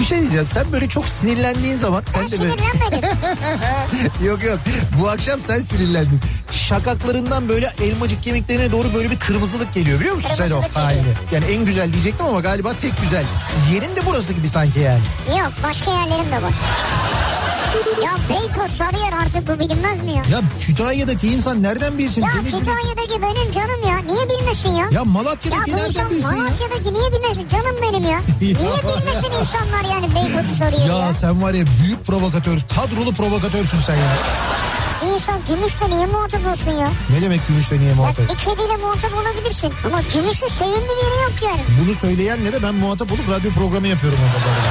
bir şey diyeceğim. Sen böyle çok sinirlendiğin zaman... Ben sen de böyle... sinirlenmedim. yok yok. Bu akşam sen sinirlendin. Şakaklarından böyle elmacık kemiklerine doğru böyle bir kırmızılık geliyor biliyor musun sen o Kırmızılık halini? geliyor. Yani en güzel diyecektim ama galiba tek güzel. Yerin de burası gibi sanki yani. Yok başka yerlerim de var. Ya Beykoz Sarıyer artık bu bilinmez mi ya? Ya Kütahya'daki insan nereden bilsin? Ya Denizli'de- Kütahya'daki benim canım ya. Niye bilmesin ya? Ya Ya Malatya'daki bu insan nereden bilsin ya? Malatya'daki niye bilmesin canım benim ya? Niye bilmesin insanlar yani Beykoz'u soruyor ya? Ya sen var ya büyük provokatör, kadrolu provokatörsün sen ya. İnsan gümüşle niye muhatap olsun ya? Ne demek gümüşle niye Bak muhatap? bir kediyle muhatap olabilirsin ama gümüşün sevimli bir yeri yok yani. Bunu söyleyenle de ben muhatap olup radyo programı yapıyorum orada. böyle.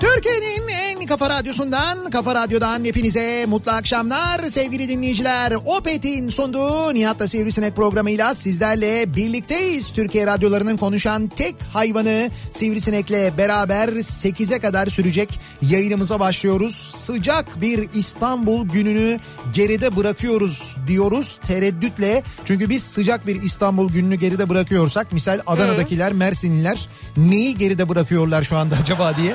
Türkiye'nin en kafa radyosundan, kafa radyodan hepinize mutlu akşamlar sevgili dinleyiciler. Opet'in sunduğu Nihat'la Sivrisinek programıyla sizlerle birlikteyiz. Türkiye radyolarının konuşan tek hayvanı Sivrisinek'le beraber 8'e kadar sürecek yayınımıza başlıyoruz. Sıcak bir İstanbul gününü geride bırakıyoruz diyoruz tereddütle. Çünkü biz sıcak bir İstanbul gününü geride bırakıyorsak misal Adana'dakiler, Mersinliler neyi geride bırakıyorlar şu anda acaba diye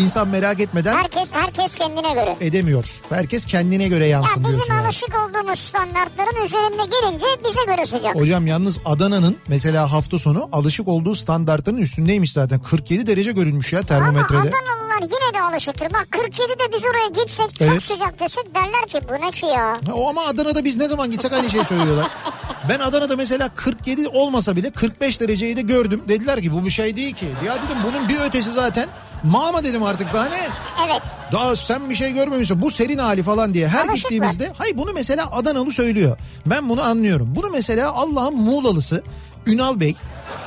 İnsan merak etmeden Herkes herkes kendine göre. edemiyor. Herkes kendine göre E, Ya yansın diyorsun. bizim yani. alışık olduğumuz standartların üzerinde gelince bize göre sıcak. Hocam yalnız Adana'nın mesela hafta sonu alışık olduğu standartların üstündeymiş zaten. 47 derece görülmüş ya Ama termometrede. Adanalılar yine de alışıktır. Bak 47'de biz oraya gitsek çok Evet. sıcak desek derler ki bu ne ki ya? Ha, O ama Adana'da biz ne zaman gitsek aynı şeyi söylüyorlar. Ben Adana'da mesela 47 olmasa bile 45 dereceyi de gördüm. Dediler ki bu bir şey değil ki. Ya dedim bunun bir ötesi zaten. Mama dedim artık daha ne? Evet. Daha sen bir şey görmemişsin bu serin hali falan diye her Alışık gittiğimizde hayır bunu mesela Adanalı söylüyor. Ben bunu anlıyorum. Bunu mesela Allah'ın Muğlalısı Ünal Bey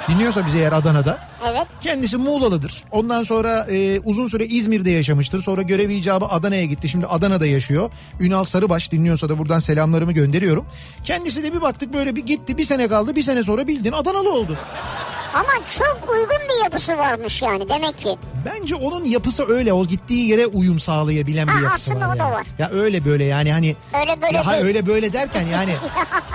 dinliyorsa bize eğer Adana'da. Evet. Kendisi Muğlalıdır. Ondan sonra e, uzun süre İzmir'de yaşamıştır. Sonra görev icabı Adana'ya gitti. Şimdi Adana'da yaşıyor. Ünal Sarıbaş dinliyorsa da buradan selamlarımı gönderiyorum. Kendisi de bir baktık böyle bir gitti. Bir sene kaldı. Bir sene sonra bildin Adanalı oldu. Ama çok uygun bir yapısı varmış yani demek ki. Bence onun yapısı öyle. O gittiği yere uyum sağlayabilen bir Ha, yapısı aslında var. o da yani. var. Ya öyle böyle yani hani. Öyle böyle Ya hayır, değil. öyle böyle derken yani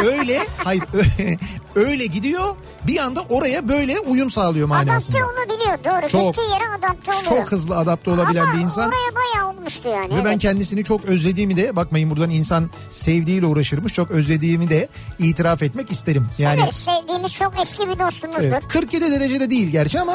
öyle hayır ö- öyle gidiyor bir anda oraya böyle uyum sağlıyor manasında. Adapte olabiliyor doğru. Çok- Gittiği yere adapte oluyor. Çok hızlı adapte olabilen Ama bir insan. oraya bayağı olmuştu yani. Ve ben evet. kendisini çok özlediğimi de bakmayın buradan insan sevdiğiyle uğraşırmış çok özlediğimi de itiraf etmek isterim. Yani Evet, sevdiğimiz çok eski bir dostumuzdur. evet, 47 derecede değil gerçi ama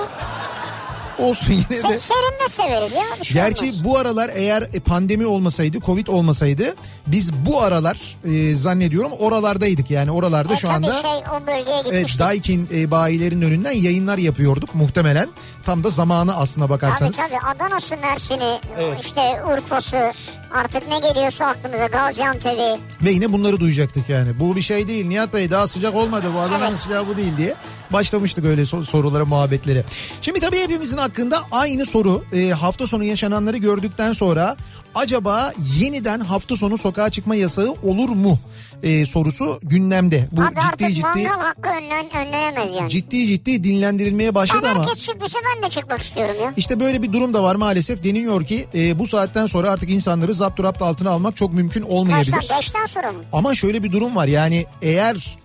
olsun yine Se de. serin de severiz ya. bir şey olmaz. Gerçi bu aralar eğer e, pandemi olmasaydı, Covid olmasaydı biz bu aralar e, zannediyorum oralardaydık. Yani oralarda E, şu tabii anda şey o bölgeye Evet gitmiştik. Daikin e, bayilerin önünden yayınlar yapıyorduk muhtemelen. Tam da zamanı aslına Tabii bakarsanız. tabii Adana'sı, Mersin'i, işte Urfa'sı artık ne geliyorsa aklımıza Gaziantep'i. Ve yine bunları duyacaktık yani. Bu bir şey değil Nihat Bey daha sıcak olmadı bu Adana'nın Evet. silahı bu değil diye. Başlamıştık öyle so- sorulara muhabbetlere. Şimdi tabii hepimizin hakkında aynı soru. E, hafta sonu yaşananları gördükten sonra acaba yeniden hafta sonu sokağa çıkma yasağı olur mu? E, sorusu gündemde. Bu Abi ciddi artık ciddi mangal hakkı önlen, önlenemez yani. ciddi ciddi dinlendirilmeye başladı Ama ama. herkes çıkmışsa ben de çıkmak istiyorum ya. İşte böyle bir durum da var maalesef. Deniliyor ki e, bu saatten sonra artık insanları zapt rapt altına almak çok mümkün olmayabilir. Kaçtan? Beşten sonra mı? Ama şöyle bir durum var yani eğer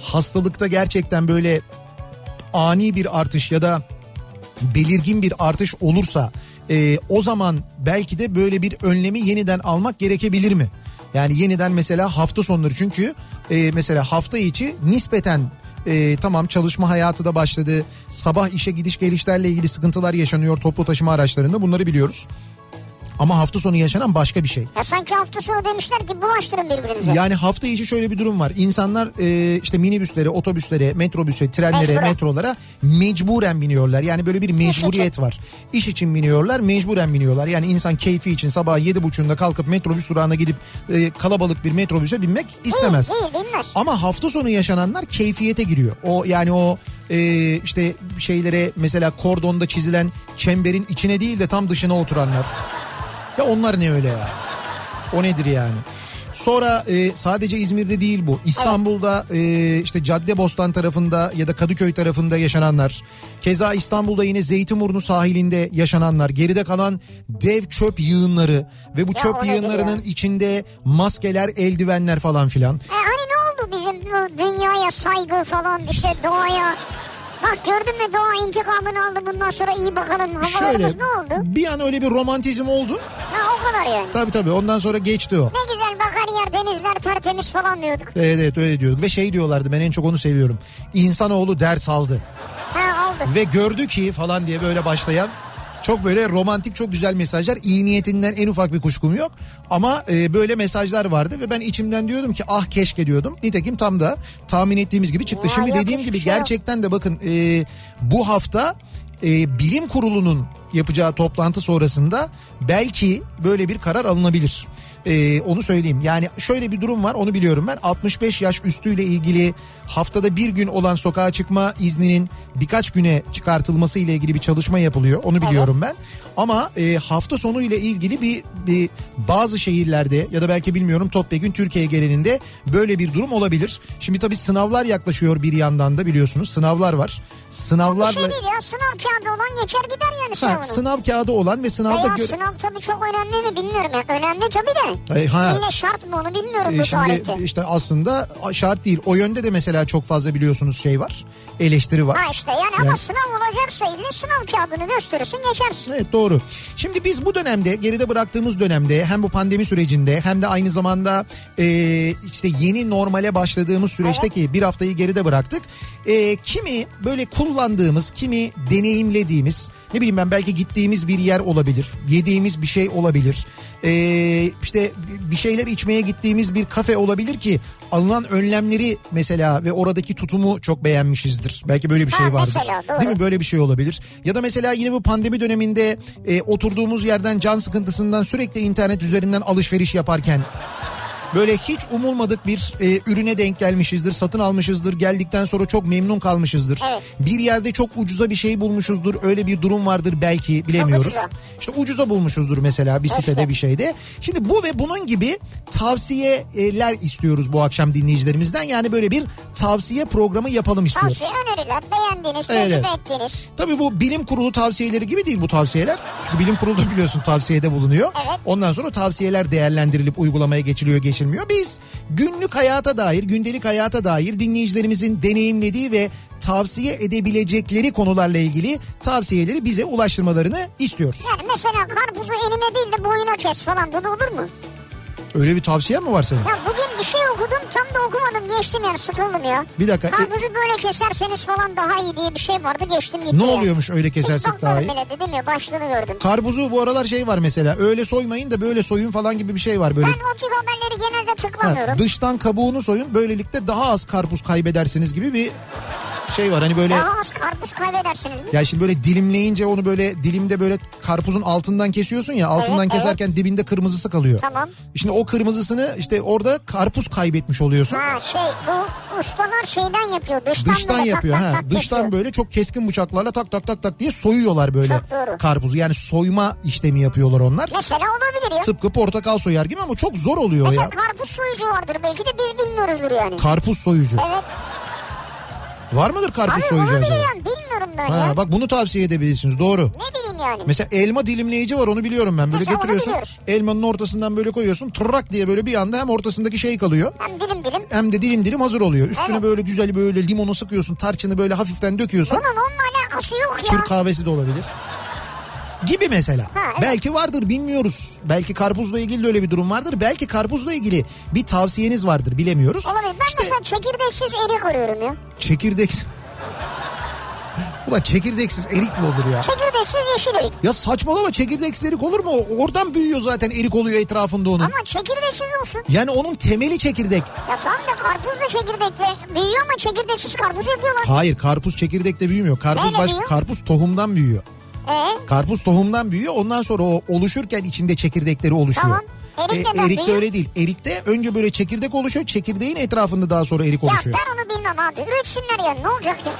hastalıkta gerçekten böyle ani bir artış ya da belirgin bir artış olursa e, o zaman belki de böyle bir önlemi yeniden almak gerekebilir mi? Yani yeniden mesela hafta sonları çünkü e, mesela hafta içi nispeten e, tamam çalışma hayatı da başladı. Sabah işe gidiş gelişlerle ilgili sıkıntılar yaşanıyor toplu taşıma araçlarında bunları biliyoruz. Ama hafta sonu yaşanan başka bir şey. Ya sanki hafta sonu demişler ki bulaştırın birbirinize. Yani hafta içi şöyle bir durum var. İnsanlar e, işte minibüslere, otobüslere, metrobüse, trenlere, Mecburen. metrolara mecburen biniyorlar. Yani böyle bir mecburiyet var. İş için biniyorlar, mecburen biniyorlar. Yani insan keyfi için sabah yedi buçuğunda kalkıp metrobüs durağına gidip e, kalabalık bir metrobüse binmek istemez. Değil, değil, bilmez. Ama hafta sonu yaşananlar keyfiyete giriyor. O yani o e, işte şeylere mesela kordonda çizilen çemberin içine değil de tam dışına oturanlar. Ya onlar ne öyle ya? O nedir yani? Sonra e, sadece İzmir'de değil bu. İstanbul'da e, işte Caddebostan tarafında ya da Kadıköy tarafında yaşananlar. Keza İstanbul'da yine Zeytinburnu sahilinde yaşananlar. Geride kalan dev çöp yığınları ve bu o çöp nedir ya? yığınlarının içinde maskeler, eldivenler falan filan. E hani ne oldu bizim bu dünyaya saygı falan işte doğaya. Bak gördün mü doğa intikamını aldı bundan sonra iyi bakalım Şöyle havalarımız ne oldu? bir an öyle bir romantizm oldu. Ha o kadar yani. Tabii tabii ondan sonra geçti o. Ne güzel bak her yer denizler tertemiz falan diyorduk. Evet evet öyle diyorduk ve şey diyorlardı ben en çok onu seviyorum. İnsanoğlu ders aldı. Ha oldu. ve gördü ki falan diye böyle başlayan çok böyle romantik çok güzel mesajlar iyi niyetinden en ufak bir kuşkum yok ama e, böyle mesajlar vardı ve ben içimden diyordum ki ah keşke diyordum nitekim tam da tahmin ettiğimiz gibi çıktı Ya şimdi yok, dediğim hiçbir gibi şey yok. gerçekten de bakın e, bu hafta e, bilim kurulunun yapacağı toplantı sonrasında belki böyle bir karar alınabilir. E, onu söyleyeyim. Yani şöyle bir durum var onu biliyorum ben. 65 yaş üstüyle ilgili haftada bir gün olan sokağa çıkma izninin birkaç güne çıkartılması ile ilgili bir çalışma yapılıyor. Onu biliyorum ben. Ama e, hafta sonu ile ilgili bir, bir bazı şehirlerde ya da belki bilmiyorum topyekun Türkiye genelinde böyle bir durum olabilir. Şimdi tabii sınavlar yaklaşıyor bir yandan da biliyorsunuz. Sınavlar var. Bir Sınavlarla şey değil ya sınav kağıdı olan geçer gider yani Ha, sınavını. sınav kağıdı olan ve sınavda Veya gö- sınav tabii çok önemli mi bilmiyorum. Yani önemli tabii de. Ay, ha. Yine şart mı onu bilmiyorum Ee, bu şimdi tarihte. işte aslında şart değil. O yönde de mesela çok fazla biliyorsunuz şey var. Eleştiri var. Ha işte yani, ama sınav olacaksa eline sınav kağıdını gösterirsin geçersin. Evet doğru. Şimdi biz bu dönemde geride bıraktığımız dönemde hem bu pandemi sürecinde hem de aynı zamanda e, işte yeni normale başladığımız süreçte ki bir haftayı geride bıraktık. E, kimi böyle kullandığımız, kimi deneyimlediğimiz ne bileyim ben belki gittiğimiz bir yer olabilir. Yediğimiz bir şey olabilir. E, işte bir şeyler içmeye gittiğimiz bir kafe olabilir ki alınan önlemleri mesela ve oradaki tutumu çok beğenmişizdir. Belki böyle bir şey Ha, vardır. mesela, doğru. Değil mi? Böyle bir şey olabilir. Ya da mesela yine bu pandemi döneminde e, oturduğumuz yerden can sıkıntısından sürekli internet üzerinden alışveriş yaparken böyle hiç umulmadık bir e, ürüne denk gelmişizdir, satın almışızdır, geldikten sonra çok memnun kalmışızdır. Evet. Bir yerde çok ucuza bir şey bulmuşuzdur, öyle bir durum vardır belki bilemiyoruz. ucuza. İşte ucuza bulmuşuzdur mesela bir sitede bir şeyde. Şimdi bu ve bunun gibi tavsiyeler istiyoruz bu akşam dinleyicilerimizden. Yani böyle bir tavsiye programı yapalım istiyoruz. Tavsiye öneriler beğendiğiniz, Evet. tecrübe ettiğiniz. Tabii bu bilim kurulu tavsiyeleri gibi değil bu tavsiyeler. Çünkü bilim kurulu da biliyorsun tavsiyede bulunuyor. Evet. Ondan sonra tavsiyeler değerlendirilip uygulamaya geçiliyor geçilmiyor. Biz günlük hayata dair, gündelik hayata dair dinleyicilerimizin deneyimlediği ve tavsiye edebilecekleri konularla ilgili tavsiyeleri bize ulaştırmalarını istiyoruz. Yani mesela karpuzu elime değil de boyuna kes falan bu da olur mu? Öyle bir tavsiyen mi var senin? Ya bugün bir şey okudum tam da okumadım geçtim yani sıkıldım ya. Bir dakika, e- Karpuzu böyle keserseniz falan daha iyi diye bir şey vardı geçtim gitti. Ne ya. oluyormuş öyle kesersek Hiç daha iyi? bakmadım bile dedim ya başlığını gördüm. Karpuzu bu aralar şey var mesela. Öyle soymayın da böyle soyun falan gibi bir şey var böyle. Ben o tip haberleri genelde Ha, tıklamıyorum. dıştan kabuğunu soyun böylelikle daha az karpuz kaybedersiniz gibi bir şey var. Hani böyle Daha az karpuz kaybedersiniz mi? ya şimdi böyle dilimleyince onu böyle dilimde böyle karpuzun altından kesiyorsun ya altından Evet, evet. keserken dibinde kırmızısı kalıyor. Tamam. Şimdi o kırmızısını işte orada karpuz kaybetmiş oluyorsun. Ha şey bu ustalar şeyden yapıyor dıştan, Dıştan böyle yapıyor tak, tak, ha. tak Dıştan kesiyor. böyle çok keskin bıçaklarla tak tak tak tak diye soyuyorlar böyle Çok doğru. karpuzu. Yani soyma işlemi yapıyorlar onlar. Mesela olabilir ya. E Tıpkı portakal soyar gibi ama çok zor oluyor Mesela ya. karpuz soyucu vardır belki de biz bilmiyoruzdur yani. Karpuz soyucu. evet. E- Var mıdır karpuz Abi soyucu olabilir acaba? yani bilmiyorum ben ya. Ha, bak bunu tavsiye edebilirsiniz doğru. Ne bileyim yani. Mesela elma dilimleyici var onu biliyorum ben. Böyle Mesela onu götürüyorsun biliyoruz. elmanın ortasından böyle koyuyorsun tırrak diye böyle bir anda hem ortasındaki şey kalıyor. Hem dilim dilim. Hem de dilim dilim hazır oluyor. Üstüne Evet. böyle güzel böyle limonu sıkıyorsun tarçını böyle hafiften döküyorsun. Bunun onunla alakası yok ya. Türk kahvesi de olabilir. Gibi mesela. evet. Belki vardır bilmiyoruz. Belki karpuzla ilgili de öyle bir durum vardır. Belki karpuzla ilgili bir tavsiyeniz vardır bilemiyoruz. Olabilir. Ben İşte mesela çekirdeksiz erik arıyorum ya. çekirdek... Ulan çekirdeksiz erik mi olur ya? Çekirdeksiz yeşil erik. Ya saçmalama çekirdeksiz erik olur mu? Oradan büyüyor zaten erik oluyor etrafında onun. Ama çekirdeksiz olsun. Yani onun temeli çekirdek. Ya tam da karpuz da çekirdekle büyüyor ama çekirdeksiz karpuz yapıyorlar. Hayır karpuz çekirdekle büyümüyor. Karpuz Neyle baş, büyüyor? karpuz tohumdan büyüyor. Ee, Karpuz tohumdan büyüyor. Ondan sonra o oluşurken içinde çekirdekleri oluşuyor. E, Tamam. Erik neden erik de büyüyor? öyle değil. Erikte önce böyle çekirdek oluşuyor. Çekirdeğin etrafında daha sonra erik ya oluşuyor. ben onu bilmem abi. Üretsinler ya ne olacak ya?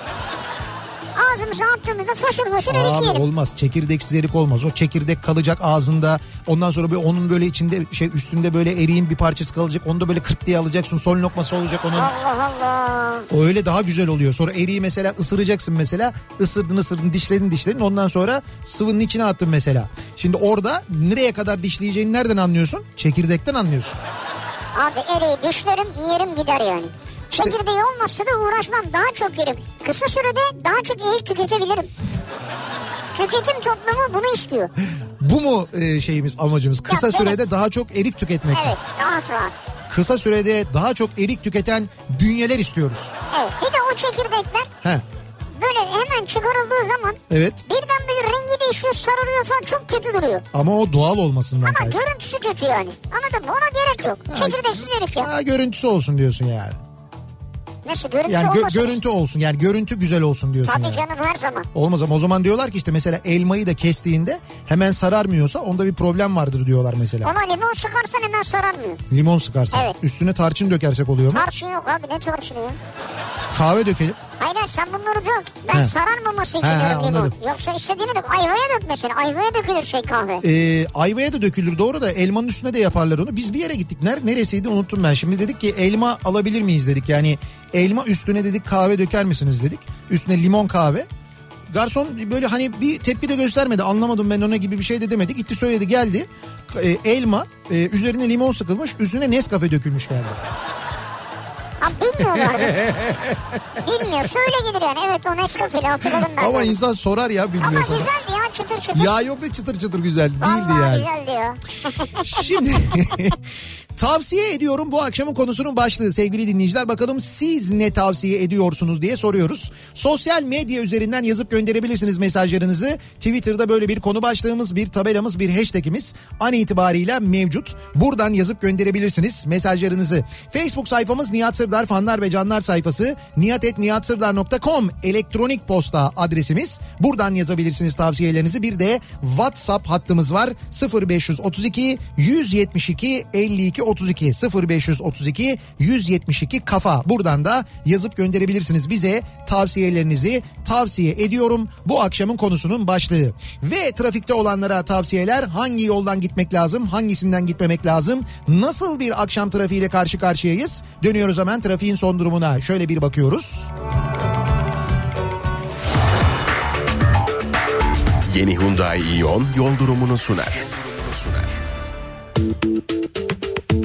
Ağzımıza attığımızda foşur foşur erik Abi yiyelim. olmaz. Çekirdeksiz erik olmaz. O çekirdek kalacak ağzında. Ondan sonra böyle onun böyle içinde şey üstünde böyle eriğin bir parçası kalacak. Onu da böyle kırt diye alacaksın. Son lokması olacak onun. Allah Allah. O öyle daha güzel oluyor. Sonra eriği mesela ısıracaksın mesela. Isırdın ısırdın dişledin dişledin. Ondan sonra sıvının içine attın mesela. Şimdi orada nereye kadar dişleyeceğini nereden anlıyorsun? Çekirdekten anlıyorsun. Abi eriği dişlerim yerim gider yani. Çekirdeği olmazsa da uğraşmam daha çok yerim. Kısa sürede daha çok erik tüketebilirim. Tüketim toplumu bunu istiyor. Bu mu e, şeyimiz amacımız? Kısa benim- sürede daha çok erik tüketmek. mi? Evet rahat rahat. Kısa sürede daha çok erik tüketen bünyeler istiyoruz. Evet bir de o çekirdekler He. böyle hemen çıkarıldığı zaman Evet. birden böyle rengi değişiyor sarılıyor falan çok kötü duruyor. Ama o doğal olmasından Ama kaynaklı. görüntüsü kötü yani. Anladın mı? Ona gerek yok. Çekirdeksiz erik ya. Ha, görüntüsü olsun diyorsun yani. Nasıl görüntüsü Yani gö- şey olmasın? görüntü olsun. Yani görüntü güzel olsun diyorsun Tabii yani. canım her zaman. Olmaz ama o zaman diyorlar ki işte mesela elmayı da kestiğinde hemen sararmıyorsa onda bir problem vardır diyorlar mesela. Ona limon sıkarsan hemen sararmıyor. Limon sıkarsak. Evet. Üstüne tarçın dökersek oluyor mu? Tarçın yok abi ne tarçını ya? Kahve dökelim. Hayır hayır, sen bunları dök. Ben He. sararmaması için He, he, diyorum limon. anladım. Yoksa istediğini dök. Ayvaya dök mesela. Ayvaya dökülür şey kahve. Ee, ayvaya da dökülür doğru da elmanın üstüne de yaparlar onu. Biz bir yere gittik. Ner neresiydi unuttum ben. Şimdi dedik ki elma alabilir miyiz dedik. Yani elma üstüne dedik kahve döker misiniz dedik. Üstüne limon kahve. Garson böyle hani bir tepki de göstermedi. Anlamadım ben ona gibi bir şey de demedi. Gitti söyledi geldi. Ee, elma e, üzerine limon sıkılmış. Üstüne Nescafe dökülmüş geldi. Ha bilmiyorlardı. Bilmiyorsa öyle gelir yani. Evet o Nescafe'li hatırladım ben. Ama de. insan sorar ya Ama bilmiyorsa. da. güzeldi ya çıtır çıtır. Ya yok da çıtır çıtır güzel değildi Vallahi yani. güzeldi ya. Şimdi tavsiye ediyorum bu akşamın konusunun başlığı sevgili dinleyiciler. Bakalım siz ne tavsiye ediyorsunuz diye soruyoruz. Sosyal medya üzerinden yazıp gönderebilirsiniz mesajlarınızı. Twitter'da böyle bir konu başlığımız, bir tabelamız, bir hashtagimiz an itibariyle mevcut. Buradan yazıp gönderebilirsiniz mesajlarınızı. Facebook sayfamız Nihat Sırdar fanlar ve canlar sayfası nihatetnihatsırdar.com elektronik posta adresimiz. Buradan yazabilirsiniz tavsiyelerinizi. Bir de WhatsApp hattımız var. 0532 172 52 32 0532 172 kafa. Buradan da yazıp gönderebilirsiniz bize tavsiyelerinizi. Tavsiye ediyorum bu akşamın konusunun başlığı. Ve trafikte olanlara tavsiyeler hangi yoldan gitmek lazım, hangisinden gitmemek lazım, nasıl bir akşam trafiğiyle karşı karşıyayız? Dönüyoruz hemen trafiğin son durumuna. Şöyle bir bakıyoruz. Yeni Hyundai Ion yol durumunu sunar.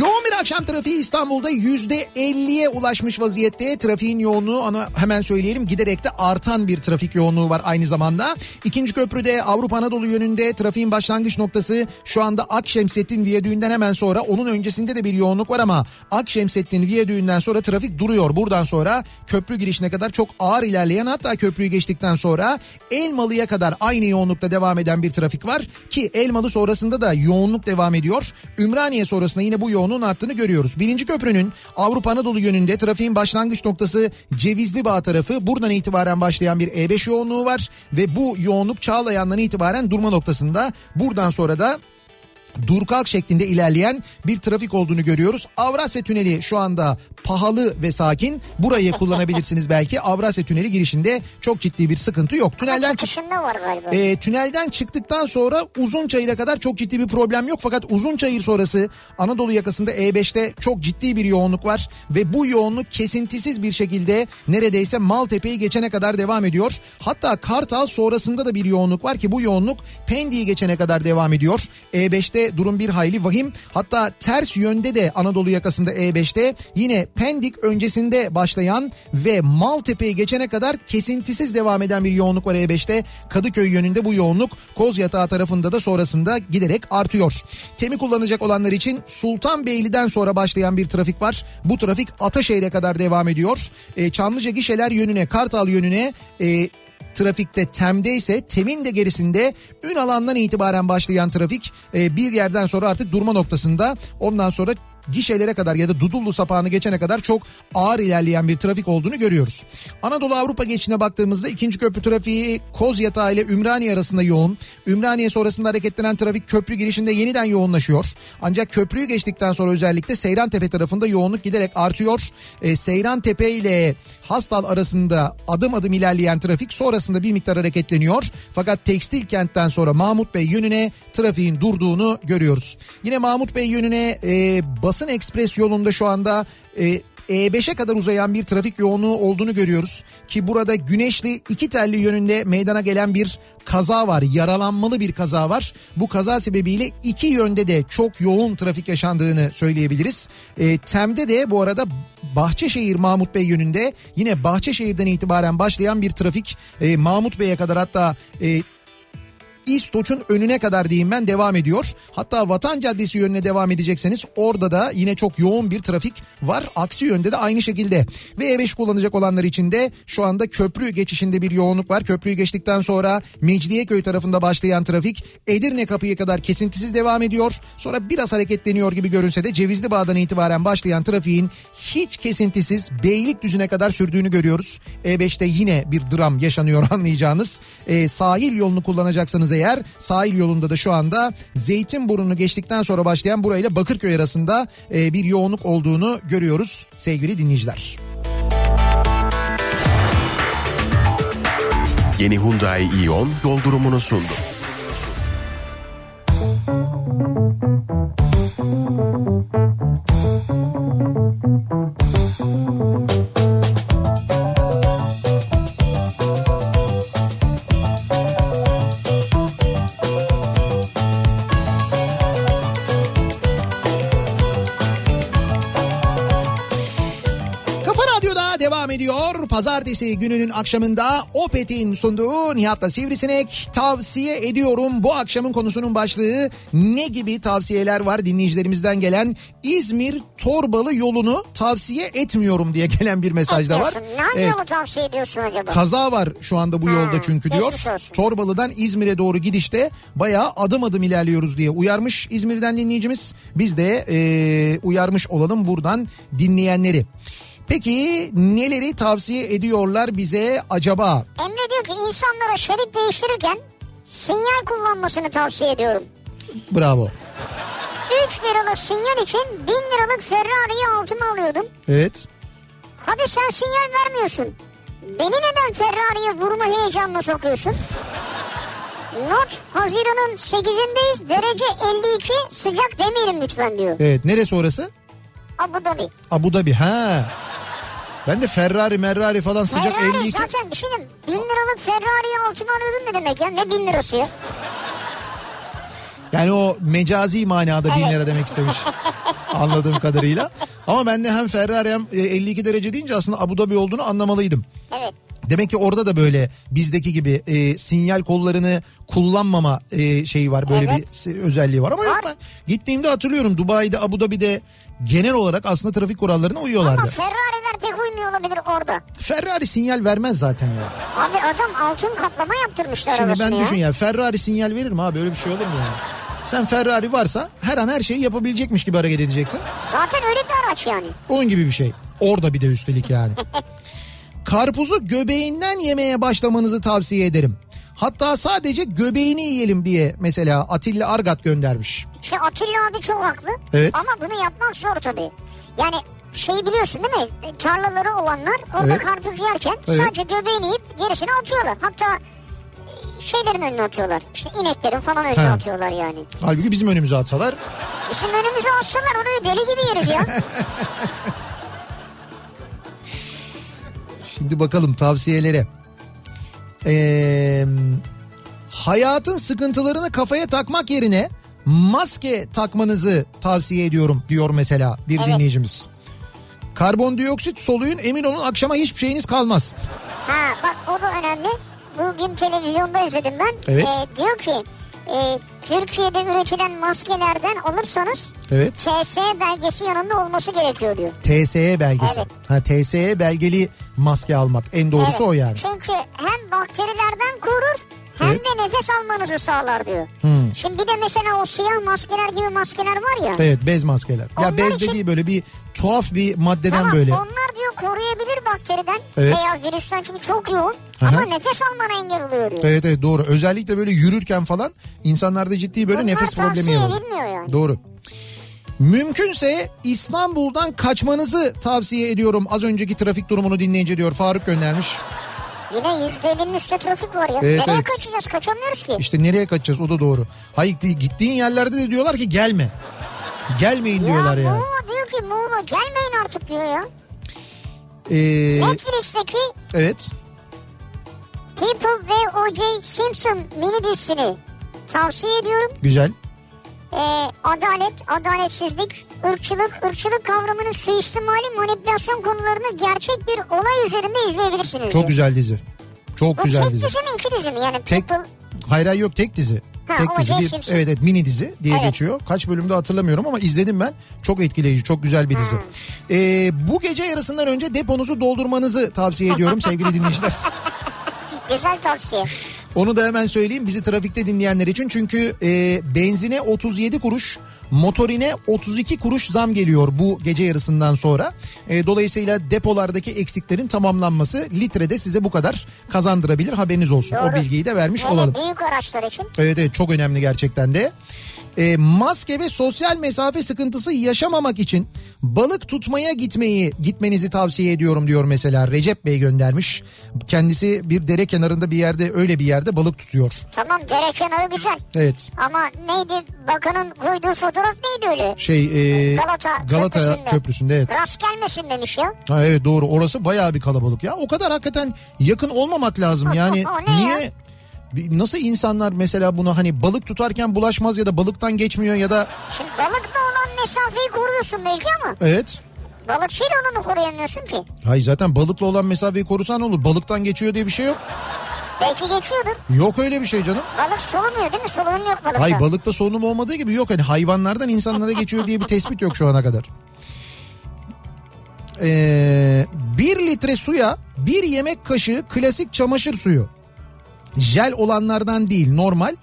Yoğun bir akşam trafiği İstanbul'da yüzde elliye ulaşmış vaziyette. Trafiğin yoğunluğu ana hemen söyleyelim giderek de artan bir trafik yoğunluğu var aynı zamanda. İkinci köprüde Avrupa Anadolu yönünde trafiğin başlangıç noktası şu anda Akşemsettin Viyadüğü'nden hemen sonra. Onun öncesinde de bir yoğunluk var ama Akşemsettin Viyadüğü'nden sonra trafik duruyor. Buradan sonra köprü girişine kadar çok ağır ilerleyen hatta köprüyü geçtikten sonra Elmalı'ya kadar aynı yoğunlukta devam eden bir trafik var. Ki Elmalı sonrasında da yoğunluk devam ediyor. Ümraniye sonrasında yine bu yoğunluğun arttığını görüyoruz. Birinci köprünün Avrupa Anadolu yönünde trafiğin başlangıç noktası Cevizli Bağ tarafı buradan itibaren başlayan bir E5 yoğunluğu var. Ve bu yoğunluk Çağlayan'dan itibaren durma noktasında buradan sonra da dur kalk şeklinde ilerleyen bir trafik olduğunu görüyoruz. Avrasya Tüneli şu anda pahalı ve sakin. Burayı kullanabilirsiniz belki. Avrasya Tüneli girişinde çok ciddi bir sıkıntı yok. Tünelden çık Çıkışında var galiba. e, tünelden çıktıktan sonra Uzunçayır'a kadar çok ciddi bir problem yok. Fakat Uzunçayır sonrası Anadolu yakasında E5'te çok ciddi bir yoğunluk var. Ve bu yoğunluk kesintisiz bir şekilde neredeyse Maltepe'yi geçene kadar devam ediyor. Hatta Kartal sonrasında da bir yoğunluk var ki bu yoğunluk Pendik'i geçene kadar devam ediyor. E5'te de durum bir hayli vahim. Hatta ters yönde de Anadolu yakasında E5'te yine Pendik öncesinde başlayan ve Maltepe'yi geçene kadar kesintisiz devam eden bir yoğunluk var E5'te. Kadıköy yönünde bu yoğunluk Koz Yatağı tarafında da sonrasında giderek artıyor. Temi kullanacak olanlar için Sultanbeyli'den sonra başlayan bir trafik var. Bu trafik Ataşehir'e kadar devam ediyor. E, Çamlıca Gişeler yönüne, Kartal yönüne e, trafikte Tem'de ise Tem'in de gerisinde ün alandan itibaren başlayan trafik e, bir yerden sonra artık durma noktasında ondan sonra gişelere kadar ya da Dudullu sapağını geçene kadar çok ağır ilerleyen bir trafik olduğunu görüyoruz. Anadolu Avrupa geçişine baktığımızda ikinci köprü trafiği Koz Yatağı ile Ümraniye arasında yoğun. Ümraniye sonrasında hareketlenen trafik köprü girişinde yeniden yoğunlaşıyor. Ancak köprüyü geçtikten sonra özellikle Seyran Tepe tarafında yoğunluk giderek artıyor. E, Seyran Tepe ile Hastal arasında adım adım ilerleyen trafik sonrasında bir miktar hareketleniyor. Fakat tekstil kentten sonra Mahmut Bey yönüne trafiğin durduğunu görüyoruz. Yine Mahmut Bey yönüne e, basın ekspres yolunda şu anda e, E5'e kadar uzayan bir trafik yoğunluğu olduğunu görüyoruz. Ki burada Güneşli iki telli yönünde meydana gelen bir kaza var. Yaralanmalı bir kaza var. Bu kaza sebebiyle iki yönde de çok yoğun trafik yaşandığını söyleyebiliriz. E, Tem'de de bu arada Bahçeşehir Mahmut Bey yönünde yine Bahçeşehir'den itibaren başlayan bir trafik e, Mahmut Bey'e kadar hatta e, İstoç'un önüne kadar diyeyim ben devam ediyor. Hatta Vatan Caddesi yönüne devam edecekseniz orada da yine çok yoğun bir trafik var. Aksi yönde de aynı şekilde. Ve E5 kullanacak olanlar için de şu anda köprü geçişinde bir yoğunluk var. Köprüyü geçtikten sonra Mecidiyeköy tarafında başlayan trafik Edirne kapıya kadar kesintisiz devam ediyor. Sonra biraz hareketleniyor gibi görünse de Cevizli Bağ'dan itibaren başlayan trafiğin hiç kesintisiz Beylikdüzü'ne kadar sürdüğünü görüyoruz. E5'te yine bir dram yaşanıyor anlayacağınız. E, sahil yolunu kullanacaksanız eğer sahil yolunda da şu anda Zeytinburnu'nu geçtikten sonra başlayan burayla Bakırköy arasında e, bir yoğunluk olduğunu görüyoruz sevgili dinleyiciler. Yeni Hyundai Ion yol durumunu sundu. Kafa Radyo'da devam ediyor. Pazartesi gününün akşamında Opet'in sunduğu Nihat'la Sivrisinek tavsiye ediyorum. Bu akşamın konusunun başlığı ne gibi tavsiyeler var dinleyicilerimizden gelen İzmir Torbalı yolunu tavsiye etmiyorum diye gelen bir mesaj da var. E, Etmiyorsun. Ne hangi Evet. yolu tavsiye ediyorsun acaba? Kaza var şu anda bu yolda çünkü diyor. Hmm, geçmiş olsun. Torbalı'dan İzmir'e doğru gidişte bayağı adım adım ilerliyoruz diye uyarmış İzmir'den dinleyicimiz. Biz de e, uyarmış olalım buradan dinleyenleri. Peki neleri tavsiye ediyorlar bize acaba? Emre diyor ki insanlara şerit değiştirirken sinyal kullanmasını tavsiye ediyorum. Bravo. 3 liralık sinyal için 1000 liralık Ferrari'yi altıma alıyordum. Evet. Hadi sen sinyal vermiyorsun. Beni neden Ferrari'ye vurma heyecanına sokuyorsun? Not Haziran'ın 8'indeyiz. Derece 52 sıcak demeyelim lütfen diyor. Evet. Neresi orası? Abu Dhabi. Abu Dhabi. Ha. Ben de Ferrari, Merrari falan sıcak Ferrari 52. zaten bir şey diyeyim. 1000 liralık Ferrari'yi altıma alıyordun ne demek ya? Ne 1000 lirası ya? Yani o mecazi manada bin Evet. lira demek istemiş. Anladığım kadarıyla. Ama ben de hem Ferrari hem e, 52 derece deyince aslında Abu Dhabi olduğunu anlamalıydım. Evet. Demek ki orada da böyle bizdeki gibi e, sinyal kollarını kullanmama e, şeyi var. Böyle Evet. bir se- özelliği var ama yok Var. ben gittiğimde hatırlıyorum Dubai'de Abu Dhabi'de genel olarak aslında trafik kurallarına Ama uyuyorlardı. Ferrari'ler pek uymuyor olabilir orada. Ferrari sinyal vermez zaten ya. Abi adam altın kaplama yaptırmışlar Şimdi arabasına ben ya. düşün ya Ferrari sinyal verir mi abi öyle bir şey olur mu ya? Sen Ferrari varsa her an her şeyi yapabilecekmiş gibi hareket edeceksin. Zaten öyle bir araç yani. Onun gibi bir şey. Orada bir de üstelik yani. Karpuzu göbeğinden yemeye başlamanızı tavsiye ederim. Hatta sadece göbeğini yiyelim diye mesela Atilla Argat göndermiş. Şimdi Atilla abi çok haklı. Evet. Ama bunu yapmak zor tabii. Yani şey biliyorsun değil mi? E, Tarlaları olanlar orada Evet. karpuz yerken Evet. sadece göbeğini yiyip gerisini atıyorlar. Hatta e, şeylerin önüne atıyorlar. İşte ineklerin falan önüne Ha. atıyorlar yani. Halbuki bizim önümüze atsalar Bizim önümüze atsalar orayı deli gibi yeriz ya. Şimdi bakalım tavsiyelere. Ee, hayatın sıkıntılarını kafaya takmak yerine maske takmanızı tavsiye ediyorum diyor mesela bir Evet. dinleyicimiz. Karbondioksit soluyun emin olun akşama hiçbir şeyiniz kalmaz. Ha bak o da önemli. Bugün televizyonda izledim ben. Evet. Ee, diyor ki e, Türkiye'de üretilen maskelerden alırsanız Evet. CS belgesi yanında olması gerekiyor diyor. TSE E belgesi. Evet. Ha TSE belgeli maske almak en doğrusu Evet. o yani. Çünkü hem bakterilerden korur hem Evet. Hmm. de nefes almanızı sağlar diyor. Şimdi bir de mesela o siyah maskeler gibi maskeler var ya. Evet bez maskeler. ya Onlar bez için- dediği böyle bir tuhaf bir maddeden Tamam, böyle. Onlar diyor koruyabilir bakteriden Evet. veya virüsten çünkü çok yoğun. Hı hı. Ama nefes almana engel oluyor diyor. Evet evet doğru. Özellikle böyle yürürken falan insanlarda ciddi böyle Bunlar nefes problemi tavsiye yaratıyor. edilmiyor yani. Doğru. Mümkünse İstanbul'dan kaçmanızı tavsiye ediyorum. Az önceki trafik durumunu dinleyince diyor Faruk göndermiş. Yine yüzde ellinin üstte trafik var ya. Evet, Nereye evet. kaçacağız? Kaçamıyoruz ki. İşte nereye kaçacağız o da doğru. Hayır gittiğin yerlerde de diyorlar ki gelme. Gelmeyin diyorlar ya. yani. Muğla diyor ki Muğla gelmeyin artık diyor ya. Ee, Netflix'teki evet. People ve O.J. Simpson mini dizisini tavsiye ediyorum. Güzel. Ee, adalet, adaletsizlik, ırkçılık, ırkçılık kavramının suistimali, manipülasyon konularını gerçek bir olay üzerinde izleyebilirsiniz. diyor. Çok güzel dizi. Çok Bu güzel tek dizi. dizi mi iki dizi mi? Yani Tek- People Hayır hayır yok tek dizi. Ha, tek o dizi Jay bir Simpson. evet, evet mini dizi diye Evet. geçiyor. Kaç bölümde hatırlamıyorum ama izledim ben. Çok etkileyici, çok güzel bir dizi. Ee, bu gece yarısından önce deponuzu doldurmanızı tavsiye ediyorum sevgili dinleyiciler. güzel tavsiye. Onu da hemen söyleyeyim bizi trafikte dinleyenler için. Çünkü e, benzine 37 kuruş, motorine 32 kuruş zam geliyor bu gece yarısından sonra. E, dolayısıyla depolardaki eksiklerin tamamlanması litrede size bu kadar kazandırabilir. Haberiniz olsun. Doğru. O bilgiyi de vermiş Hele olalım. büyük araçlar için. Evet evet çok önemli gerçekten de. E, maske ve sosyal mesafe sıkıntısı yaşamamak için balık tutmaya gitmeyi gitmenizi tavsiye ediyorum diyor mesela Recep Bey göndermiş. Kendisi bir dere kenarında bir yerde öyle bir yerde balık tutuyor. Tamam dere kenarı güzel. Evet Ama neydi bakanın koyduğu fotoğraf neydi öyle? şey e, Galata, Galata Köprüsü'nde. köprüsünde. evet. Rast gelmesin demiş ya. Ha, evet doğru orası bayağı bir kalabalık ya. O kadar hakikaten yakın olmamak lazım yani O ne ya? niye bir- nasıl insanlar mesela bunu hani balık tutarken bulaşmaz ya da balıktan geçmiyor ya da Şimdi balıkla olan mesafeyi koruyorsun belki ama evet balıkçıyla olanı koruyamıyorsun ki. Hayır zaten balıkla olan mesafeyi korusan olur. Balıktan geçiyor diye bir şey yok. Belki geçiyordur. Yok öyle bir şey canım. Balık solumuyor değil mi? Solunum yok balıkta. Hayır balıkta solunum olmadığı gibi yok. Hani hayvanlardan insanlara geçiyor diye bir tespit yok şu ana kadar. Ee, bir litre suya bir yemek kaşığı klasik çamaşır suyu. Jel olanlardan değil normal.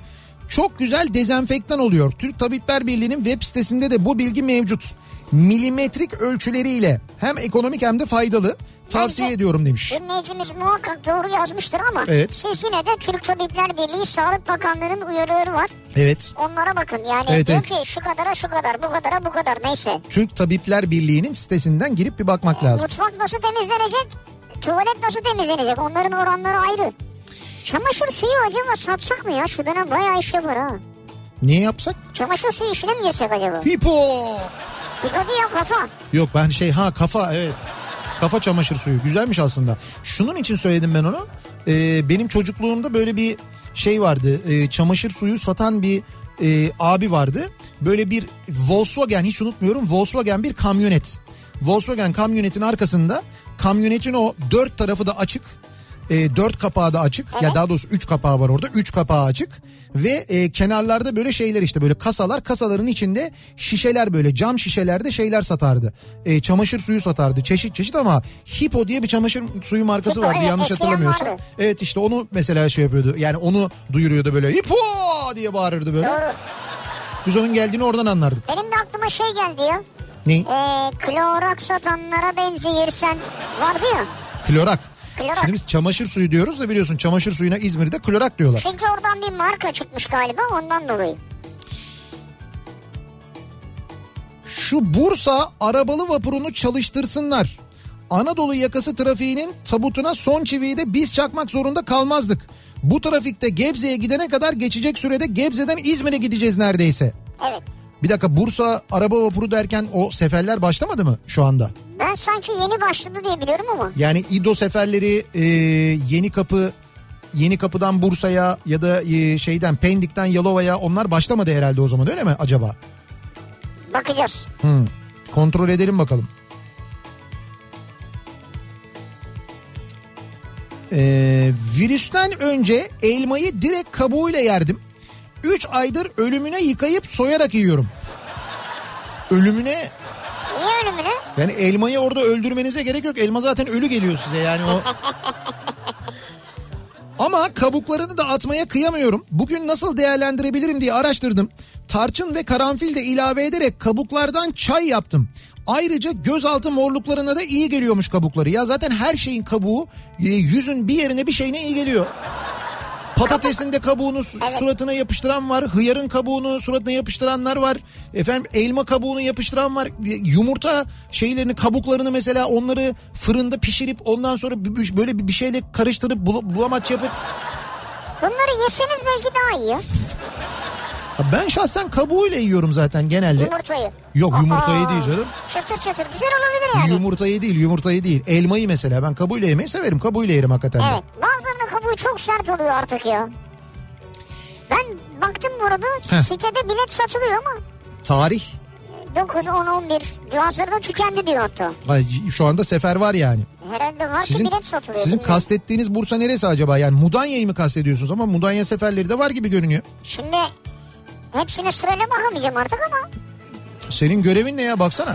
Çok güzel dezenfektan oluyor. Türk Tabipler Birliği'nin web sitesinde de bu bilgi mevcut. Milimetrik ölçüleriyle hem ekonomik hem de faydalı. Tavsiye Bence- ediyorum demiş. Dinleyicimiz muhakkak doğru yazmıştır ama Evet. siz yine de Türk Tabipler Birliği Sağlık Bakanlığı'nın uyarıları var. Evet. Onlara bakın yani Evet, diyor evet. ki şu kadara şu kadar bu kadara bu kadar neyse. Türk Tabipler Birliği'nin sitesinden girip bir bakmak lazım. Mutfak nasıl temizlenecek? Tuvalet nasıl temizlenecek? Onların oranları ayrı. Çamaşır suyu acaba satsak mı ya? Şu dönem bayağı iş yapar ha. Niye yapsak? Çamaşır suyu işine mi girsek acaba? Hipo! Dikkat ya kafa. Yok ben şey ha kafa evet. Kafa çamaşır suyu güzelmiş aslında. Şunun için söyledim ben onu. Ee, benim çocukluğumda böyle bir şey vardı. Ee, çamaşır suyu satan bir e, abi vardı. Böyle bir Volkswagen hiç unutmuyorum. Volkswagen bir kamyonet. Volkswagen kamyonetin arkasında kamyonetin o dört tarafı da açık. E, dört kapağı da açık. Ya daha doğrusu üç kapağı var orada. Üç kapağı açık. Ve e, kenarlarda böyle şeyler işte böyle kasalar. Kasaların içinde şişeler böyle cam şişelerde şeyler satardı. E, çamaşır suyu satardı. Çeşit çeşit ama Hippo diye bir çamaşır suyu markası Hippo, vardı evet, yanlış eskiden hatırlamıyorsam. vardı. Evet işte onu mesela şey yapıyordu. Yani onu duyuruyordu böyle Hippo diye bağırırdı böyle. Doğru. Biz onun geldiğini oradan anlardık. Benim de aklıma şey geldi ya. Ne? Ee, klorak satanlara benzeyirsen vardı ya. Klorak. Klorak. Şimdi biz çamaşır suyu diyoruz da biliyorsun çamaşır suyuna İzmir'de klorak diyorlar. Çünkü oradan bir marka çıkmış galiba ondan dolayı. Şu Bursa arabalı vapurunu çalıştırsınlar. Anadolu yakası trafiğinin tabutuna son çiviyi de biz çakmak zorunda kalmazdık. Bu trafikte Gebze'ye gidene kadar geçecek sürede Gebze'den İzmir'e gideceğiz neredeyse. Evet. Bir dakika Bursa araba vapuru derken o seferler başlamadı mı şu anda? Ben sanki yeni başladı diye biliyorum ama. Yani İdo seferleri, e, Yeni Kapı, Yeni Kapı'dan Bursa'ya ya da e, şeyden Pendik'ten Yalova'ya onlar başlamadı herhalde o zaman öyle mi acaba? Bakacağız. Hmm. Kontrol edelim bakalım. Ee, virüsten önce elmayı direkt kabuğuyla yerdim. 3 aydır ölümüne yıkayıp soyarak yiyorum. Ölümüne Niye ölümünü? yani elmayı orada öldürmenize gerek yok. Elma zaten ölü geliyor size yani o. Ama kabuklarını da atmaya kıyamıyorum. Bugün nasıl değerlendirebilirim diye araştırdım. Tarçın ve karanfil de ilave ederek kabuklardan çay yaptım. Ayrıca gözaltı morluklarına da iyi geliyormuş kabukları. Ya zaten her şeyin kabuğu e, yüzün bir yerine bir şeyine iyi geliyor. Patatesin de kabuğunu su- Evet. suratına yapıştıran var. Hıyarın kabuğunu suratına yapıştıranlar var. Efendim elma kabuğunu yapıştıran var. Yumurta şeylerini kabuklarını mesela onları fırında pişirip ondan sonra bir- bir- böyle bir bir şeyle karıştırıp bul- bulamaç yapıp Bunları yeseniz belki daha iyi. Ya Ben şahsen kabuğuyla yiyorum zaten genelde. Yumurtayı. Yok, yumurtayı Aa, değil canım. Çıtır çıtır güzel olabilir yani. Yumurtayı değil yumurtayı değil. Elmayı mesela ben kabuğuyla yemeyi severim. Kabuğuyla yerim hakikaten. de. Evet bazılarının kabuğu çok sert oluyor artık ya. Ben baktım burada Heh. sitede bilet satılıyor ama Tarih. 9, 10, 11 hazırda tükendi diyor hatta. Ay, şu anda sefer var yani. Herhalde var ki Sizin, bilet satılıyor. sizin bilmiyorum. kastettiğiniz Bursa neresi acaba? Yani Mudanya'yı mı kastediyorsunuz? Ama Mudanya seferleri de var gibi görünüyor. Şimdi hepsine sırayla bakamayacağım artık ama. Senin görevin ne ya baksana.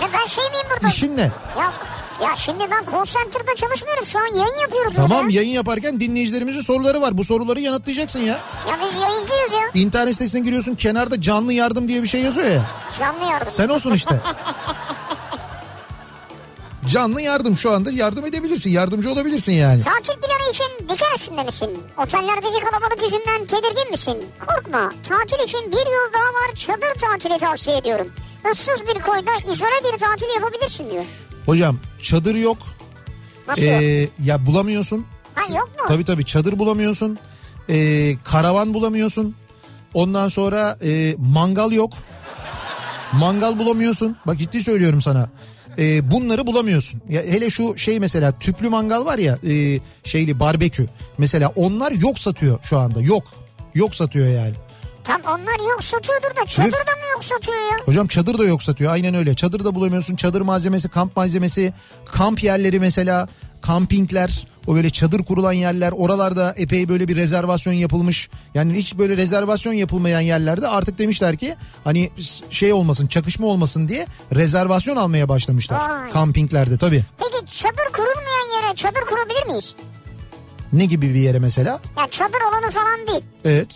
Ne ben şey miyim burada? İşin ne? Ya, ya şimdi ben call center'da çalışmıyorum. Şu an yayın yapıyoruz Tamam burada. yayın yaparken dinleyicilerimizin soruları var. Bu soruları yanıtlayacaksın ya. Ya biz yayıncıyız ya. İnternet sitesine giriyorsun kenarda canlı yardım diye bir şey yazıyor ya. Canlı yardım. Sen olsun işte. Canlı yardım şu anda yardım edebilirsin. Yardımcı olabilirsin yani. Tatil planı için diken üstünde misin? Otellerdeki kalabalık yüzünden tedirgin misin? Korkma. Tatil için bir yıl daha var çadır tatili tavsiye ediyorum. Issız bir koyda izole bir tatil yapabilirsin diyor. Hocam çadır yok. Nasıl? Ee, ya bulamıyorsun. Ha, yok mu? Tabii tabii çadır bulamıyorsun. Ee, karavan bulamıyorsun. Ondan sonra e, mangal yok. Mangal bulamıyorsun. Bak ciddi söylüyorum sana. Ee, bunları bulamıyorsun. Ya hele şu şey mesela tüplü mangal var ya e, şeyli barbekü. Mesela onlar yok satıyor şu anda. Yok. Yok satıyor yani. Tam onlar yok satıyordur da çadır da mı yok satıyor ya? Hocam çadır da yok satıyor aynen öyle. Çadır da bulamıyorsun. Çadır malzemesi, kamp malzemesi, kamp yerleri mesela, kampingler, o böyle çadır kurulan yerler. Oralarda epey böyle bir rezervasyon yapılmış. Yani hiç böyle rezervasyon yapılmayan yerlerde artık demişler ki hani şey olmasın, çakışma olmasın diye rezervasyon almaya başlamışlar. Vay. Kampinglerde tabii. Peki çadır kurulmayan yere çadır kurabilir miyiz? Ne gibi bir yere mesela? Ya çadır olanı falan değil. Evet.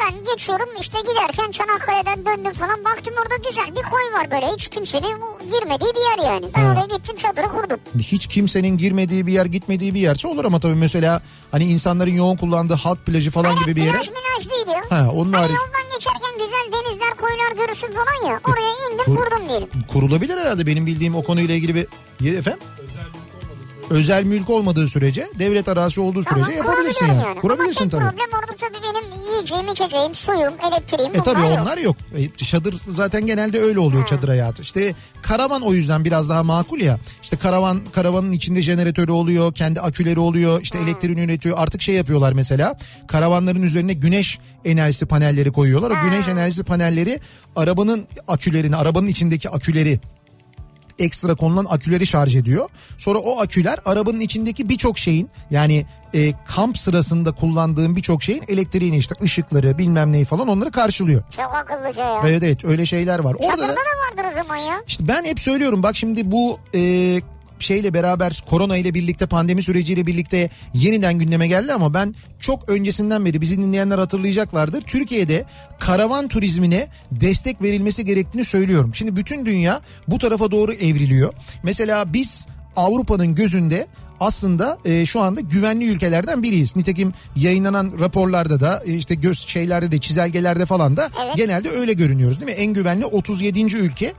Ben geçiyorum işte giderken Çanakkale'den döndüm falan baktım orada güzel bir koy var böyle hiç kimsenin girmediği bir yer yani. Ben Ha. oraya gittim çadırı kurdum. hiç kimsenin girmediği bir yer gitmediği bir yerse olur ama tabii mesela hani insanların yoğun kullandığı halk plajı falan Hayat gibi bir yere. plaj minaj değil ya. Ha, onun hani hariç- yoldan geçerken güzel denizler koylar görürsün falan ya. Oraya indim kur- kurdum diyelim. kurulabilir herhalde benim bildiğim o konuyla ilgili bir Ye- efendim özel mülk olmadığı sürece devlet arazisi olduğu sürece Tamam, yapabilirsin kurabiliyorum yani. Kurabilirsin Ama tek tabii. problem orada tabii benim yiyeceğim içeceğim suyum elektriğim E bunlar tabii yok. onlar yok. E, çadır zaten genelde öyle oluyor çadır hayatı. İşte karavan o yüzden biraz daha makul ya. İşte karavan karavanın içinde jeneratörü oluyor, kendi aküleri oluyor, işte elektriğini üretiyor. Artık şey yapıyorlar mesela. Karavanların üzerine güneş enerjisi panelleri koyuyorlar. O güneş enerjisi panelleri arabanın akülerini, arabanın içindeki aküleri ekstra konulan aküleri şarj ediyor. Sonra o aküler arabanın içindeki birçok şeyin yani e, kamp sırasında kullandığın birçok şeyin elektriğini işte ışıkları bilmem neyi falan onları karşılıyor. Çok akıllıca ya. Evet evet öyle şeyler var. E, Orada Çadırda da da vardır o zaman ya. işte ben hep söylüyorum bak şimdi bu e, şeyle beraber korona ile birlikte pandemi süreciyle birlikte yeniden gündeme geldi ama ben çok öncesinden beri bizi dinleyenler hatırlayacaklardır. Türkiye'de karavan turizmine destek verilmesi gerektiğini söylüyorum. Şimdi bütün dünya bu tarafa doğru evriliyor. Mesela biz Avrupa'nın gözünde aslında e, şu anda güvenli ülkelerden biriyiz. Nitekim yayınlanan raporlarda da e, işte göz şeylerde de çizelgelerde falan da Evet. genelde öyle görünüyoruz değil mi? En güvenli 37. ülke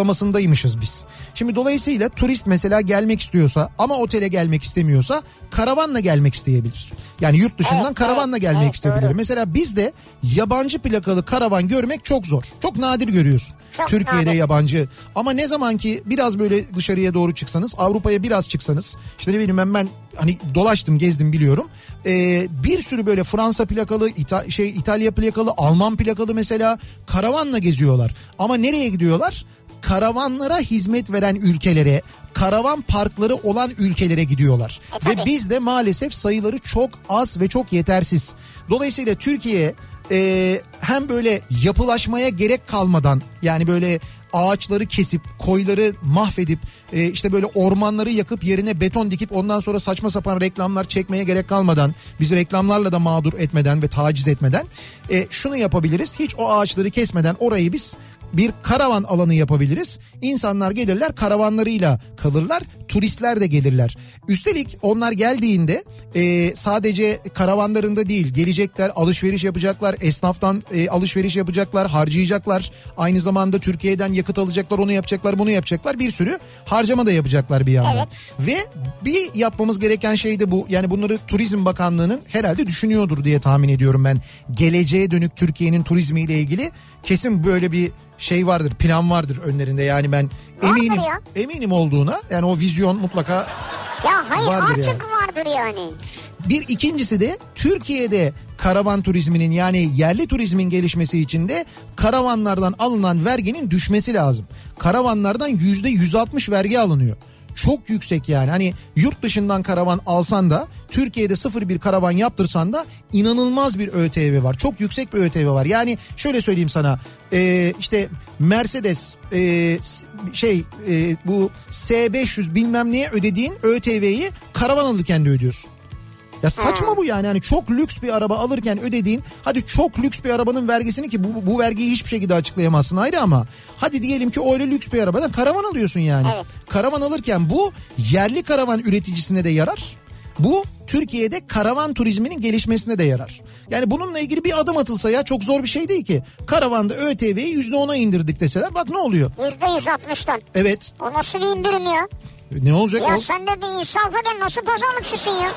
sıralamasındaymışız biz. Şimdi dolayısıyla turist mesela gelmek istiyorsa ama otele gelmek istemiyorsa karavanla gelmek isteyebilir. Yani yurt dışından Evet, karavanla evet, gelmek evet, isteyebilir. doğru. Mesela bizde yabancı plakalı karavan görmek çok zor. Çok nadir görüyorsun. Çok Türkiye'de nadir. yabancı. Ama ne zaman ki biraz böyle dışarıya doğru çıksanız, Avrupa'ya biraz çıksanız, işte ne ülkede benim ben, ben hani dolaştım gezdim biliyorum. Ee, bir sürü böyle Fransa plakalı, İta- şey İtalya plakalı, Alman plakalı mesela karavanla geziyorlar. Ama nereye gidiyorlar? Karavanlara hizmet veren ülkelere, karavan parkları olan ülkelere gidiyorlar. E, tabii. Ve bizde maalesef sayıları çok az ve çok yetersiz. Dolayısıyla Türkiye e, hem böyle yapılaşmaya gerek kalmadan yani böyle ağaçları kesip koyları mahvedip e, işte böyle ormanları yakıp yerine beton dikip ondan sonra saçma sapan reklamlar çekmeye gerek kalmadan bizi reklamlarla da mağdur etmeden ve taciz etmeden e, şunu yapabiliriz hiç o ağaçları kesmeden orayı biz bir karavan alanı yapabiliriz. İnsanlar gelirler karavanlarıyla kalırlar. Turistler de gelirler. Üstelik onlar geldiğinde e, sadece karavanlarında değil gelecekler alışveriş yapacaklar. Esnaftan e, alışveriş yapacaklar harcayacaklar. Aynı zamanda Türkiye'den yakıt alacaklar onu yapacaklar bunu yapacaklar. Bir sürü harcama da yapacaklar bir yandan. Ve bir yapmamız gereken şey de bu. Yani bunları Turizm Bakanlığı'nın herhalde düşünüyordur diye tahmin ediyorum ben. Geleceğe dönük Türkiye'nin turizmiyle ilgili kesin böyle bir şey vardır, plan vardır önlerinde. Yani ben Vardır eminim ya. eminim olduğuna. Yani o vizyon mutlaka Ya hayır Vardır artık vardır yani. bir ikincisi de Türkiye'de karavan turizminin yani yerli turizmin gelişmesi için de karavanlardan alınan verginin düşmesi lazım. Karavanlardan yüzde 160 vergi alınıyor. Çok yüksek yani hani yurt dışından karavan alsan da Türkiye'de sıfır bir karavan yaptırsan da inanılmaz bir ÖTV var. Çok yüksek bir ÖTV var. Yani şöyle söyleyeyim sana ee, işte Mercedes ee, s- şey ee, bu S500 bilmem neye ödediğin ÖTV'yi karavan alırken de ödüyorsun. Ya saçma bu yani. yani çok lüks bir araba alırken ödediğin hadi çok lüks bir arabanın vergisini ki bu, bu vergiyi hiçbir şekilde açıklayamazsın ayrı ama hadi diyelim ki öyle lüks bir arabadan karavan alıyorsun yani. Evet. Karavan alırken bu yerli karavan üreticisine de yarar. Bu Türkiye'de karavan turizminin gelişmesine de yarar. Yani bununla ilgili bir adım atılsa ya çok zor bir şey değil ki. Karavanda ÖTV'yi %10'a indirdik deseler bak ne oluyor? Yüzde yüz altmıştan. Evet O nasıl bir indirim ya? ne olacak Ya o? sen de bir insafa gel nasıl pazarlıkçısın ya?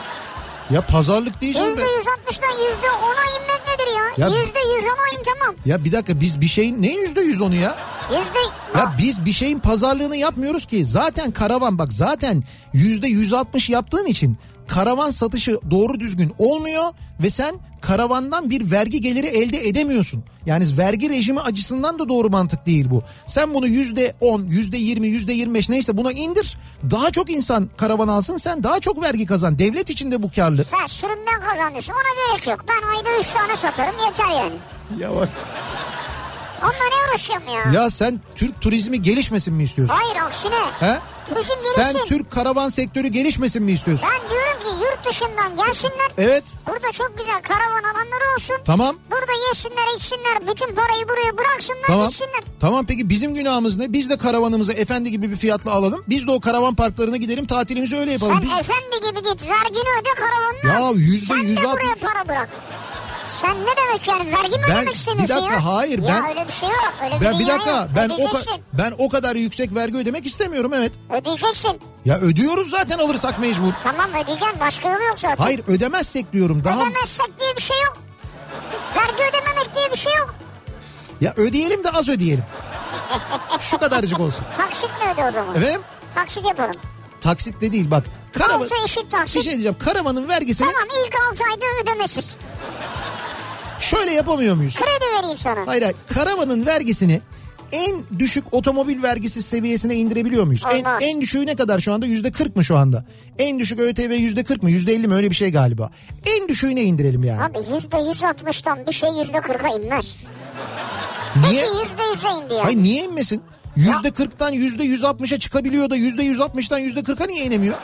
Ya pazarlık diyeceğim Yüzde ben. yüz altmıştan yüzde ona inmek nedir ya? Ya- Yüzde yüz ona in tamam. Ya bir dakika biz bir şeyin ne %100 onu ya? Yüzde... Ya biz bir şeyin pazarlığını yapmıyoruz ki. Zaten karavan bak zaten yüzde 160 yaptığın için karavan satışı doğru düzgün olmuyor ve sen karavandan bir vergi geliri elde edemiyorsun. Yani vergi rejimi açısından da doğru mantık değil bu. Sen bunu yüzde 10, yüzde 20, yüzde 25 neyse buna indir. Daha çok insan karavan alsın sen daha çok vergi kazan. Devlet için de bu karlı. Sen sürümden kazanıyorsun ona gerek yok. Ben ayda üç tane satarım yeter yani. Ya, bak. Onunla ne uğraşacağım ya? ya sen Türk turizmi gelişmesin mi istiyorsun? Hayır aksine. He? Turizm gelişsin. Sen Türk karavan sektörü gelişmesin mi istiyorsun? Ben diyorum ki yurt dışından gelsinler. Evet. Burada çok güzel karavan alanları olsun. E- Tamam. Burada yesinler içsinler. Bütün parayı buraya bıraksınlar Tamam. gitsinler. Tamam peki bizim günahımız ne? Biz de karavanımızı efendi gibi bir fiyatla alalım. Biz de o karavan parklarına gidelim tatilimizi öyle yapalım. Sen Biz... efendi gibi git vergini öde karavanla. Ya yüzde Sen yüz de altmış- buraya para bırak. Sen ne demek yani vergi mi Ben- ödemek istemiyorsun bir dakika, ya? hayır, ya ben- öyle bir şey yok. Öyle Ben bir dünya dakika yok. ben o, ka- ödeyeceksin. ben o kadar yüksek vergi ödemek istemiyorum evet. Ödeyeceksin. Ya ödüyoruz zaten alırsak mecbur. Tamam ödeyeceksin başka yolu yok zaten. Hayır ödemezsek diyorum daha. Ödemezsek diye bir şey yok. Vergi ödememek diye bir şey yok. Ya ödeyelim de az ödeyelim. Şu kadarcık olsun. Taksitle öde o zaman. Efendim? Taksit yapalım. Taksitle değil bak. Karavan... Altı eşit taksit. Bir şey diyeceğim karavanın vergisini Tamam ilk 6 ayda ödemesiz. şöyle yapamıyor muyuz? Kredi vereyim sana. Hayır hayır karavanın vergisini en düşük otomobil vergisi seviyesine indirebiliyor muyuz? En, Olmaz. en düşüğü ne kadar şu anda? Yüzde 40 mı şu anda? En düşük ÖTV yüzde 40 mı? Yüzde 50 mi? Öyle bir şey galiba. En düşüğüne indirelim yani. Abi yüzde yüz altmıştan bir şey yüzde kırka inmez. niye? Peki yüzde yüze indi yani. Hayır niye inmesin? Yüzde 40'tan yüzde 160'a çıkabiliyor da yüzde 160'tan yüzde 40'a niye inemiyor?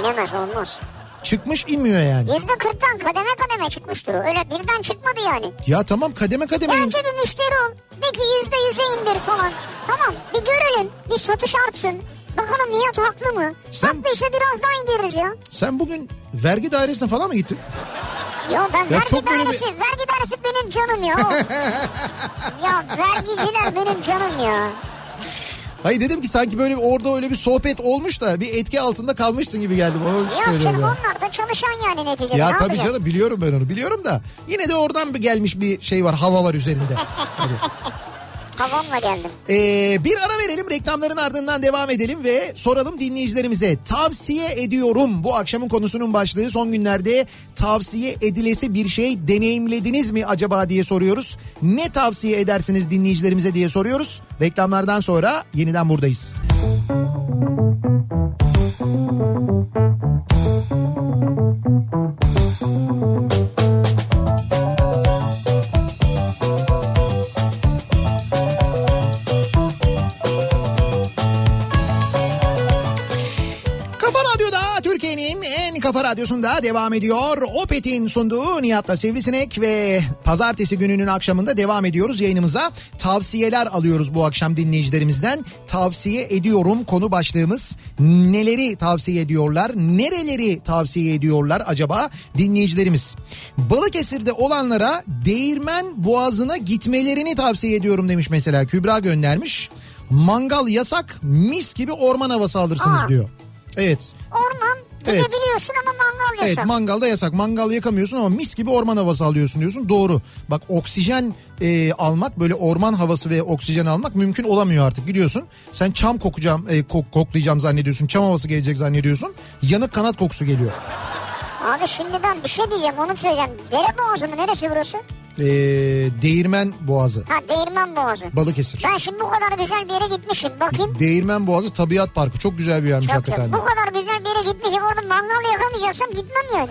İnemez olmaz. Çıkmış inmiyor yani. Yüzde kırktan kademe kademe çıkmıştır. o. Öyle birden çıkmadı yani. Ya tamam kademe kademe in- Bence bir müşteri ol. De ki yüzde yüze indir falan. Tamam bir görelim. Bir satış artsın. Bakalım Nihat haklı mı? Sen- Haklıysa biraz daha indiririz ya. Sen bugün vergi dairesine falan mı gittin? Ya ben vergi çok böyle bir- dairesi, vergi dairesi benim canım ya. ya vergiciler benim canım ya. Hayır dedim ki sanki böyle bir- orada öyle bir sohbet olmuş da bir etki altında kalmışsın gibi geldi. Onu Yok söylüyorum canım ya. onlar da çalışan yani neticede. Ya ne tabii yapacak? canım biliyorum ben onu biliyorum da yine de oradan bir gelmiş bir şey var hava var üzerinde. Tabii. Kafamla geldim. Ee, bir ara verelim reklamların ardından devam edelim ve soralım dinleyicilerimize. Tavsiye ediyorum bu akşamın konusunun başlığı son günlerde tavsiye edilesi bir şey deneyimlediniz mi acaba diye soruyoruz. Ne tavsiye edersiniz dinleyicilerimize diye soruyoruz. Reklamlardan sonra yeniden buradayız. Kafa Radyo'da Türkiye'nin en kafa radyosunda devam ediyor. Opet'in sunduğu Nihat'la Sivrisinek ve pazartesi gününün akşamında devam ediyoruz yayınımıza. Tavsiyeler alıyoruz bu akşam dinleyicilerimizden. Tavsiye ediyorum konu başlığımız. Neleri tavsiye ediyorlar? Nereleri tavsiye ediyorlar acaba dinleyicilerimiz? Balıkesir'de olanlara değirmen boğazına gitmelerini tavsiye ediyorum demiş mesela. Kübra göndermiş. Mangal yasak mis gibi orman havası alırsınız Aa. diyor. Evet. Orman Evet. gidebiliyorsun ama mangal Evet yasak. mangalda yasak. Mangal yakamıyorsun ama mis gibi orman havası alıyorsun diyorsun. Doğru. Bak oksijen e, almak böyle orman havası ve oksijen almak mümkün olamıyor artık. Gidiyorsun sen çam kokacağım e, kok- koklayacağım zannediyorsun. Çam havası gelecek zannediyorsun. Yanık kanat kokusu geliyor. Abi şimdi ben bir şey diyeceğim onu söyleyeceğim. Dere boğazı mı neresi burası? E, değirmen boğazı. Ha değirmen boğazı. Balıkesir. Ben şimdi bu kadar güzel bir yere gitmişim bakayım. Değirmen boğazı tabiat parkı. Çok güzel bir yermiş Çok hakikaten. güzel. Bu kadar güzel bir yere gitmişim orada mangal yakamayacaksam gitmem yani.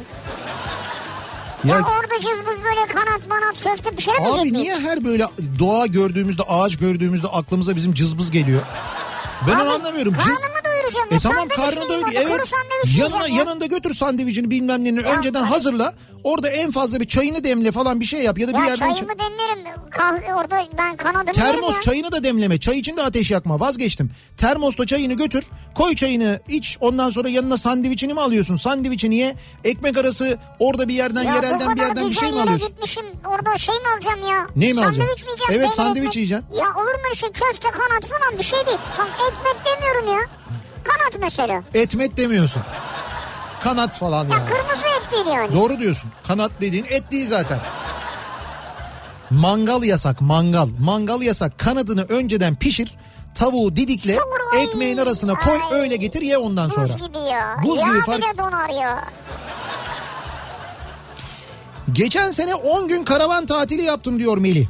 Ya, Ya- orada cızbız böyle kanat manat köfte pişiremeyecek Abi miyiz? niye her böyle doğa gördüğümüzde, ağaç gördüğümüzde aklımıza bizim cızbız geliyor? Ben onu Abi, anlamıyorum. Cız- Karnımı doyuracağım. E ya. tamam Sandviç karnı yiyeyim doyur. orada, Kuru Evet. sandviç Yanına, yiyeceğim ya. yanında götür sandviçini bilmem neyini önceden hazırla. Orada en fazla bir çayını demle falan bir şey yap ya da bir Ya yerden çayımı demlerim. Kahve orada ben kanadımı yerim ya. Termos çayını da demleme. Çay için de ateş yakma. Vazgeçtim. Termosta çayını götür. Koy çayını iç. Ondan sonra yanına sandviçini mi alıyorsun? Sandviçini ye. Ekmek arası orada bir yerden Ya bu yerelden kadar bir yerden bir güzel şey mi yere alıyorsun? gitmişim orada şey mi alacağım ya? Neyi mi alacaksın? Sandviç mi yiyeceğim? Evet, peynir sandviç ekmek? yiyeceksin. Ya olur mu şey köfte kanat falan bir şey değil. Lan ekmek demiyorum ya. Kanat mesela. Etmet demiyorsun. Kanat falan Ya yani. kırmızı et değil yani. Doğru diyorsun. Kanat dediğin et değil zaten. Mangal yasak mangal. Mangal yasak. Kanadını önceden pişir. Tavuğu didikle Soğur, ay. ekmeğin arasına koy Ay. öyle getir ye ondan Buz sonra. gibi ya. Buz Yağ gibi fark- bile donar ya. Geçen sene 10 gün karavan tatili yaptım diyor Melih.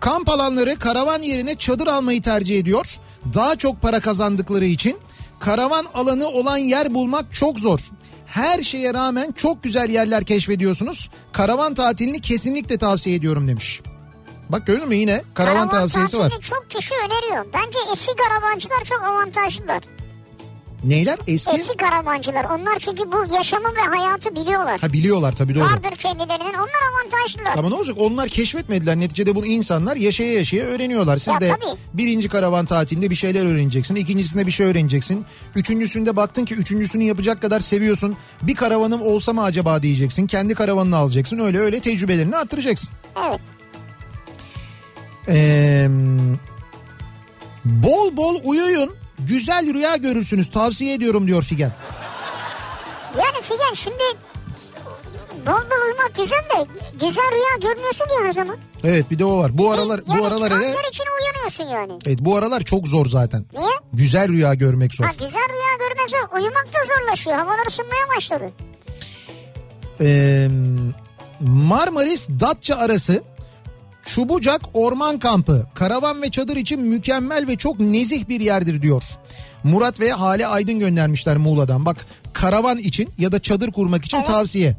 Kamp alanları karavan yerine çadır almayı tercih ediyor. Daha çok para kazandıkları için karavan alanı olan yer bulmak çok zor. Her şeye rağmen çok güzel yerler keşfediyorsunuz. Karavan tatilini kesinlikle tavsiye ediyorum demiş. Bak gördün mü yine karavan, tavsiyesi var. tatilini çok kişi öneriyor. Bence eski karavancılar çok avantajlılar. Neyler? Eski? Eski karavancılar. Onlar çünkü bu yaşamı ve hayatı biliyorlar. Ha biliyorlar tabii doğru. Vardır kendilerinin. Onlar avantajlılar. Ama ne olacak? Onlar keşfetmediler. Neticede bunu insanlar yaşaya yaşaya öğreniyorlar. Siz Ya de tabii. birinci karavan tatilinde bir şeyler öğreneceksin. İkincisinde bir şey öğreneceksin. Üçüncüsünde baktın ki üçüncüsünü yapacak kadar seviyorsun. Bir karavanım olsa mı acaba diyeceksin. Kendi karavanını alacaksın. Öyle öyle tecrübelerini arttıracaksın. Evet. Ee, bol bol uyuyun. Güzel rüya görürsünüz. Tavsiye ediyorum diyor Figen. Yani Figen şimdi bol bol uyumak güzel de güzel rüya görmüyorsun ya o zaman. Evet bir de o var. Bu aralar yani bu aralar hele- kanser için uyanıyorsun yani. Evet bu aralar çok zor zaten. Niye? Güzel rüya görmek zor. Ha, güzel rüya görmek zor. Uyumak da zorlaşıyor. Havalar ısınmaya başladı. Ee, Marmaris Datça arası Çubucak Orman Kampı karavan ve çadır için mükemmel ve çok nezih bir yerdir diyor. Murat ve Hale Aydın göndermişler Muğla'dan. Bak karavan için ya da çadır kurmak için tavsiye.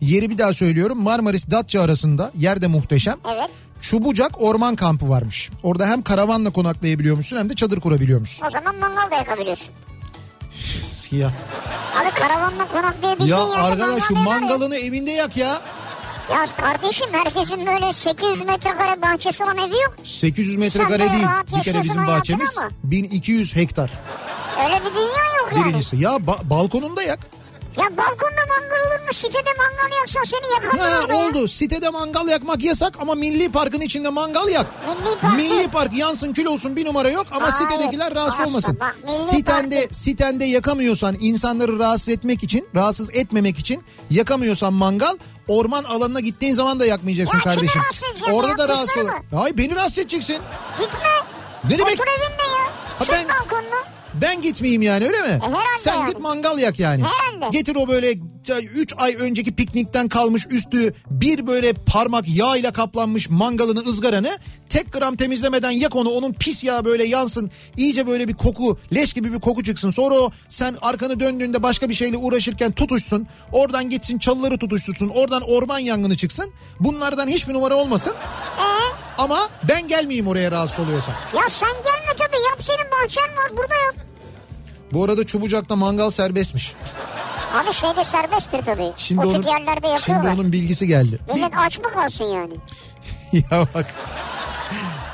Yeri bir daha söylüyorum Marmaris Datça arasında yer de muhteşem. Evet. Çubucak Orman Kampı varmış. Orada hem karavanla konaklayabiliyormuşsun hem de çadır kurabiliyormuşsun. O zaman mangal da yakabiliyorsun. Ya, Abi karavanla konaklayabildiğin ya yerde arkadaş şu mangal yakar mangalını evinde yak ya. Ya. ya kardeşim herkesin böyle 800 metrekare bahçesi olan evi yok. 800 Sen metrekare de değil. rahat Bir kere yaşıyorsun bizim hayatın bahçemiz ama. 1200 hektar. Öyle bir dünya yok yani. Birincisi. Ya ba- balkonunda yak. Ya balkonda mangal olur mu? Sitede mangal yaksan seni yakarlar Ha, orada ya. oldu. Sitede mangal yakmak yasak ama milli parkın içinde mangal yak. Milli Park- Milli park yansın kül olsun bir numara yok ama Hayır, sitedekiler rahatsız asla. olmasın. Bak, milli sitende sitende yakamıyorsan insanları rahatsız etmek için, rahatsız etmemek için yakamıyorsan mangal orman alanına gittiğin zaman da yakmayacaksın Ya kimi kardeşim. rahatsız edeceğim? Orada da Yakmışlar rahatsız ol. mı? Hayır beni rahatsız edeceksin. Gitme. Ne demek? Otur evinde ya. Ha, Çık ben- balkonuna. Ben gitmeyeyim yani öyle mi? E, herhalde Sen yani. git mangal yak yani. Herhalde. Getir o böyle 3 ay önceki piknikten kalmış üstü bir böyle parmak yağ ile kaplanmış mangalını ızgaranı tek gram temizlemeden yak onu onun pis yağı böyle yansın iyice böyle bir koku leş gibi bir koku çıksın sonra o sen arkanı döndüğünde başka bir şeyle uğraşırken tutuşsun oradan gitsin çalıları tutuştursun oradan orman yangını çıksın bunlardan hiçbir numara olmasın Ee, ama ben gelmeyeyim oraya rahatsız oluyorsan. ya sen gelme tabii yap senin bahçen var burada yap. Bu arada Çubucak'ta mangal serbestmiş. Abi şeyde serbesttir tabii. Şimdi o onun, tip yerlerde Şimdi yapıyorlar. onun bilgisi geldi. Millet aç mı kalsın yani? ya bak.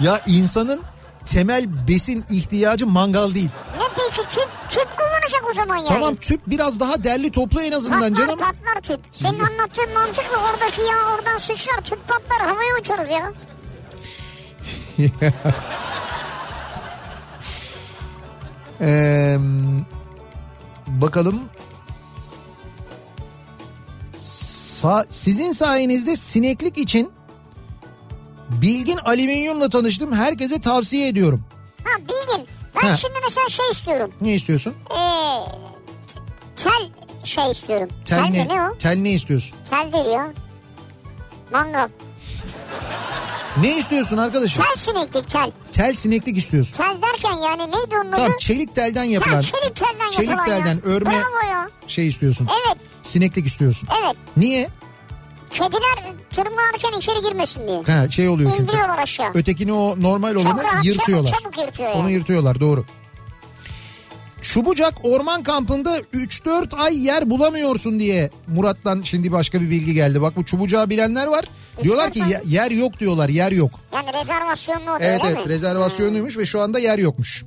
Ya insanın temel besin ihtiyacı mangal değil. Ne peki tüp, tüp kullanacak o zaman yani. Tamam tüp biraz daha derli toplu en azından Patlar canım. patlar tüp. Senin anlattığın mantık mı? Oradaki yağ oradan sıçrar tüp patlar havaya uçarız ya. Ee, bakalım. Sa- sizin sayenizde sineklik için Bilgin Alüminyum'la tanıştım. Herkese tavsiye ediyorum. Ha bilgin. Ben Ha. şimdi mesela şey istiyorum. Ne istiyorsun? Ee, tel şey istiyorum. Tel, mi ne o? Tel ne istiyorsun? Tel değil ya. Mangal. Ne istiyorsun arkadaşım? Tel sineklik tel. Tel sineklik istiyorsun. Tel derken yani neydi onun Tamam adı? çelik telden Ha, yapılan çelik E- telden Çelik yapılan ya. telden örme- Bravo ya. şey istiyorsun. Evet Sineklik istiyorsun. evet. Niye? Kediler tırmanırken içeri girmesin diye. Ha şey oluyor çünkü. İndiriyorlar aşağı. Ötekini o normal olanı rahat, yırtıyorlar. çabuk, çabuk yırtıyor Onu yani. yırtıyorlar doğru. Çubucak orman kampında 3-4 ay yer bulamıyorsun diye Murat'tan şimdi başka bir bilgi geldi. Bak bu çubucağı bilenler var. Diyorlar dört ki ay. "Ye- yer yok diyorlar yer yok. Yani rezervasyonlu otel Evet değil evet mi? Hmm. rezervasyonluymuş ve şu anda yer yokmuş.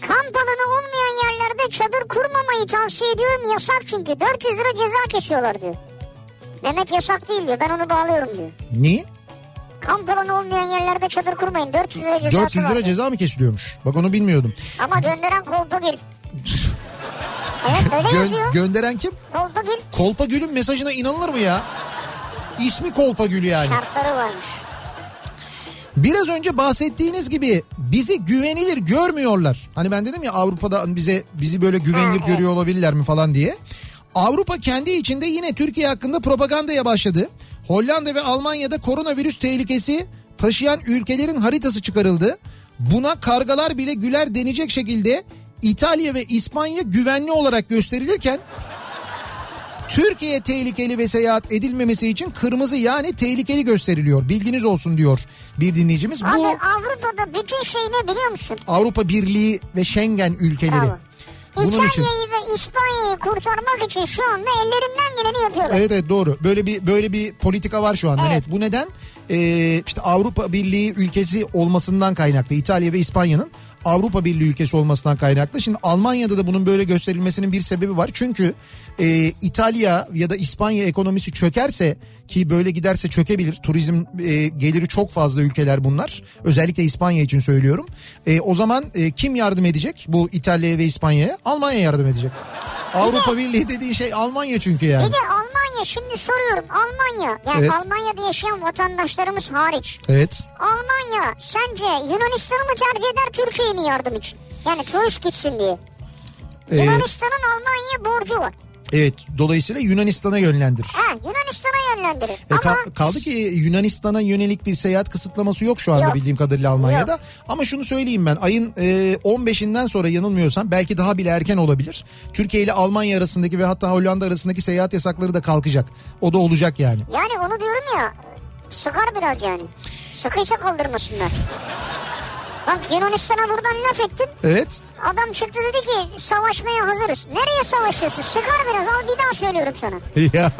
Kamp alanı olmayan yerlerde çadır kurmamayı tavsiye ediyorum yasak çünkü. 400 lira ceza kesiyorlar diyor. Mehmet yasak değil diyor ben onu bağlıyorum diyor. Niye? Kamp alanı olmayan yerlerde çadır kurmayın 400 lira cezası 400 var lira diyor. ceza mı kesiliyormuş? Bak onu bilmiyordum. Ama gönderen Kolpagül. evet öyle Gö- yazıyor. gönderen kim? Kolpagül Kolpa Gül'ün mesajına inanılır mı ya? İsmi Kolpa Gül yani. şartları varmış. Biraz önce bahsettiğiniz gibi bizi güvenilir görmüyorlar. Hani ben dedim ya Avrupa'da bize bizi böyle güvenilir Ha, evet. görüyor olabilirler mi falan diye. Avrupa kendi içinde yine Türkiye hakkında propagandaya başladı. Hollanda ve Almanya'da koronavirüs tehlikesi taşıyan ülkelerin haritası çıkarıldı. Buna kargalar bile güler denecek şekilde İtalya ve İspanya güvenli olarak gösterilirken Türkiye tehlikeli ve seyahat edilmemesi için kırmızı yani tehlikeli gösteriliyor. Bilginiz olsun diyor bir dinleyicimiz. Abi Bu Avrupa'da bütün şey ne biliyor musun? Avrupa Birliği ve Schengen ülkeleri. Bravo. Bunun için. İtalya'yı ve İspanya'yı kurtarmak için şu anda ellerinden geleni yapıyorlar. Evet evet doğru. Böyle bir böyle bir politika var şu anda. Evet. Evet. Bu neden? Ee, işte Avrupa Birliği ülkesi olmasından kaynaklı. İtalya ve İspanya'nın Avrupa Birliği ülkesi olmasından kaynaklı. Şimdi Almanya'da da bunun böyle gösterilmesinin bir sebebi var. Çünkü e, İtalya ya da İspanya ekonomisi çökerse ki böyle giderse çökebilir. Turizm e, geliri çok fazla ülkeler bunlar. Özellikle İspanya için söylüyorum. E, o zaman e, kim yardım edecek bu İtalya'ya ve İspanya'ya? Almanya yardım edecek. Avrupa Birliği dediğin şey Almanya çünkü yani. Bir de Almanya şimdi soruyorum Almanya yani Evet. Almanya'da yaşayan vatandaşlarımız hariç. Evet. Almanya sence Yunanistan'ı mı tercih eder Türkiye'yi mi yardım için? Yani turist gitsin diye. Ee, Yunanistan'ın Almanya'ya borcu var. evet. Dolayısıyla Yunanistan'a yönlendirir. Ha, Yunanistan'a yönlendirir. E, Ama kal- kaldı ki Yunanistan'a yönelik bir seyahat kısıtlaması yok şu anda Yok. bildiğim kadarıyla Almanya'da. Yok. Ama şunu söyleyeyim ben ayın e, 15'inden sonra yanılmıyorsam belki daha bile erken olabilir. Türkiye ile Almanya arasındaki ve hatta Hollanda arasındaki seyahat yasakları da kalkacak. O da olacak yani. yani onu diyorum ya sıkar biraz yani. Sıkıysa kaldırmasınlar. Bak Yunanistan'a buradan laf ettim. Evet. Adam çıktı dedi ki savaşmaya hazırız. Nereye savaşıyorsun? Sıkar biraz al bir daha söylüyorum sana. ya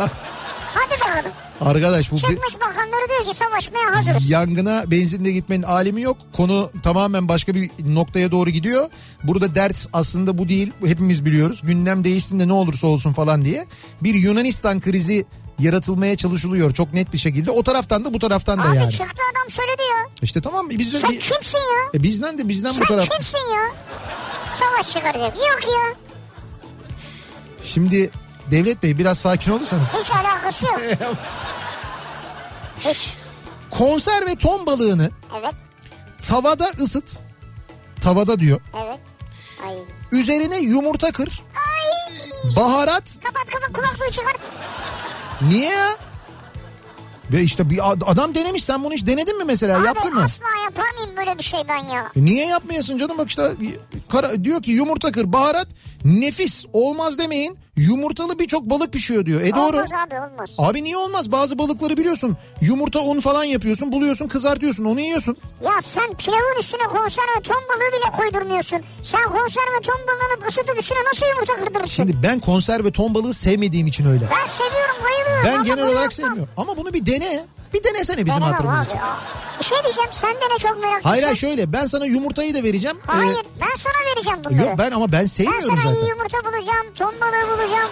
Hadi bakalım. arkadaş bu bir- Çıkmış bakanları diyor ki savaşmaya hazırız. yangına benzinle gitmenin alemi yok. Konu tamamen başka bir noktaya doğru gidiyor. Burada dert aslında bu değil. Hepimiz biliyoruz. Gündem değişsin de ne olursa olsun falan diye. Bir Yunanistan krizi yaratılmaya çalışılıyor çok net bir şekilde. O taraftan da bu taraftan da Abi yani. çıktı adam söyledi ya. İşte tamam biz de Sen kimsin ya? e, bizden de bizden bu Sen taraf. kimsin ya? Savaş çıkaracak. Yok ya. Şimdi Devlet Bey biraz sakin olursanız. Hiç alakası yok. E. Hiç. Konser ve ton balığını Evet. Tavada ısıt. Tavada diyor. Evet. Ay. Üzerine yumurta kır. Ay. Baharat. Kapat kapat kulaklığı çıkar. Niye ya? Ve işte bir ad- adam denemiş. Sen bunu hiç denedin mi mesela? Abi E, Yaptın mı? asla yapar mıyım böyle bir şey ben ya? E Niye yapmayasın canım? Bak işte kara- diyor ki yumurta kır, baharat. Nefis olmaz demeyin. Yumurtalı birçok balık pişiyor diyor. E doğru. Olmaz abi olmaz. Abi niye olmaz? Bazı balıkları biliyorsun. Yumurta un falan yapıyorsun, buluyorsun, kızartıyorsun, onu yiyorsun. Ya sen pilavın üstüne konserve ton balığı bile koydurmuyorsun. Sen konserve ton balığını ısıtıp üstüne nasıl yumurta kırdırırsın? Şimdi ben konserve ton balığı sevmediğim için öyle. Ben seviyorum bayılıyorum. Ben ama genel bunu olarak yapmam. sevmiyorum. Ama bunu bir dene. Bir denesene bizim Denemem hatırımız abi, için. aa. Bir şey diyeceğim sen de ne çok meraklısın. Hayır hayır şöyle ben sana yumurtayı da vereceğim. Ee, Hayır ben sana vereceğim bunları. yok ben ama ben Ben sana sevmiyorum iyi zaten. yumurta bulacağım, ton balığı bulacağım.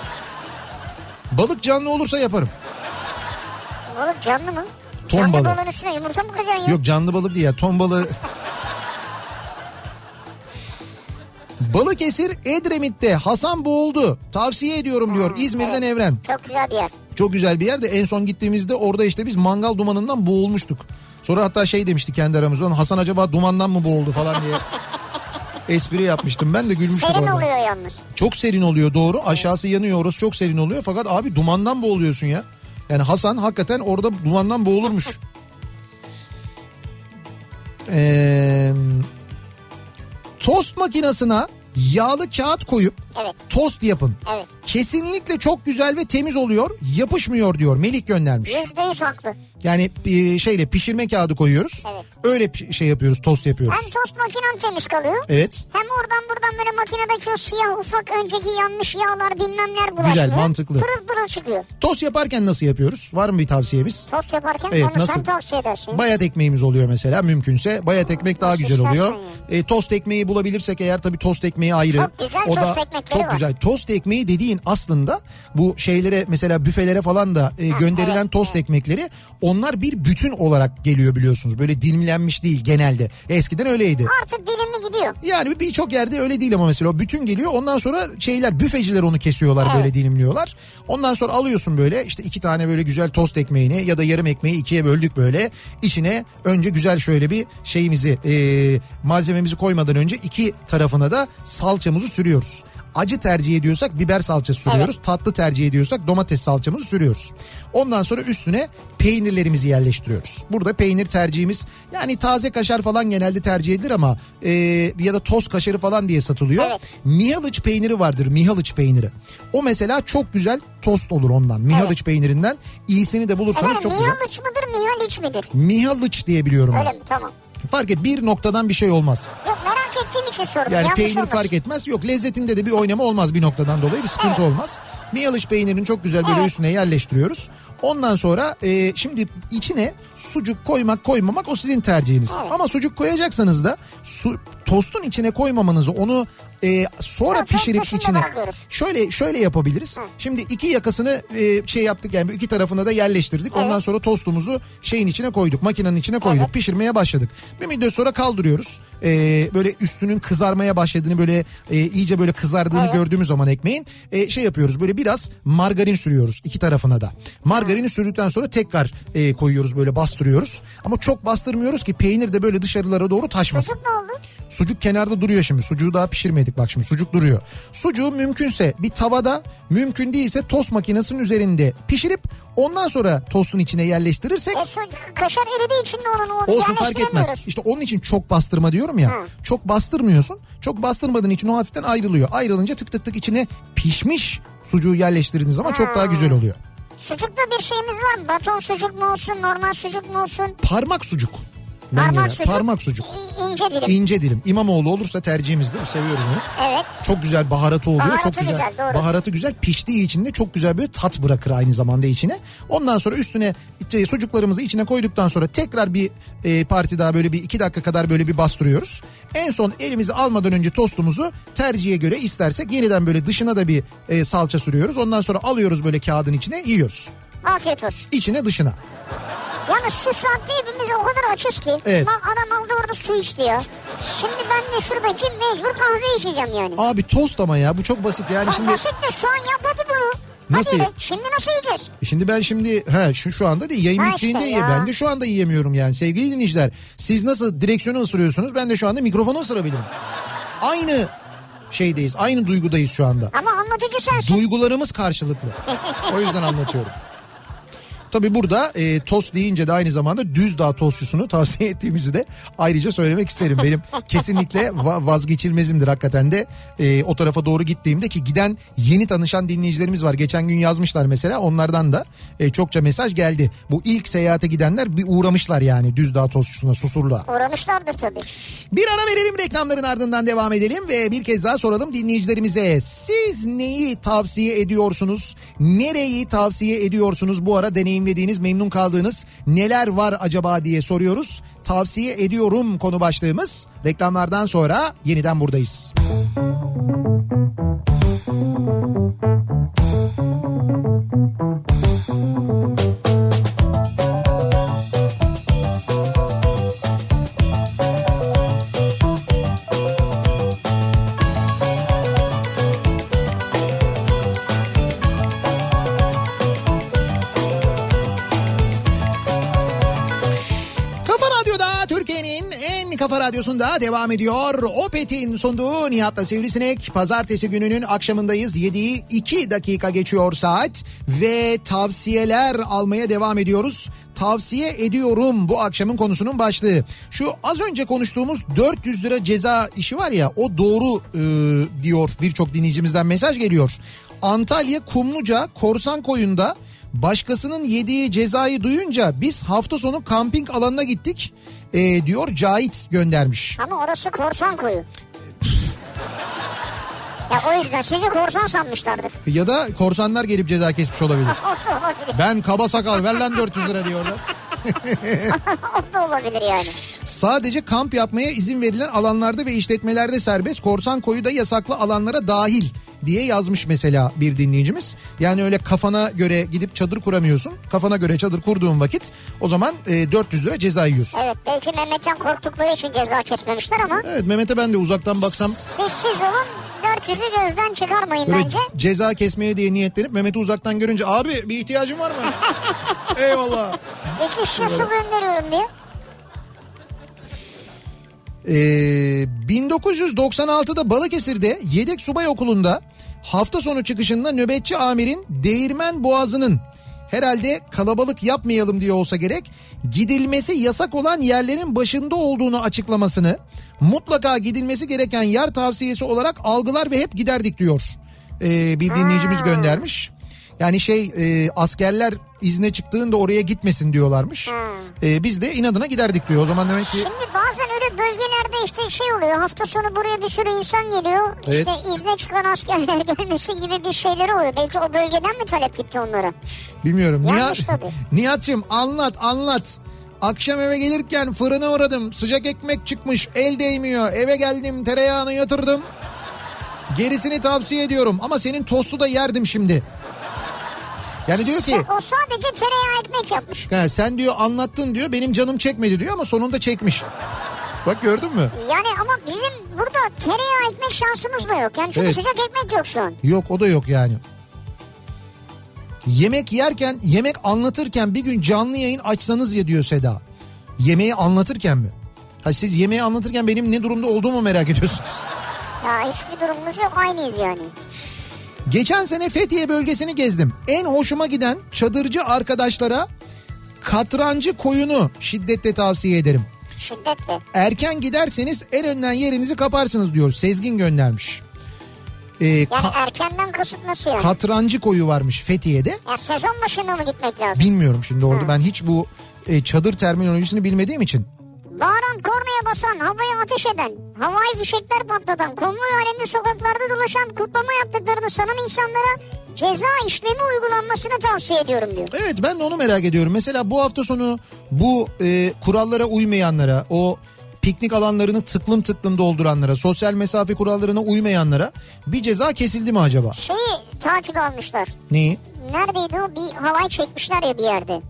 Balık canlı olursa yaparım. Oğlum canlı mı? Ton canlı balığı. balığın üstüne yumurta mı kıracaksın ya? Yok canlı balık değil ya ton balığı. Balıkesir Edremit'te Hasan boğuldu. Tavsiye ediyorum diyor İzmir'den Evren. Çok güzel bir yer. Çok güzel bir yerde en son gittiğimizde orada işte biz mangal dumanından boğulmuştuk. Sonra hatta şey demişti kendi aramızda "Lan Hasan acaba dumandan mı boğuldu falan diye. Espri yapmıştım ben de gülmüştüm Serin orada. oluyor yalnız. Çok serin oluyor doğru aşağısı yanıyor orası çok serin oluyor fakat abi dumandan boğuluyorsun ya. Yani Hasan hakikaten orada dumandan boğulurmuş. Ee, tost makinesine yağlı kağıt koyup Evet. tost yapın. Evet. Kesinlikle çok güzel ve temiz oluyor. Yapışmıyor diyor. Melik göndermiş. Yüzde yüz haklı. Yani e, şeyle pişirme kağıdı koyuyoruz. Evet. Öyle pi- şey yapıyoruz, tost Hem yapıyoruz. tost makinen temiz kalıyor. Evet. Hem oradan buradan böyle makinedeki o siyah ufak önceki yanmış yağlar bilmem neler bulaşmıyor. mantıklı. Pırıl pırıl çıkıyor. Tost yaparken nasıl yapıyoruz? Var mı bir tavsiyemiz? Tost yaparken Evet, onu nasıl? sen tavsiye edersin. Bayat ekmeğimiz oluyor mesela mümkünse. Bayat ekmek daha Nasıl güzel oluyor. istersen E, tost ekmeği bulabilirsek eğer tabii tost ekmeği ayrı. Çok güzel o tost da ekmekleri çok var. güzel. Tost ekmeği dediğin aslında bu şeylere mesela büfelere falan da e, gönderilen evet, tost ekmekleri onlar bir bütün olarak geliyor biliyorsunuz. Böyle dilimlenmiş değil genelde. Eskiden öyleydi. Artık dilimli gidiyor. Yani birçok yerde öyle değil ama mesela o bütün geliyor ondan sonra şeyler büfeciler onu kesiyorlar böyle dilimliyorlar. Ondan sonra alıyorsun böyle işte iki tane böyle güzel tost ekmeğini ya da yarım ekmeği ikiye böldük böyle. İçine önce güzel şöyle bir şeyimizi e, malzememizi koymadan önce iki tarafına da salçamızı sürüyoruz. Acı tercih ediyorsak biber salçası sürüyoruz. Tatlı tercih ediyorsak domates salçamızı sürüyoruz. Ondan sonra üstüne peynirlerimizi yerleştiriyoruz. Burada peynir tercihimiz yani taze kaşar falan genelde tercih edilir ama e, ya da toz kaşarı falan diye satılıyor. Evet. Mihalıç peyniri vardır mihalıç peyniri. O mesela çok güzel tost olur ondan. Mihalıç peynirinden iyisini de bulursanız Efendim çok güzel. Mihaliç mıdır Mihaliç midir? Mihalıç diye biliyorum ben. Öyle mi? Tamam. Fark et bir noktadan bir şey olmaz. Yok merak ettiğim için sordum. Yani Yanlış peynir olmasın. fark etmez. Yok lezzetinde de bir oynama olmaz bir noktadan dolayı bir sıkıntı olmaz. Miyalıç peynirini çok güzel böyle Evet. üstüne yerleştiriyoruz. Ondan sonra e, şimdi içine sucuk koymak koymamak o sizin tercihiniz. Evet. Ama sucuk koyacaksanız da su, tostun içine koymamanızı onu e, sonra Yok, pişirip tostun içine içine bırakıyoruz. şöyle şöyle yapabiliriz. Şimdi iki yakasını e, şey yaptık yani iki tarafına da yerleştirdik. Ondan sonra tostumuzu şeyin içine koyduk. Makinenin içine koyduk. Pişirmeye başladık. Bir müddet sonra kaldırıyoruz. E, böyle üstünün kızarmaya başladığını böyle e, iyice böyle kızardığını gördüğümüz zaman ekmeğin e, şey yapıyoruz. Böyle biraz margarin sürüyoruz iki tarafına da. Margarini sürdükten sonra tekrar e, koyuyoruz böyle bastırıyoruz. Ama çok bastırmıyoruz ki peynir de böyle dışarılara doğru taşmasın. Sucuk ne oldu? Sucuk kenarda duruyor şimdi. Sucuğu daha pişirmedik bak şimdi sucuk duruyor. Sucuğu mümkünse bir tavada mümkün değilse tost makinesinin üzerinde pişirip ondan sonra tostun içine yerleştirirsek E, sucuk, kaşar eridiği için de onun onu olsun fark etmez. yerleştiremiyoruz. İşte onun için çok bastırma diyorum ya. Çok bastırmıyorsun. Çok bastırmadığın için o hafiften ayrılıyor. Ayrılınca tık tık tık içine pişmiş sucuğu yerleştirdiğiniz zaman çok daha güzel oluyor. Sucukta bir şeyimiz var mı? Baton sucuk mu olsun, normal sucuk mu olsun? Parmak sucuk. Ben parmak parmak, sucuk. parmak sucuk. İ- ince dilim. İnce dilim. İmamoğlu olursa tercihimiz değil mi? Seviyoruz onu. evet. Çok güzel baharatı oluyor. Baharatı çok güzel. güzel, doğru. Baharatı güzel. Piştiği için de çok güzel bir tat bırakır aynı zamanda içine. Ondan sonra üstüne e, sucuklarımızı içine koyduktan sonra tekrar bir e, parti daha böyle bir iki dakika kadar böyle bir bastırıyoruz. En son elimizi almadan önce tostumuzu tercihe göre istersek yeniden böyle dışına da bir e, salça sürüyoruz. Ondan sonra alıyoruz böyle kağıdın içine yiyoruz. Afiyet olsun. İçine dışına. Yalnız şu saatte hepimiz o kadar açız ki. Evet. Bak adam aldı orada su iç diyor. Şimdi ben de şuradaki mecbur kahve içeceğim yani. Abi tost ama ya bu çok basit yani Bak şimdi basit de şu an yapmadı bunu. Nasıl? Hadi be, şimdi nasıl yiyeceğiz? E Şimdi ben şimdi he, şu şu anda değil yayın Ha bittiğinde işte ye. ya. Ben de şu anda yiyemiyorum yani sevgili dinleyiciler. Siz nasıl direksiyonu ısırıyorsunuz ben de şu anda mikrofonu ısırabilirim. Aynı şeydeyiz aynı duygudayız şu anda. Ama anlatıcı sensin. Duygularımız karşılıklı. O yüzden anlatıyorum. Tabii burada e, tost deyince de aynı zamanda Düzdağ tostçusunu tavsiye ettiğimizi de ayrıca söylemek isterim. Benim kesinlikle va- vazgeçilmezimdir hakikaten de e, o tarafa doğru gittiğimde ki giden yeni tanışan dinleyicilerimiz var. Geçen gün yazmışlar mesela onlardan da e, çokça mesaj geldi. Bu ilk seyahate gidenler bir uğramışlar yani Düzdağ tostçusuna Susurluğa. Uğramışlardır tabii. Bir ara verelim reklamların ardından devam edelim ve bir kez daha soralım dinleyicilerimize. Siz neyi tavsiye ediyorsunuz? Nereyi tavsiye ediyorsunuz? Bu ara deneyimlediğiniz, memnun kaldığınız neler var acaba diye soruyoruz. Tavsiye ediyorum konu başlığımız. Reklamlardan sonra yeniden buradayız. Kafa Radyo'da Türkiye'nin en kafa radyosunda devam ediyor. Opet'in sunduğu Nihat'la Sivrisinek. Pazartesi gününün akşamındayız. 7'yi 2 dakika geçiyor saat ve tavsiyeler almaya devam ediyoruz. Tavsiye ediyorum bu akşamın konusunun başlığı. Şu az önce konuştuğumuz 400 lira ceza işi var ya o doğru e, diyor birçok dinleyicimizden mesaj geliyor. Antalya Kumluca Korsan Koyun'da Başkasının yediği cezayı duyunca biz hafta sonu kamping alanına gittik e, diyor Cahit göndermiş. Ama orası korsan koyu. ya o yüzden sizi korsan sanmışlardır. Oh, Ya da korsanlar gelip ceza kesmiş olabilir. O da olabilir. Ben kaba sakal ver lan 400 lira diyorlar. o da oh, olabilir yani. Sadece kamp yapmaya izin verilen alanlarda ve işletmelerde serbest. Korsan koyu da yasaklı alanlara dahil diye yazmış mesela bir dinleyicimiz. Yani öyle kafana göre gidip çadır kuramıyorsun. Kafana göre çadır kurduğun vakit o zaman e, 400 lira ceza yiyorsun. Evet belki Mehmet'ten korktukları için ceza kesmemişler ama Evet Mehmet'e ben de uzaktan baksam siz siz olun 400'ü gözden çıkarmayın Böyle bence. ceza kesmeye diye niyetlenip Mehmet'i uzaktan görünce abi bir ihtiyacın var mı? Eyvallah. İki şişe su gönderiyorum diyor. Ee, 1996'da Balıkesir'de Yedek Subay Okulu'nda hafta sonu çıkışında nöbetçi amirin Değirmen Boğazı'nın herhalde kalabalık yapmayalım diye olsa gerek gidilmesi yasak olan yerlerin başında olduğunu açıklamasını mutlaka gidilmesi gereken yer tavsiyesi olarak algılar ve hep giderdik diyor ee, bir dinleyicimiz göndermiş. Yani şey e, askerler izne çıktığında oraya gitmesin diyorlarmış. Ee, biz de inadına giderdik diyor. O zaman demek ki Şimdi bazen öyle bölgelerde işte şey oluyor hafta sonu buraya bir sürü insan geliyor. Evet. İşte izne çıkan askerler gelmesin gibi bir şeyleri oluyor. Belki o bölgeden mi talep gitti onlara? Bilmiyorum. Yanlış Nihat, tabii. Nihat'cığım anlat anlat. Akşam eve gelirken fırına uğradım. Sıcak ekmek çıkmış. El değmiyor. Eve geldim tereyağını yatırdım. Gerisini tavsiye ediyorum. Ama senin tostu da yerdim şimdi. Yani diyor ki O sadece tereyağı ekmek yapmış. "Ha, sen diyor anlattın diyor. Benim canım çekmedi diyor ama sonunda çekmiş. Bak gördün mü? Yani ama bizim burada tereyağı ekmek şansımız da yok. Yani çünkü Evet. sıcak ekmek yok şu an. Yok o da yok yani. Yemek yerken yemek anlatırken bir gün canlı yayın açsanız ya diyor Seda. Yemeği anlatırken mi? Ha siz yemeği anlatırken benim ne durumda olduğumu merak ediyorsunuz. Ya hiçbir durumumuz yok aynıyız yani. Geçen sene Fethiye bölgesini gezdim. En hoşuma giden çadırcı arkadaşlara katrancı koyunu şiddetle tavsiye ederim. Şiddetle. Erken giderseniz en önden yerinizi kaparsınız diyor. Sezgin göndermiş. Ee, Yani ka- erkenden kasıt nasıl yani? katrancı koyu varmış Fethiye'de. ya sezon başında mı gitmek lazım? Bilmiyorum şimdi orada ben hiç bu e, çadır terminolojisini bilmediğim için. Bağıran, kornaya basan, havaya ateş eden, havai fişekler patlatan, konvoy halinde sokaklarda dolaşan, kutlama yaptıklarını sanan insanlara ceza işlemi uygulanmasını tavsiye ediyorum diyor. Evet ben de onu merak ediyorum. Mesela bu hafta sonu bu e, kurallara uymayanlara, o piknik alanlarını tıklım tıklım dolduranlara, sosyal mesafe kurallarına uymayanlara bir ceza kesildi mi acaba? Şeyi takip almışlar. Neyi? Neredeydi o? Bir halay çekmişler ya bir yerde.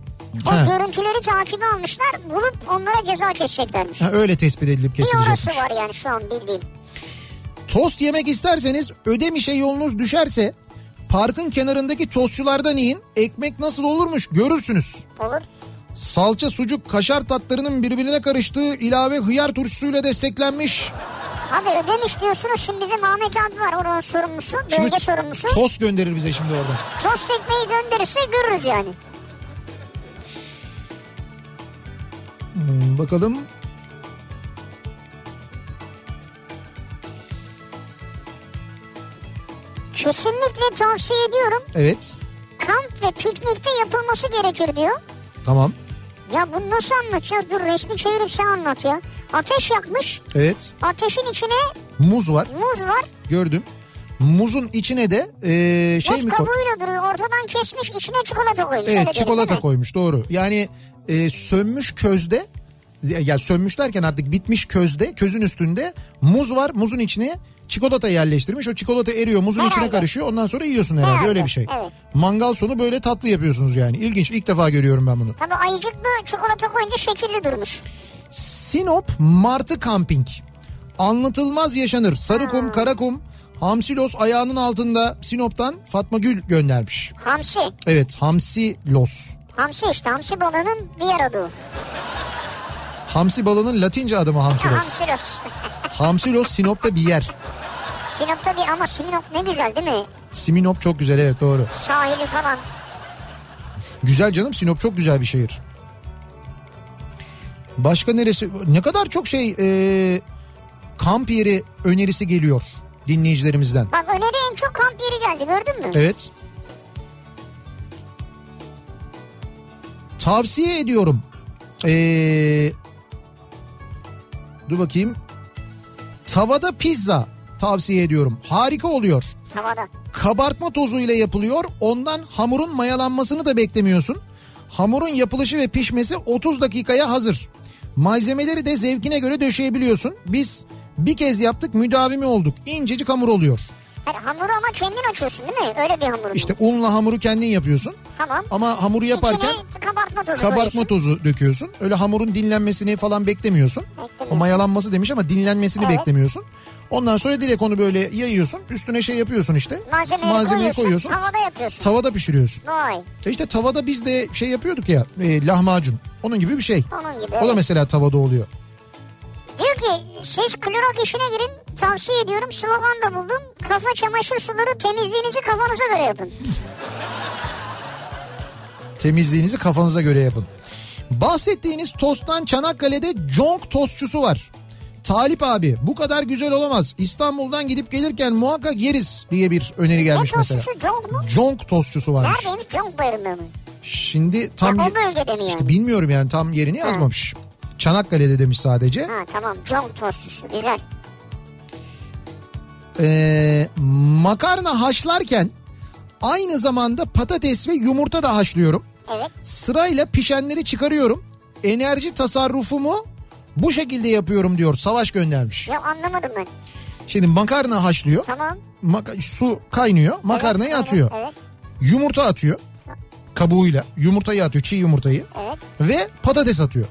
O Ha. görüntüleri takibe almışlar. Bulup onlara ceza keseceklermiş. Ha, öyle tespit edilip Bir orası kesilecekmiş. var yani şu an bildiğim. Tost yemek isterseniz Ödemiş'e yolunuz düşerse Parkın kenarındaki tostçulardan yiyin. Ekmek nasıl olurmuş görürsünüz. Olur. Salça, sucuk, kaşar tatlarının birbirine karıştığı ilave hıyar turşusuyla desteklenmiş. Abi ödemiş diyorsunuz şimdi bizim Ahmet abi var oranın sorumlusu. Bölge Şimdi sorumlusu. tost gönderir bize şimdi orada. Tost ekmeği gönderirse görürüz yani. Hmm, bakalım. Kesinlikle tavsiye ediyorum. Evet. Kamp ve piknikte yapılması gerekir diyor. Tamam. Ya bunu nasıl anlatacağız? Dur resmi çevirip sen anlat ya. Ateş yakmış. Evet. Ateşin içine Muz var. muz var. Gördüm. Muzun içine de ee, şey muz mi koy? kabuğuyla duruyor. Ortadan kesmiş. içine çikolata koymuş. Öyle Evet diyelim, değil çikolata mi? koymuş doğru. Yani e, sönmüş közde ya yani sönmüş derken artık bitmiş közde közün üstünde muz var muzun içine çikolata yerleştirmiş o çikolata eriyor muzun içine Herhalde. karışıyor ondan sonra yiyorsun herhalde, Herhalde, öyle bir şey. evet. Mangal sonu böyle tatlı yapıyorsunuz yani ilginç ilk defa görüyorum ben bunu. Tabii ayıcıklı çikolata koyunca şekilli durmuş. Sinop Martı Kamping. Anlatılmaz yaşanır. Sarıkum, Karakum, Hamsilos ayağının altında Sinop'tan Fatma Gül göndermiş. Hamsi. Evet Hamsilos. Hamsi işte. Hamsi balığının diğer adı. Hamsi balının Latince adı mı Hamsilos? Hamsilos. Hamsilos Sinop'ta bir yer. Sinop'ta bir ama Sinop ne güzel değil mi? Siminop çok güzel evet doğru. Sahili falan. Güzel canım Sinop çok güzel bir şehir. Başka neresi? Ne kadar çok şey e, kamp yeri önerisi geliyor dinleyicilerimizden. Bak öneri en çok kamp yeri geldi gördün mü? Evet. Tavsiye ediyorum. Ee, dur bakayım. Tavada pizza tavsiye ediyorum. Harika oluyor. Havada. Kabartma tozu ile yapılıyor. Ondan hamurun mayalanmasını da beklemiyorsun. Hamurun yapılışı ve pişmesi 30 dakikaya hazır. Malzemeleri de zevkine göre döşeyebiliyorsun. Biz bir kez yaptık müdavimi olduk. İncecik hamur oluyor. Yani hamuru ama kendin açıyorsun değil mi? Öyle bir hamur. bu. İşte unla hamuru kendin yapıyorsun. Tamam. Ama hamuru yaparken İçine kabartma tozu kabartma koyuyorsun. tozu döküyorsun. Öyle hamurun dinlenmesini falan beklemiyorsun. O mayalanması demiş ama dinlenmesini Evet. beklemiyorsun. Ondan sonra direkt onu böyle yayıyorsun. Üstüne şey yapıyorsun işte. Malzemeyi koyuyorsun, tavada yapıyorsun. Tavada pişiriyorsun. Vay. E işte tavada biz de şey yapıyorduk ya e, lahmacun. Onun gibi bir şey. Onun gibi, O da evet. mesela tavada oluyor. Diyor ki siz klorak işine girin. Tavsiye ediyorum. Slogan da buldum. Kafa çamaşır suları temizliğinizi kafanıza göre yapın. Temizliğinizi kafanıza göre yapın. Bahsettiğiniz tosttan Çanakkale'de Conk tostçusu var. Talip abi bu kadar güzel olamaz. İstanbul'dan gidip gelirken muhakkak yeriz diye bir öneri Ne gelmiş mesela. tostçusu? Conk mu? Conk tostçusu varmış. Neredeymiş? Conk bayırında mı? Şimdi tam Ha, ye- o bölgede mi yani? işte bilmiyorum yani tam yerini yazmamış. Çanakkale'de demiş sadece. Ha tamam. Conk tostçusu. Güzel. Ee, makarna haşlarken aynı zamanda patates ve yumurta da haşlıyorum. Evet. Sırayla pişenleri çıkarıyorum. Enerji tasarrufumu bu şekilde yapıyorum diyor. Savaş göndermiş. Ya anlamadım ben. Şimdi makarna haşlıyor. Tamam. Maka- su kaynıyor. Makarnayı evet, atıyor. Evet. Yumurta atıyor. Kabuğuyla. Yumurtayı atıyor. Çiğ yumurtayı. Evet. Ve patates atıyor.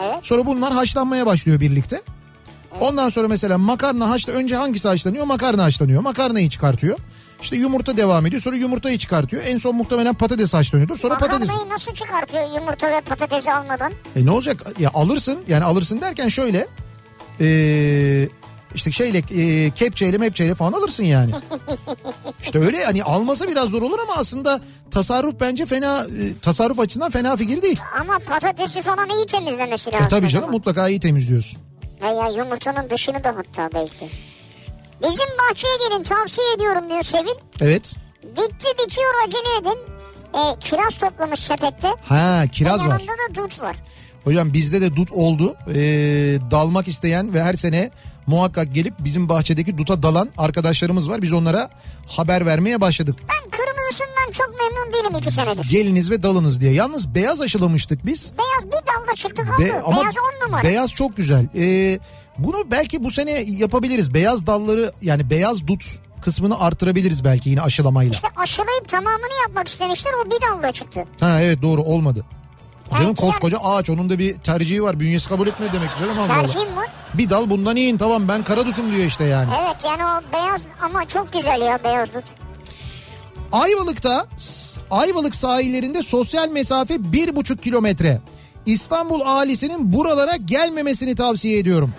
Evet. Sonra bunlar haşlanmaya başlıyor birlikte. Ondan sonra mesela makarna haşla önce hangisi haşlanıyor? Makarna haşlanıyor. Makarnayı çıkartıyor. İşte yumurta devam ediyor. Sonra yumurtayı çıkartıyor. En son muhtemelen patates haşlanıyordur. Sonra patates. Makarnayı nasıl çıkartıyor yumurta ve patatesi almadan? E ne olacak? Ya alırsın. Yani alırsın derken şöyle. Ee, işte şeyle e, kepçeyle mepçeyle falan alırsın yani. işte öyle hani alması biraz zor olur ama aslında tasarruf bence fena e, tasarruf açısından fena fikir değil. Ama patatesi falan iyi temizlemesi lazım. E tabii o canım zaman. mutlaka iyi temizliyorsun. Veya yumurtanın dışını da hatta belki. Bizim bahçeye gelin tavsiye ediyorum diyor Sevil. Evet. Bitti bitiyor acele edin. E, kiraz toplamış sepette. Ha kiraz Ve var. Yanında da dut var. Hocam bizde de dut oldu. Ee, dalmak isteyen ve her sene muhakkak gelip bizim bahçedeki duta dalan arkadaşlarımız var. Biz onlara haber vermeye başladık. Ben kırmızısından çok memnun değilim iki senedir. Geliniz ve dalınız diye. Yalnız beyaz aşılamıştık biz. Beyaz bir dalda çıktı kaldı. Be- ama beyaz on numara. Beyaz çok güzel. Ee, bunu belki bu sene yapabiliriz. Beyaz dalları yani beyaz dut kısmını artırabiliriz belki yine aşılamayla. İşte aşılayıp tamamını yapmak istemişler o bir dalda çıktı. Ha evet doğru olmadı. Canım Yani- koskoca ağaç onun da bir tercihi var. Bünyesi kabul etmiyor demek ki canım. Allah Allah. Tercihim var. Bir dal bundan yiyin tamam ben kara dutum diyor işte yani. Evet yani o beyaz ama çok güzel ya beyaz dut. Ayvalık'ta Ayvalık sahillerinde sosyal mesafe bir buçuk kilometre. İstanbul ailesinin buralara gelmemesini tavsiye ediyorum.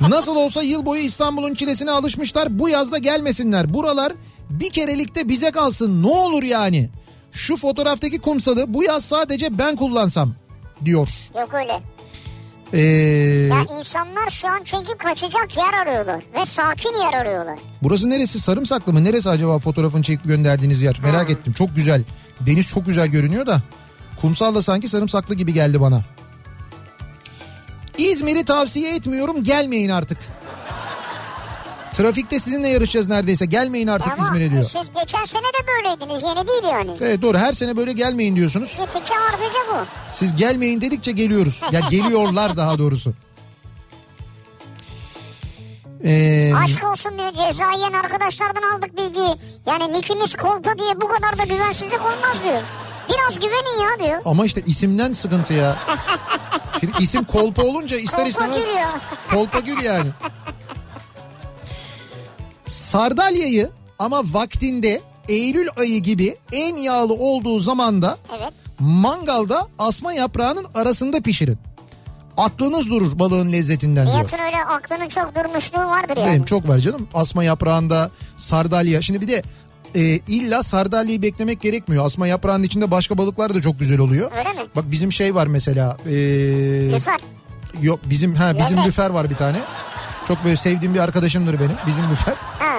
Nasıl olsa yıl boyu İstanbul'un çilesine alışmışlar. Bu yazda gelmesinler. Buralar bir kerelikte bize kalsın. Ne olur yani. Şu fotoğraftaki kumsalı bu yaz sadece ben kullansam diyor. Yok öyle. Ee, Ya insanlar şu an çünkü kaçacak yer arıyorlar ve sakin yer arıyorlar. burası neresi? Sarımsaklı mı? Neresi acaba fotoğrafını çekip gönderdiğiniz yer? Merak ettim. Çok güzel. Deniz çok güzel görünüyor da. Kumsal da sanki sarımsaklı gibi geldi bana. İzmir'i tavsiye etmiyorum. Gelmeyin artık. Trafikte sizinle yarışacağız neredeyse. Gelmeyin artık Ama İzmir'e diyor. siz geçen sene de böyleydiniz yeni değil yani. Evet doğru her sene böyle gelmeyin diyorsunuz. Gittikçe artıca bu. Siz gelmeyin dedikçe geliyoruz. Ya geliyorlar daha doğrusu. Ee, Aşk olsun diyor ceza yiyen arkadaşlardan aldık bilgiyi. Yani nikimiz kolpa diye bu kadar da güvensizlik olmaz diyor. Biraz güvenin ya diyor. ama işte isimden sıkıntı ya. Şimdi isim kolpa olunca ister Kolpa istemez giriyor. kolpa gül yani. Sardalya'yı ama vaktinde Eylül ayı gibi en yağlı olduğu zamanda Evet. mangalda asma yaprağının arasında pişirin. Aklınız durur balığın lezzetinden diyor. Nihat'ın öyle aklının çok durmuşluğu vardır yani. Benim çok var canım. Asma yaprağında sardalya. Şimdi bir de e, illa sardalyayı beklemek gerekmiyor. Asma yaprağının içinde başka balıklar da çok güzel oluyor. Öyle mi? Bak bizim şey var mesela. E, Lütfen. yok bizim ha bizim Levrek. lüfer var bir tane. Çok böyle sevdiğim bir arkadaşımdır benim. Bizim lüfer. Ha.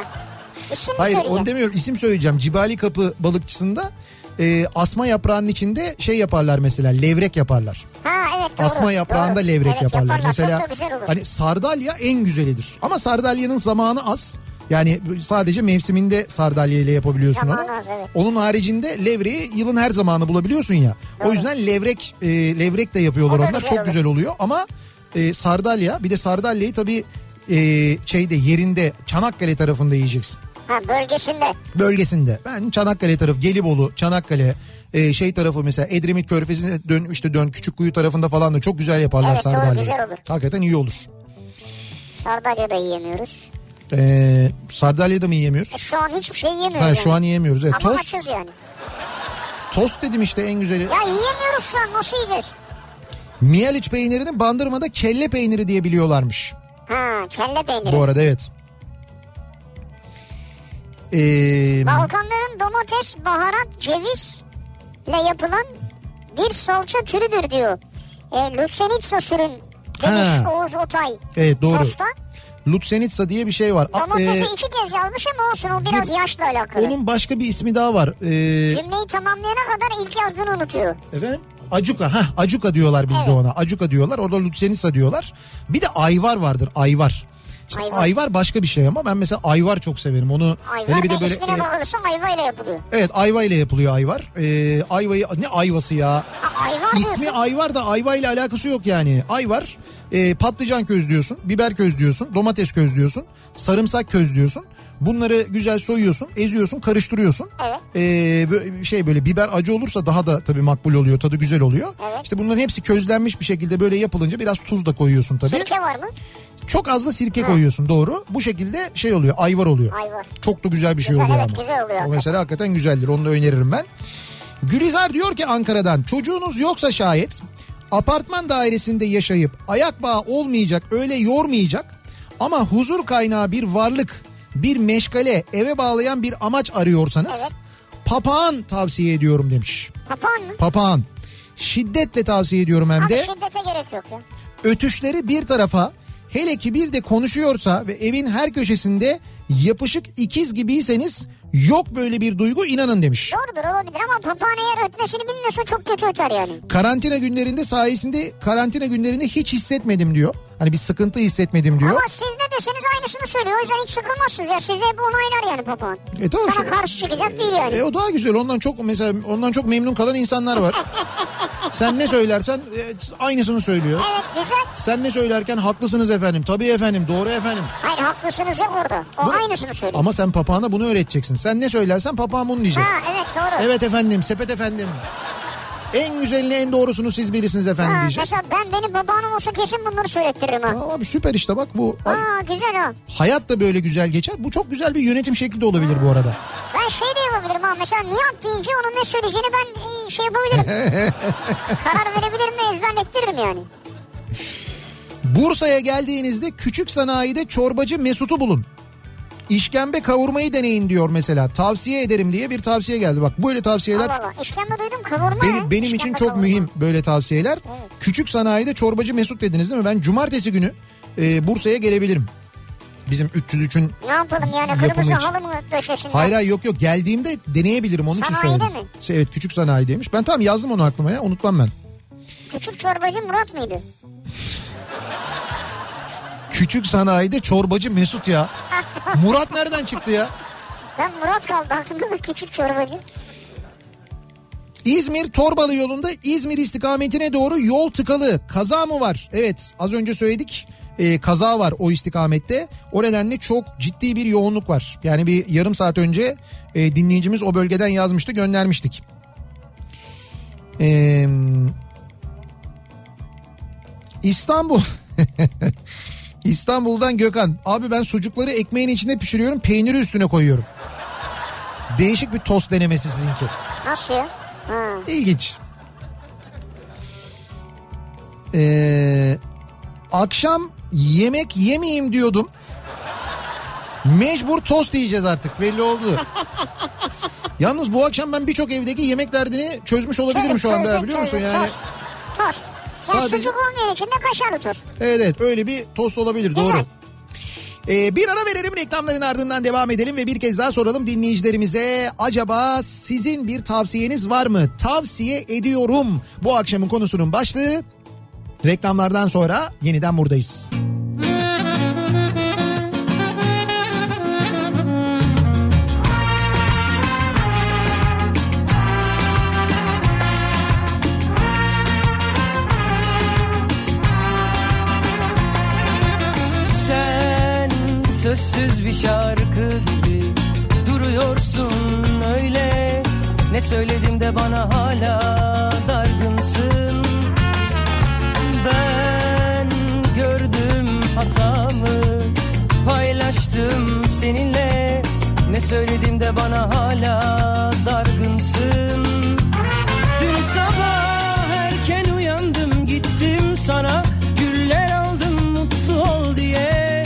İsim mi Hayır onu şey söyleyeceğim? demiyorum isim söyleyeceğim. Cibali Kapı balıkçısında e, asma yaprağının içinde şey yaparlar mesela levrek yaparlar. Ha evet doğru. Asma yaprağında doğru. levrek Evet, yaparlar. Mesela Çok da güzel olur. hani sardalya en güzelidir. Ama sardalyanın zamanı az. Yani sadece mevsiminde sardalya ile yapabiliyorsun Zamanı onu. az, evet. Onun haricinde levreyi yılın her zamanı bulabiliyorsun ya. O yüzden levrek e, levrek de yapıyorlar O da onlar. güzel Çok olur. güzel oluyor ama e, sardalya bir de sardalyayı tabii e, şeyde yerinde Çanakkale tarafında yiyeceksin Ha bölgesinde. bölgesinde. Ben Çanakkale tarafı, Gelibolu, Çanakkale e, şey tarafı mesela Edremit Körfezi'ne dön işte dön Küçükkuyu tarafında falan da çok güzel yaparlar Evet, doğru, sardalyayı. güzel olur. Hakikaten iyi olur. Sardalya'da yiyemiyoruz. Ee, sardalya da mı yiyemiyoruz? Şu an hiçbir şey yiyemiyoruz. Ha, yani. şu an yiyemiyoruz. Evet. Ama Tost, açız yani. tost dedim işte en güzeli. Ya yiyemiyoruz şu an nasıl yiyeceğiz? Miyaliç peynirini bandırmada kelle peyniri diye biliyorlarmış. Ha kelle peyniri. Bu arada evet. Ee, Balkanların domates, baharat, cevizle yapılan bir salça türüdür diyor. E, Lütfenitsa sürün demiş Ha. Oğuz Otay. evet doğru. Tosta. Lutsenitsa diye bir şey var. A- Domatesi e, iki kez yazmış ama olsun o biraz bir- yaşla alakalı. onun başka bir ismi daha var. Ee, Cümleyi tamamlayana kadar ilk yazdığını unutuyor. Efendim? Acuka. Hah, acuka diyorlar bizde Evet. ona. Acuka diyorlar. Orada Lutsenisa diyorlar. Bir de ayvar vardır. Ayvar. İşte ayvar. Ayvar. başka bir şey ama ben mesela ayvar çok severim. Onu Ayva hele bir ve de böyle ismine e, bakılırsa ayva ile yapılıyor. Evet ayva ile yapılıyor ayvar. Ee, ayvayı ne ayvası ya? Ha, ayva İsmi diyorsun. ayvar da ayva ile alakası yok yani. Ayvar e, patlıcan közlüyorsun, biber közlüyorsun, domates közlüyorsun, sarımsak közlüyorsun. Bunları güzel soyuyorsun, eziyorsun, karıştırıyorsun. Evet. E, bö- şey böyle biber acı olursa daha da tabii makbul oluyor, tadı güzel oluyor. Evet. İşte bunların hepsi közlenmiş bir şekilde böyle yapılınca biraz tuz da koyuyorsun tabii. Sirke var mı? Çok az da sirke koyuyorsun doğru. Bu şekilde şey oluyor, ayvar oluyor. Ayvar. Çok da güzel bir şey Güzel, oluyor evet, ama. güzel oluyor. O mesela hakikaten güzeldir. Onu da öneririm ben. Gülizar diyor ki Ankara'dan çocuğunuz yoksa şayet apartman dairesinde yaşayıp ayak bağı olmayacak öyle yormayacak ama huzur kaynağı bir varlık bir meşgale eve bağlayan bir amaç arıyorsanız Evet. papağan tavsiye ediyorum demiş. Papağan mı? Papağan. Şiddetle tavsiye ediyorum hem Abi şey de şiddete gerek yok ya. ötüşleri bir tarafa hele ki bir de konuşuyorsa ve evin her köşesinde yapışık ikiz gibiyseniz yok böyle bir duygu inanın demiş. Doğrudur olabilir ama papağan eğer ötmesini bilmiyorsa çok kötü öter yani. Karantina günlerinde sayesinde karantina günlerinde hiç hissetmedim diyor. Hani bir sıkıntı hissetmedim diyor. Ama siz ne deseniz aynısını söylüyor. O yüzden hiç sıkılmazsınız ya. Size hep onaylar yani papağan. E tamam Sana işte. karşı çıkacak değil yani. E o daha güzel. Ondan çok mesela ondan çok memnun kalan insanlar var. Sen ne söylersen e, aynısını söylüyor. Evet güzel. Sen ne söylerken haklısınız efendim. Tabii efendim. Doğru efendim. Hayır haklısınız yok orada. O Bu- aynısını söylüyor. Ama sen papağana bunu öğreteceksin. Sen ne söylersen papağan bunu diyecek. Ha evet doğru. Evet efendim, sepet efendim. En güzelini en doğrusunu siz bilirsiniz efendim Ha, diyecek. mesela ben benim babaannem olsa kesin bunları söylettiririm ha. Aa, Abi süper işte bak bu Ay, Aa güzel o. hayat da böyle güzel geçer. Bu çok güzel bir yönetim şekli de olabilir bu arada. Ben şey de yapabilirim ha. Mesela Nihat deyince onun ne söyleyeceğini ben e, şey yapabilirim. Karar verebilirim ve ezberlettiririm yani. Bursa'ya geldiğinizde küçük sanayide çorbacı Mesut'u bulun. İşkembe kavurmayı deneyin diyor mesela. Tavsiye ederim diye bir tavsiye geldi. Bak böyle tavsiyeler Allah Allah. İşkembe duydum kavurma benim, ya. benim için İşkembe çok kavurma. mühim böyle tavsiyeler. Küçük sanayide çorbacı Mesut dediniz değil mi? Ben cumartesi günü e, Bursa'ya gelebilirim. Bizim 303'ün Ne yapalım yani Yapımı kırmızı için. halı mı döşesin? Hayır hayır yok yok geldiğimde deneyebilirim onun için Sanayide söyledim. mi? Se- Evet küçük sanayideymiş. Ben tam yazdım onu aklıma ya unutmam ben. Küçük çorbacı Murat mıydı? Küçük sanayide çorbacı Mesut ya. Murat nereden çıktı ya? Ben Murat kaldı aklımda da küçük çorbacı. İzmir Torbalı yolunda İzmir istikametine doğru yol tıkalı. Kaza mı var? Evet az önce söyledik. Ee, kaza var o istikamette. O nedenle çok ciddi bir yoğunluk var. Yani bir yarım saat önce e, dinleyicimiz o bölgeden yazmıştı göndermiştik. Ee, İstanbul. İstanbul'dan Gökhan. Abi ben sucukları ekmeğin içinde pişiriyorum peyniri üstüne koyuyorum. Değişik bir tost denemesi sizinki. Nasıl ya? Ha. İlginç. Ee, akşam yemek yemeyeyim diyordum. Mecbur tost yiyeceğiz artık belli oldu. Yalnız bu akşam ben birçok evdeki yemek derdini çözmüş olabilirim şu anda Çözdük, biliyor musun çözdük. yani? Tost. tost. Yani Sadece- sucuk olmayan içinde kaşarlı tost. Evet evet öyle bir tost olabilir doğru. Güzel. Ee, bir ara verelim reklamların ardından devam edelim ve bir kez daha soralım dinleyicilerimize. Acaba sizin bir tavsiyeniz var mı? Tavsiye ediyorum bu akşamın konusunun başlığı. Reklamlardan sonra yeniden buradayız. Sen sözsüz bir şarkı gibi duruyorsun öyle Ne söyledim de bana hala dargınsın Ben gördüm hatamı paylaştım seninle Ne söyledim de bana hala dargınsın Dün sabah erken uyandım gittim sana Güller aldım mutlu ol diye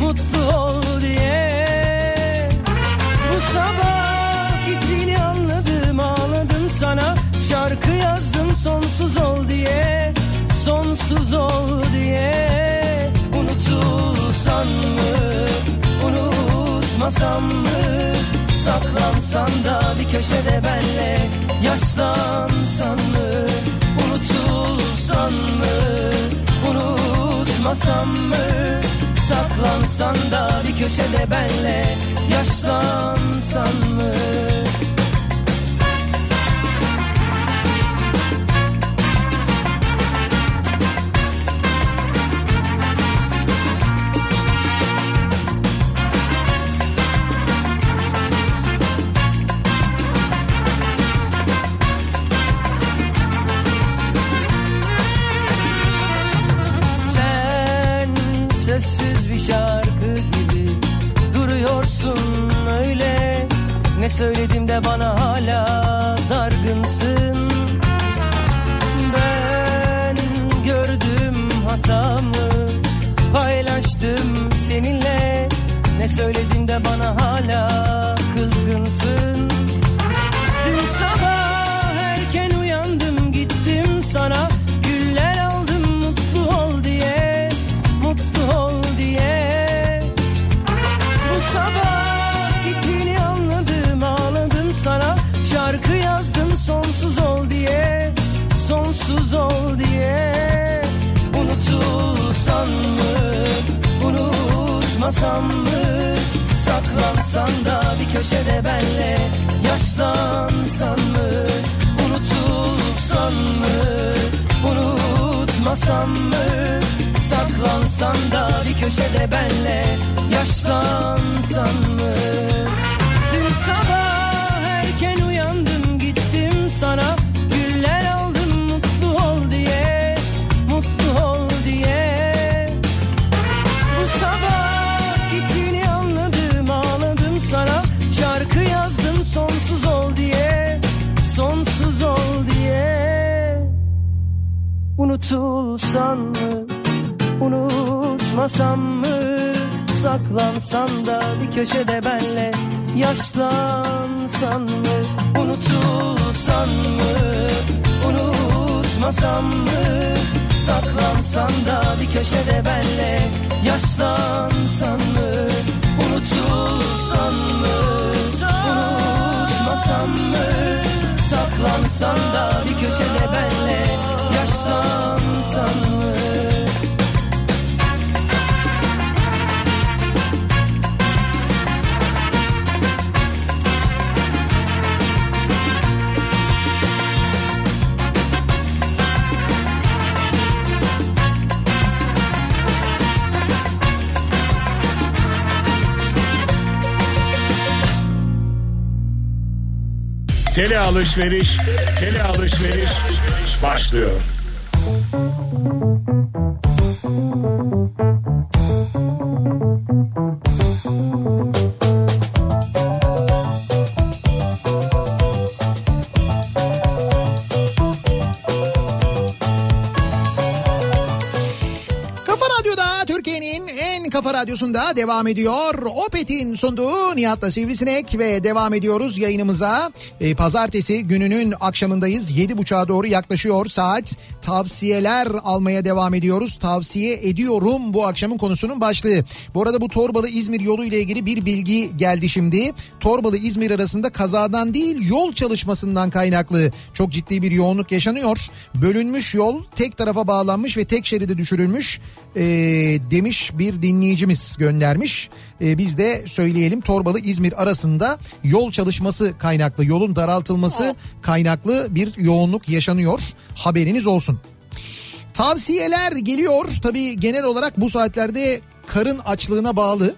Mutlu ol diye Bu sabah gittiğini anladım ağladım sana Şarkı yazdım sonsuz ol diye Sonsuz ol diye Unutulsan mı unutmasam mı Saklansan da bir köşede benle Yaşlansan mı Unutulsan mı Unutmasam mı Saklansan da bir köşede benle Yaşlansan mı Sen sessiz bir şarkı gibi duruyorsun öyle Ne söyledim de bana hala dargınsın Ben gördüm hatamı paylaştım seninle Ne söyledim de bana hala kızgınsın Dün sabah erken uyandım gittim sana Güller aldım mutlu ol diye Mutlu ol diye Bu sabah gittiğini anladım ağladım sana Şarkı yazdım sonsuz ol diye Sonsuz ol diye Unutulsan mı unutmasam mı Saklansan da bir köşede benle Yaşlansan mı unutulsan mı Unutmasam mı Saklansan da bir köşede benle Yaşlansan mı Dün sabah erken uyandım gittim sana Güller aldım Unutulsan mı? Unutmasam mı? Saklansan da bir köşede benle Yaşlansan mı? Unutulsan mı? Unutmasam mı? Saklansan da bir köşede benle Yaşlansan mı? Unutulsan mı? Unutmasam mı? Saklansan da bir köşede benle Yaşlansan mı? Tele alışveriş, tele alışveriş başlıyor. Kafa Radyo'da Türkiye'nin en kafa radyosunda devam ediyor. Opet'in sunduğu Nihat'la Sivrisinek ve devam ediyoruz yayınımıza. E, Pazartesi gününün akşamındayız. 7.30'a doğru yaklaşıyor saat. Tavsiyeler almaya devam ediyoruz. Tavsiye ediyorum bu akşamın konusunun başlığı. Bu arada bu Torbalı İzmir yolu ile ilgili bir bilgi geldi şimdi. Torbalı İzmir arasında kazadan değil yol çalışmasından kaynaklı çok ciddi bir yoğunluk yaşanıyor. Bölünmüş yol tek tarafa bağlanmış ve tek şeride düşürülmüş e, demiş bir dinleyicimiz göndermiş. E, biz de söyleyelim Torbalı İzmir arasında yol çalışması kaynaklı yolun daraltılması kaynaklı bir yoğunluk yaşanıyor. Haberiniz olsun. Tavsiyeler geliyor. Tabii genel olarak bu saatlerde karın açlığına bağlı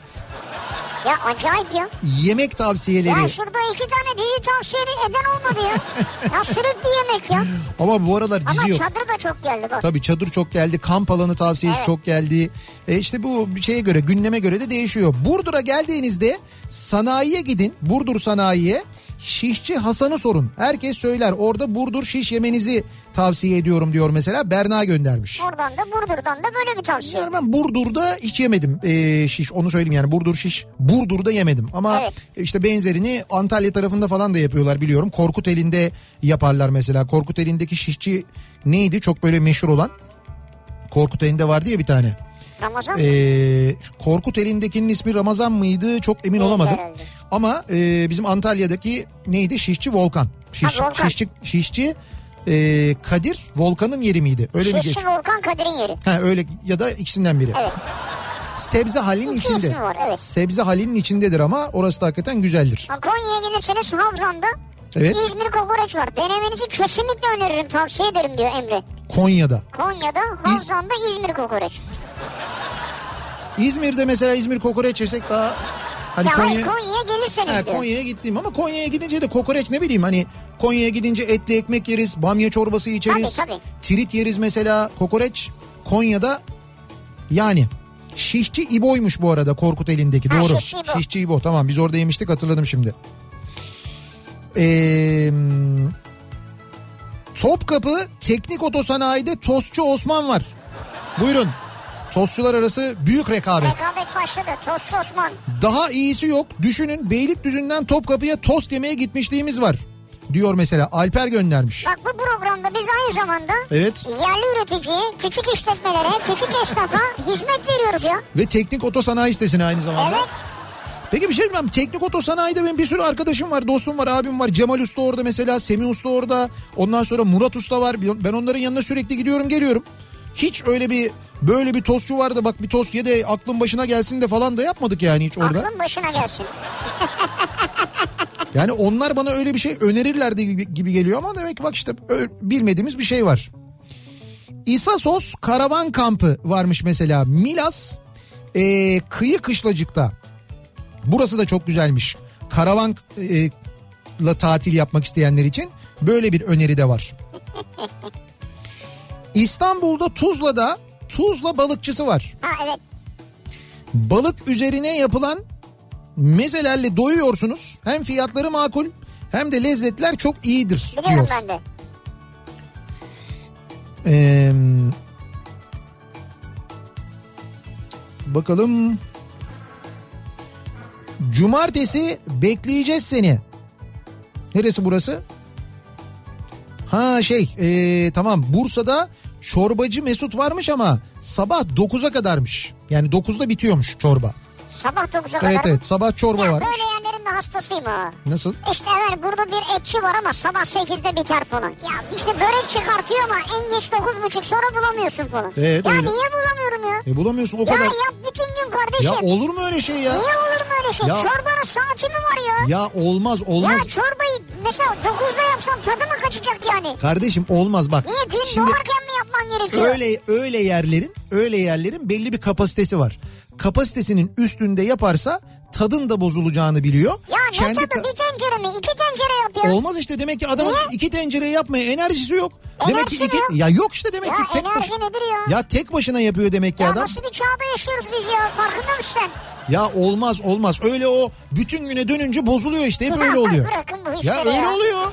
Ya acayip ya. yemek tavsiyeleri. Ya şurada iki tane dizi tavsiye eden olmadı ya. Ya sürekli yemek ya. Ama bu aralar dizi Ama şey yok. çadır da çok geldi bak. Tabii çadır çok geldi, kamp alanı tavsiyesi Evet. çok geldi. E işte bu bir şeye göre, gündeme göre de değişiyor. Burdur'a geldiğinizde sanayiye gidin, Burdur sanayiye. Şişçi Hasan'ı sorun. Herkes söyler. Orada Burdur şiş yemenizi tavsiye ediyorum diyor mesela. Berna göndermiş. Oradan da Burdur'dan da böyle bir tavsiye. Yani ben Burdur'da hiç yemedim e, şiş onu söyleyeyim yani Burdur şiş Burdur'da yemedim ama Evet. işte benzerini Antalya tarafında falan da yapıyorlar biliyorum Korkuteli'nde yaparlar mesela Korkuteli'ndeki şişçi neydi çok böyle meşhur olan Korkuteli'nde vardı ya bir tane Ramazan e, Korkuteli'ndekinin ismi Ramazan mıydı çok emin Neydi olamadım herhalde. ama e, bizim Antalya'daki neydi şişçi Volkan şiş, Ha, Volkan. şişçi şişçi e, Kadir Volkan'ın yeri miydi öyle bir Şişçi Volkan Kadir'in yeri. Ha öyle ya da ikisinden biri. Evet. Sebze halinin İki içinde. ismi var, evet. Sebze halinin içindedir ama orası da hakikaten güzeldir. Ha, Konya'ya gelirseniz Havzan'da Evet. İzmir kokoreç var. Denemenizi kesinlikle öneririm tavsiye ederim diyor Emre. Konya'da. Konya'da Havzan'da İzmir kokoreç. İzmir'de mesela İzmir kokoreç yesek daha hani ya hayır Konya Konya'ya gelirseniz Ha, diyor. Konya'ya gittim ama Konya'ya gidince de kokoreç ne bileyim hani Konya'ya gidince etli ekmek yeriz, bamya çorbası içeriz. Tabii, tabii. Tirit yeriz mesela. Kokoreç Konya'da yani Şişçi İbo'ymuş bu arada Korkut elindeki. Ha, Doğru. Şişçi İbo. Şişçi İbo. Tamam biz orada yemiştik hatırladım şimdi. Ee, Topkapı Teknik Otosanayi'de Tostçu Osman var. Buyurun. Tostçular arası büyük rekabet. Rekabet başladı. Tostçu Osman. Daha iyisi yok. Düşünün Beylikdüzü'nden Topkapı'ya tost yemeye gitmişliğimiz var. Diyor mesela Alper göndermiş. Bak bu programda biz aynı zamanda Evet. yerli üreticiye, küçük işletmelere, küçük esnafa hizmet veriyoruz ya. Ve teknik otosanayi sitesine aynı zamanda. Evet. Peki bir şey diyeyim mi? Teknik otosanayide benim bir sürü arkadaşım var, dostum var, abim var. Cemal Usta orada mesela, Semih Usta orada. Ondan sonra Murat Usta var. Ben onların yanına sürekli gidiyorum, geliyorum. Hiç öyle bir böyle bir tostçu vardı bak bir tost ye de aklın başına gelsin de falan da yapmadık yani hiç orada. Aklın başına gelsin. Yani onlar bana öyle bir şey önerirlerdi gibi, gibi geliyor ama demek ki bak işte ö- bilmediğimiz bir şey var. İsasos karavan kampı varmış mesela Milas e, kıyı kışlacıkta. Burası da çok güzelmiş. Karavan e, la tatil yapmak isteyenler için böyle bir öneri de var. İstanbul'da Tuzla'da Tuzla balıkçısı var. Ha evet. Balık üzerine yapılan mezelerle doyuyorsunuz. Hem fiyatları makul hem de lezzetler çok iyidir diyor. Biliyorum ben de. Ee, Bakalım. Cumartesi bekleyeceğiz seni. Neresi burası? Ha şey ee, tamam Bursa'da çorbacı Mesut varmış ama sabah 9'a kadarmış. Yani 9'da bitiyormuş çorba. Sabah 9'a kadar. Evet evet sabah çorba Ya varmış. böyle yerlerin de hastasıyım ha. Nasıl? İşte evet burada bir etçi var ama sabah 8'de biter falan. Ya işte börek çıkartıyor ama en geç 9.30 sonra bulamıyorsun falan. Evet, ya öyle. niye bulamıyorum ya? E bulamıyorsun o ya kadar. yap bütün gün kardeşim. Ya olur mu öyle şey ya? Niye olur mu öyle şey? Ya- Çorbanın saati mi var ya? Ya olmaz Ya, olmaz. çorbayı mesela 9'da yapsam tadı mı kaçacak yani? Kardeşim olmaz bak. Niye gün Şimdi doğarken mi yapman gerekiyor? öyle öyle yerlerin öyle yerlerin belli bir kapasitesi var. Kapasitesinin üstünde yaparsa tadın da bozulacağını biliyor. Ya ne Kendi tadı ka- bir tencere mi? İki tencere yap ya. Olmaz işte demek ki adamın Niye? iki tencere yapmaya enerjisi yok. demek ki Enerjisi iki yok. ya yok işte demek Ya ki tek enerji başına. nedir ya? Ya tek başına yapıyor demek ki Ya adam. nasıl bir çağda yaşıyoruz biz ya farkında mısın sen? Ya olmaz olmaz. Öyle o bütün güne dönünce bozuluyor işte hep Ya öyle oluyor. bırakın bu Ya işleri öyle ya. oluyor.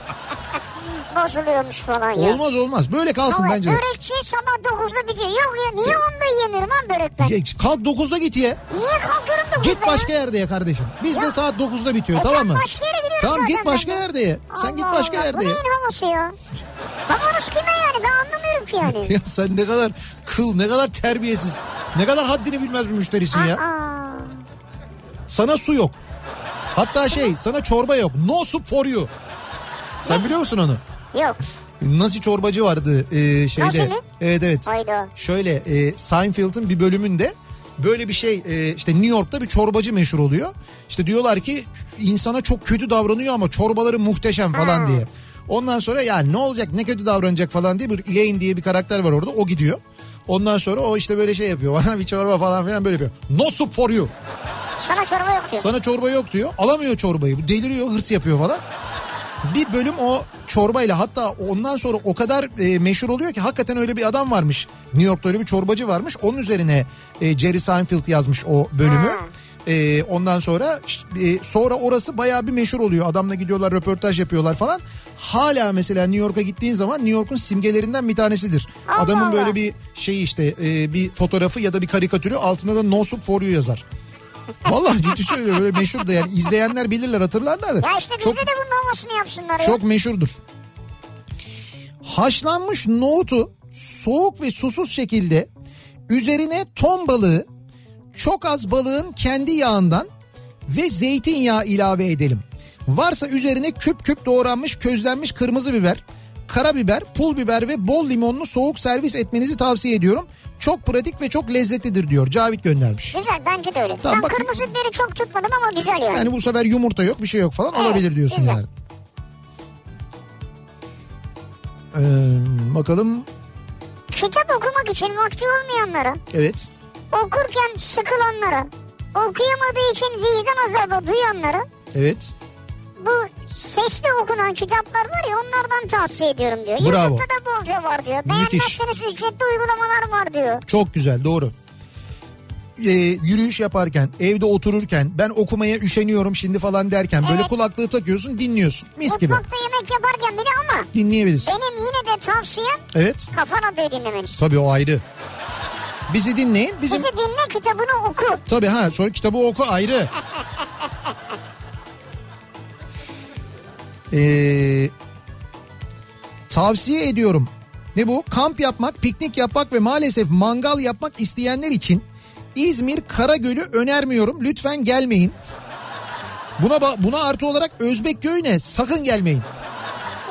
Bozuluyormuş falan ya. Olmaz olmaz. Böyle kalsın Ama bence. de. Börekçi sabah 9'da bitiyor. Yok ya niye onda yiyemiyorum lan börek ben? Ya kalk 9'da git ye. Niye kalkıyorum 9'da Git ya? başka yerde ye kardeşim. Biz de saat 9'da bitiyor E tamam tamam, mı? başka yere gidiyorum Tamam git zaten başka ben de. yerde ye. Sen git Allah başka Allah, yerde Bu ye. neyin havası ya? Babanız kime yani ben anlamıyorum ki yani. Ya sen ne kadar kıl, ne kadar terbiyesiz, ne kadar haddini bilmez bir müşterisin ya. Aa, Sana su yok. Hatta şey sana çorba yok. No soup for you. Sen biliyor musun onu? yok. Nazi çorbacı vardı e, şeyde. Nazi mi? Evet evet. Hayda. Şöyle e, Seinfeld'in bir bölümünde böyle bir şey e, işte New York'ta bir çorbacı meşhur oluyor. İşte diyorlar ki insana çok kötü davranıyor ama çorbaları muhteşem falan Ha. diye. Ondan sonra ya ne olacak ne kötü davranacak falan diye bir Elaine diye bir karakter var orada o gidiyor. Ondan sonra o işte böyle şey yapıyor bana bir çorba falan filan böyle yapıyor. No soup for you. Sana çorba yok diyor. Sana çorba yok diyor. Alamıyor çorbayı. Bu Deliriyor, hırs yapıyor falan. Bir bölüm o çorbayla hatta ondan sonra o kadar e, meşhur oluyor ki hakikaten öyle bir adam varmış. New York'ta öyle bir çorbacı varmış. Onun üzerine e, Jerry Seinfeld yazmış o bölümü. E, ondan sonra e, sonra orası bayağı bir meşhur oluyor. Adamla gidiyorlar röportaj yapıyorlar falan. Hala mesela New York'a gittiğin zaman New York'un simgelerinden bir tanesidir. Allah Adamın böyle Allah. bir şey işte e, bir fotoğrafı ya da bir karikatürü altında da No Soup For You yazar. Vallahi ciddi söylüyorum böyle meşhur da yani izleyenler bilirler hatırlarlar da. Ya işte bizde çok, de bunun havasını yapsınlar ya. çok meşhurdur. Haşlanmış nohutu soğuk ve susuz şekilde üzerine ton balığı çok az balığın kendi yağından ve zeytinyağı ilave edelim. Varsa üzerine küp küp doğranmış közlenmiş kırmızı biber, karabiber, pul biber ve bol limonlu soğuk servis etmenizi tavsiye ediyorum. Çok pratik ve çok lezzetlidir diyor. Cavit göndermiş. Güzel bence de öyle. Tamam, ben bak- kırmızı biberi çok tutmadım ama güzel yani. Yani bu sefer yumurta yok bir şey yok falan Evet, olabilir diyorsun güzel. yani. Ee, bakalım Kitap okumak için vakti olmayanlara, evet. okurken sıkılanlara, okuyamadığı için vicdan azabı duyanlara Evet. bu sesli okunan kitaplar var ya onlardan tavsiye ediyorum diyor. Bravo. YouTube'da da bolca var diyor. Beğenmezseniz ücretli uygulamalar var diyor. Çok güzel doğru. Ee, yürüyüş yaparken, evde otururken, ben okumaya üşeniyorum şimdi falan derken böyle Evet. kulaklığı takıyorsun, dinliyorsun. Mis gibi. Mutfakta yemek yaparken bile ama Dinleyebilirsin. benim yine de tavsiyem Evet. kafa radyoyu dinlemeniz. Tabii o ayrı. Bizi dinleyin. Bizim Bizi dinle kitabını oku. Tabii ha sonra kitabı oku ayrı. Ee, tavsiye ediyorum. Ne bu? Kamp yapmak, piknik yapmak ve maalesef mangal yapmak isteyenler için İzmir Karagöl'ü önermiyorum. Lütfen gelmeyin. Buna ba- buna artı olarak Özbek köyüne sakın gelmeyin.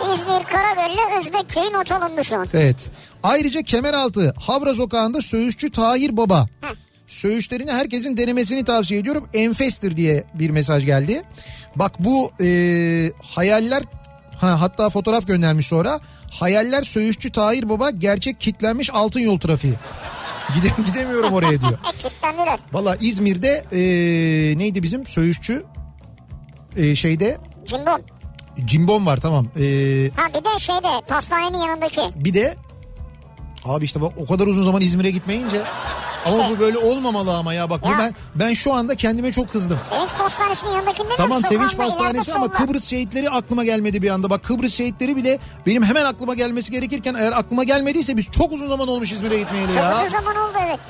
İzmir Karagöl'le Özbekköy not alındı şu an. Evet. Ayrıca Kemeraltı Havra Sokağı'nda Söğüşçü Tahir Baba. Söğüşlerini herkesin denemesini tavsiye ediyorum. Enfestir diye bir mesaj geldi. Bak bu e, hayaller ha, hatta fotoğraf göndermiş sonra. Hayaller Söğüşçü Tahir Baba gerçek kitlenmiş altın yol trafiği. Gide, gidemiyorum oraya diyor. E kilitlendiler. Valla İzmir'de e, neydi bizim Söğüşçü e, şeyde Cimbom. cimbom var tamam. E, Ha bir de şeyde pastanenin yanındaki. Bir de abi işte bak o kadar uzun zaman İzmir'e gitmeyince ama bu böyle olmamalı ama ya bak bu Ya. ben ben şu anda kendime çok kızdım. Sevinç Pastanesi'nin yanındakinde de Tamam sokağın Sevinç da ileride Pastanesi ama solda. Kıbrıs şehitleri aklıma gelmedi bir anda. Bak Kıbrıs şehitleri bile benim hemen aklıma gelmesi gerekirken eğer aklıma gelmediyse biz çok uzun zaman olmuş İzmir'e gitmeyeli Çok ya. uzun zaman oldu evet.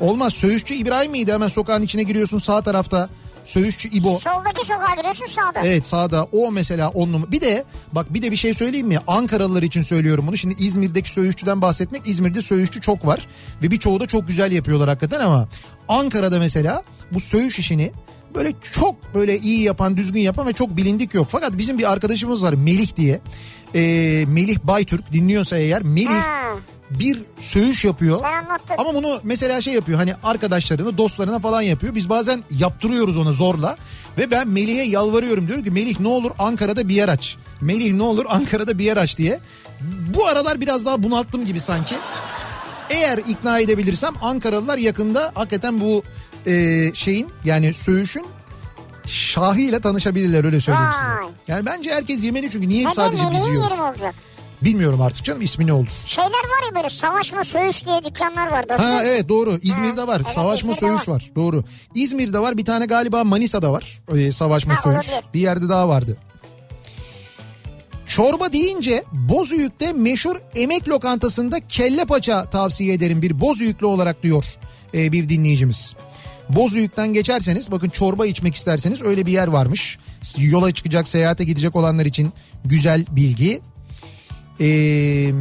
Olmaz. Söğüşçü İbrahim miydi? Hemen sokağın içine giriyorsun sağ tarafta. Söğüşçü İbo. Soldaki sokağa giriyorsun sağda. Evet sağda o mesela on numara. Bir de bak bir de bir şey söyleyeyim mi? Ankaralılar için söylüyorum bunu. Şimdi İzmir'deki söğüşçüden bahsetmek. İzmir'de söğüşçü çok var. Ve birçoğu da çok güzel yapıyorlar hakikaten ama. Ankara'da mesela bu söğüş işini böyle çok böyle iyi yapan, düzgün yapan ve çok bilindik yok. Fakat bizim bir arkadaşımız var Melih diye. Ee, Melih Baytürk dinliyorsa eğer Melih Ha. bir söğüş yapıyor. Sen anlattın. Ama bunu mesela şey yapıyor hani arkadaşlarını dostlarına falan yapıyor. Biz bazen yaptırıyoruz ona zorla. Ve ben Melih'e yalvarıyorum diyorum ki Melih ne olur Ankara'da bir yer aç. Melih ne olur Ankara'da bir yer aç diye. Bu aralar biraz daha bunalttım gibi sanki. Eğer ikna edebilirsem Ankaralılar yakında hakikaten bu e, şeyin yani söğüşün şahiyle tanışabilirler öyle söyleyeyim Vay. size. Yani bence herkes yemeli çünkü niye Neden sadece biz meleğin yiyoruz? yerim olacak? Bilmiyorum artık canım ismi ne olur. Şeyler var ya böyle savaşma söğüş diye dükkanlar vardı. hatırlıyor Ha musun? evet doğru. İzmir'de Ha, var. evet, savaşma İzmir'de söğüş var. Doğru. İzmir'de var. Bir tane galiba Manisa'da var. Ee, savaşma Ha, söğüş. olabilir. Bir yerde daha vardı. Çorba deyince Bozüyük'te meşhur emek lokantasında kelle paça tavsiye ederim bir Bozüyüklü olarak diyor e, bir dinleyicimiz. Bozüyük'ten geçerseniz bakın çorba içmek isterseniz öyle bir yer varmış. Yola çıkacak seyahate gidecek olanlar için güzel bilgi. Eee...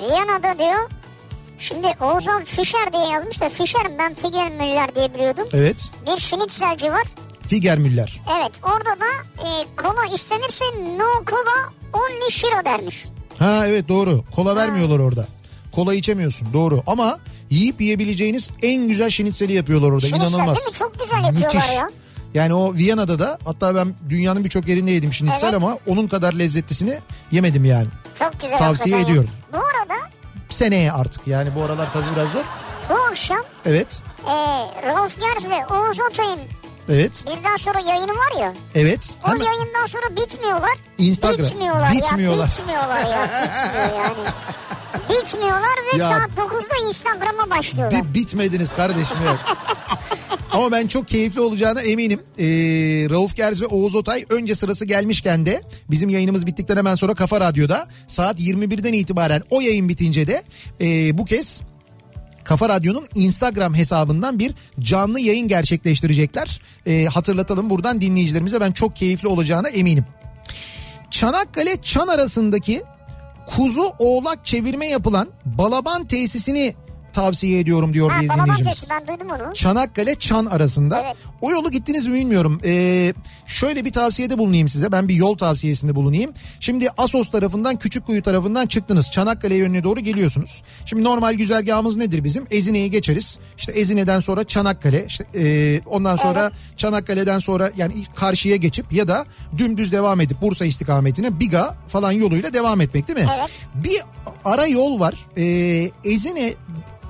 Viyana'da diyor. Şimdi Oğuzhan Fischer diye yazmış da Fischer'im ben Figelmüller diye biliyordum. Evet. Bir şinitselci var. Figermüller. Evet orada da e, kola istenirse no kola only shiro dermiş. Ha evet doğru. Kola vermiyorlar orada. Kola içemiyorsun doğru ama yiyip yiyebileceğiniz en güzel şinitseli yapıyorlar orada. Şinitzel İnanılmaz. değil mi? Çok güzel yapıyorlar Müthiş. ya. Yani o Viyana'da da hatta ben dünyanın birçok yerinde yedim şinitsel Evet. ama onun kadar lezzetlisini yemedim yani. Çok güzel. Tavsiye hakikaten ya. ediyorum. Bu arada Seneye artık yani bu aralar tabii biraz zor. bu akşam Evet. e, Rolf Gers ve Oğuz Atay'ın Evet. birden sonra yayını var ya. Evet. O Hemen yayından sonra bitmiyorlar. Instagram. Bitmiyorlar, Bitmiyorlar. ya. Bitmiyorlar ya. Bitmiyor yani. Bitmiyorlar ve Ya. saat 9'da Instagram'a başlıyorlar. Bir bitmediniz kardeşim evet. Ama ben çok keyifli olacağına eminim. Ee, Rauf Gerz ve Oğuz Otay önce sırası gelmişken de bizim yayınımız bittikten hemen sonra Kafa Radyo'da saat 21'den itibaren o yayın bitince de e, bu kez Kafa Radyo'nun Instagram hesabından bir canlı yayın gerçekleştirecekler. Ee, hatırlatalım buradan dinleyicilerimize ben çok keyifli olacağına eminim. Çanakkale Çan arasındaki kuzu oğlak çevirme yapılan Balaban tesisini tavsiye ediyorum diyor ha, bir Balaban dinleyicimiz. Tepsi ben duydum onu. Çanakkale Çan arasında. Evet. O yolu gittiniz mi bilmiyorum. Ee, şöyle bir tavsiyede bulunayım size. Ben bir yol tavsiyesinde bulunayım. Şimdi Asos tarafından Küçükkuyu tarafından çıktınız. Çanakkale yönüne doğru geliyorsunuz. Şimdi normal güzergahımız nedir bizim? Ezine'yi geçeriz. İşte Ezine'den sonra Çanakkale. işte, ee, ondan sonra Çanakkale'den sonra yani ilk karşıya geçip ya da dümdüz devam edip Bursa istikametine Biga falan yoluyla devam etmek değil mi? Evet. Bir ara yol var. Ee, Ezine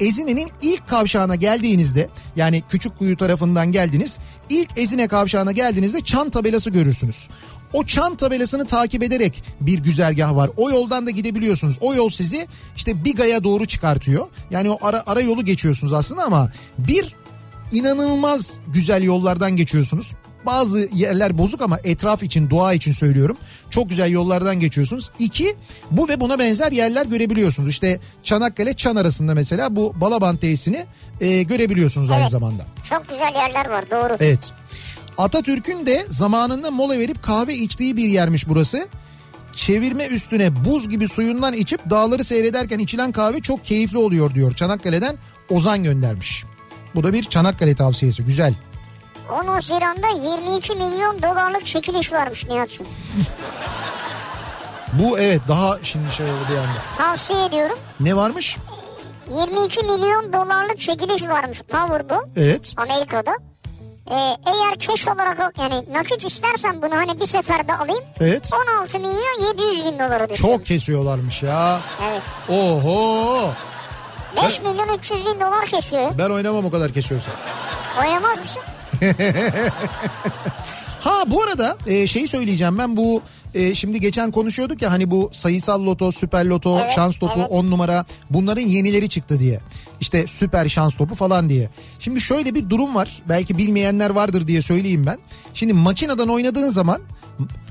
Ezine'nin ilk kavşağına geldiğinizde yani küçük kuyu tarafından geldiniz. ilk Ezine kavşağına geldiğinizde çan tabelası görürsünüz. O çan tabelasını takip ederek bir güzergah var. O yoldan da gidebiliyorsunuz. O yol sizi işte Biga'ya doğru çıkartıyor. Yani o ara, ara yolu geçiyorsunuz aslında ama bir inanılmaz güzel yollardan geçiyorsunuz. Bazı yerler bozuk ama etraf için, doğa için söylüyorum. Çok güzel yollardan geçiyorsunuz. İki, bu ve buna benzer yerler görebiliyorsunuz. İşte Çanakkale Çan arasında mesela bu Balaban tesisini e, görebiliyorsunuz aynı Evet. zamanda. Çok güzel yerler var doğru. Evet. Atatürk'ün de zamanında mola verip kahve içtiği bir yermiş burası. Çevirme üstüne buz gibi suyundan içip dağları seyrederken içilen kahve çok keyifli oluyor diyor. Çanakkale'den Ozan göndermiş. Bu da bir Çanakkale tavsiyesi. Güzel. 10 Haziran'da 22 milyon dolarlık çekiliş varmış Nihat'cığım. Bu evet daha şimdi şey oldu bir anda. Tavsiye ediyorum. Ne varmış? 22 milyon dolarlık çekiliş varmış Powerball Evet. Amerika'da. Ee, eğer keş olarak yani nakit istersen bunu hani bir seferde alayım. Evet. 16 milyon 700 bin dolara düşüyor. Çok kesiyorlarmış ya. Evet. Oho. 5 milyon 300 bin dolar kesiyor. Ben oynamam o kadar kesiyorsa. Oyamaz mısın? Ha bu arada e, şeyi söyleyeceğim ben bu e, şimdi geçen konuşuyorduk ya hani bu sayısal loto, süper loto, Evet, şans topu, evet. 10 numara bunların yenileri çıktı diye. İşte süper şans topu falan diye. Şimdi şöyle bir durum var belki bilmeyenler vardır diye söyleyeyim ben. Şimdi makineden oynadığın zaman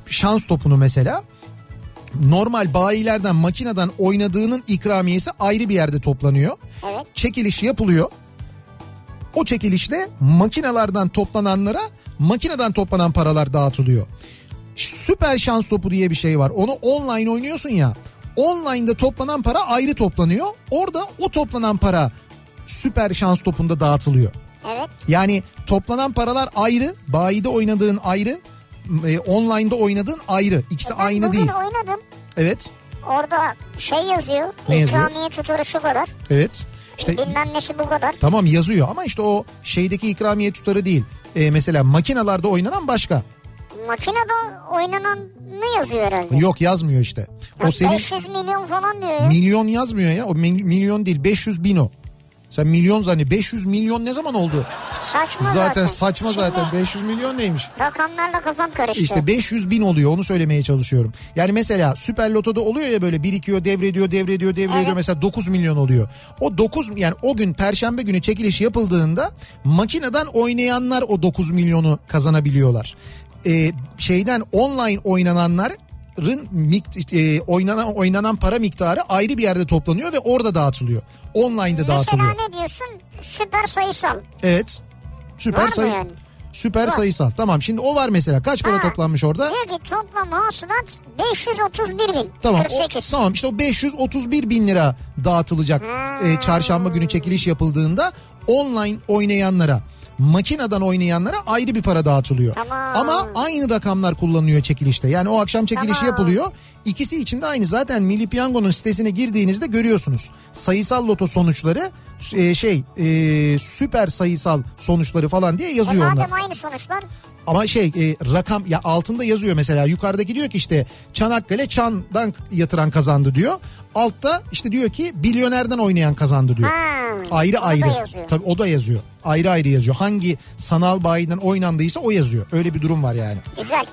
şans topunu mesela normal bayilerden makineden oynadığının ikramiyesi ayrı bir yerde toplanıyor. Evet. Çekiliş yapılıyor. O çekilişte makinalardan toplananlara makineden toplanan paralar dağıtılıyor. Süper şans topu diye bir şey var. Onu online oynuyorsun ya. Online'da toplanan para ayrı toplanıyor. Orada o toplanan para süper şans topunda dağıtılıyor. Evet. Yani toplanan paralar ayrı, bayide oynadığın ayrı, e, online'da oynadığın ayrı. İkisi E Ben aynı bugün değil. oynadım. Evet. Orada şey yazıyor. Ne yazıyor? İkramiye tutarı şu kadar. Evet. İşte Bilmem nesi bu kadar. tamam yazıyor ama işte o şeydeki ikramiye tutarı değil. E, mesela makinalarda oynanan başka. Makinede oynananı yazıyor herhalde. Yok yazmıyor işte. Ya O senin 500 milyon falan diyor ya. milyon yazmıyor ya. O mil- milyon değil 500 bin o. Sen milyon zannet. 500 milyon ne zaman oldu? saçma zaten. Zaten saçma Şimdi zaten. 500 milyon neymiş? Rakamlarla kafam karıştı. İşte 500 bin oluyor onu söylemeye çalışıyorum. Yani mesela Süper Loto'da oluyor ya böyle birikiyor devrediyor devrediyor devrediyor Evet. mesela 9 milyon oluyor. O 9 yani o gün perşembe günü çekiliş yapıldığında makineden oynayanlar o 9 milyonu kazanabiliyorlar. Ee, şeyden online oynananların mikt- e, oynanan oynanan para miktarı ayrı bir yerde toplanıyor ve orada dağıtılıyor. Online'da Mesela dağıtılıyor. ne diyorsun? Süper sayısal. Evet. Süper Var mı sayı yani? Süper sayısal. Tamam şimdi o var mesela. Kaç para Ha. toplanmış orada? Diyor ki toplam hasılat 531 bin. Tamam. O, 48. tamam işte o 531 bin lira dağıtılacak e, çarşamba günü çekiliş yapıldığında online oynayanlara makineden oynayanlara ayrı bir para dağıtılıyor. Tamam. Ama aynı rakamlar kullanılıyor çekilişte. Yani o akşam çekilişi Tamam. yapılıyor. İkisi için de aynı. Zaten Milli Piyango'nun sitesine girdiğinizde görüyorsunuz. Sayısal loto sonuçları e, şey e, süper sayısal sonuçları falan diye E yazıyor onlar. madem aynı sonuçlar. Ama şey e, rakam ya altında yazıyor mesela yukarıdaki diyor ki işte Çanakkale Çan'dan yatıran kazandı diyor. Altta işte diyor ki milyonerden oynayan kazandı diyor. Ha, ayrı o da ayrı. yazıyor. Tabii o da yazıyor. Ayrı ayrı yazıyor. Hangi sanal bayiden oynandıysa o yazıyor. Öyle bir durum var yani. Güzel.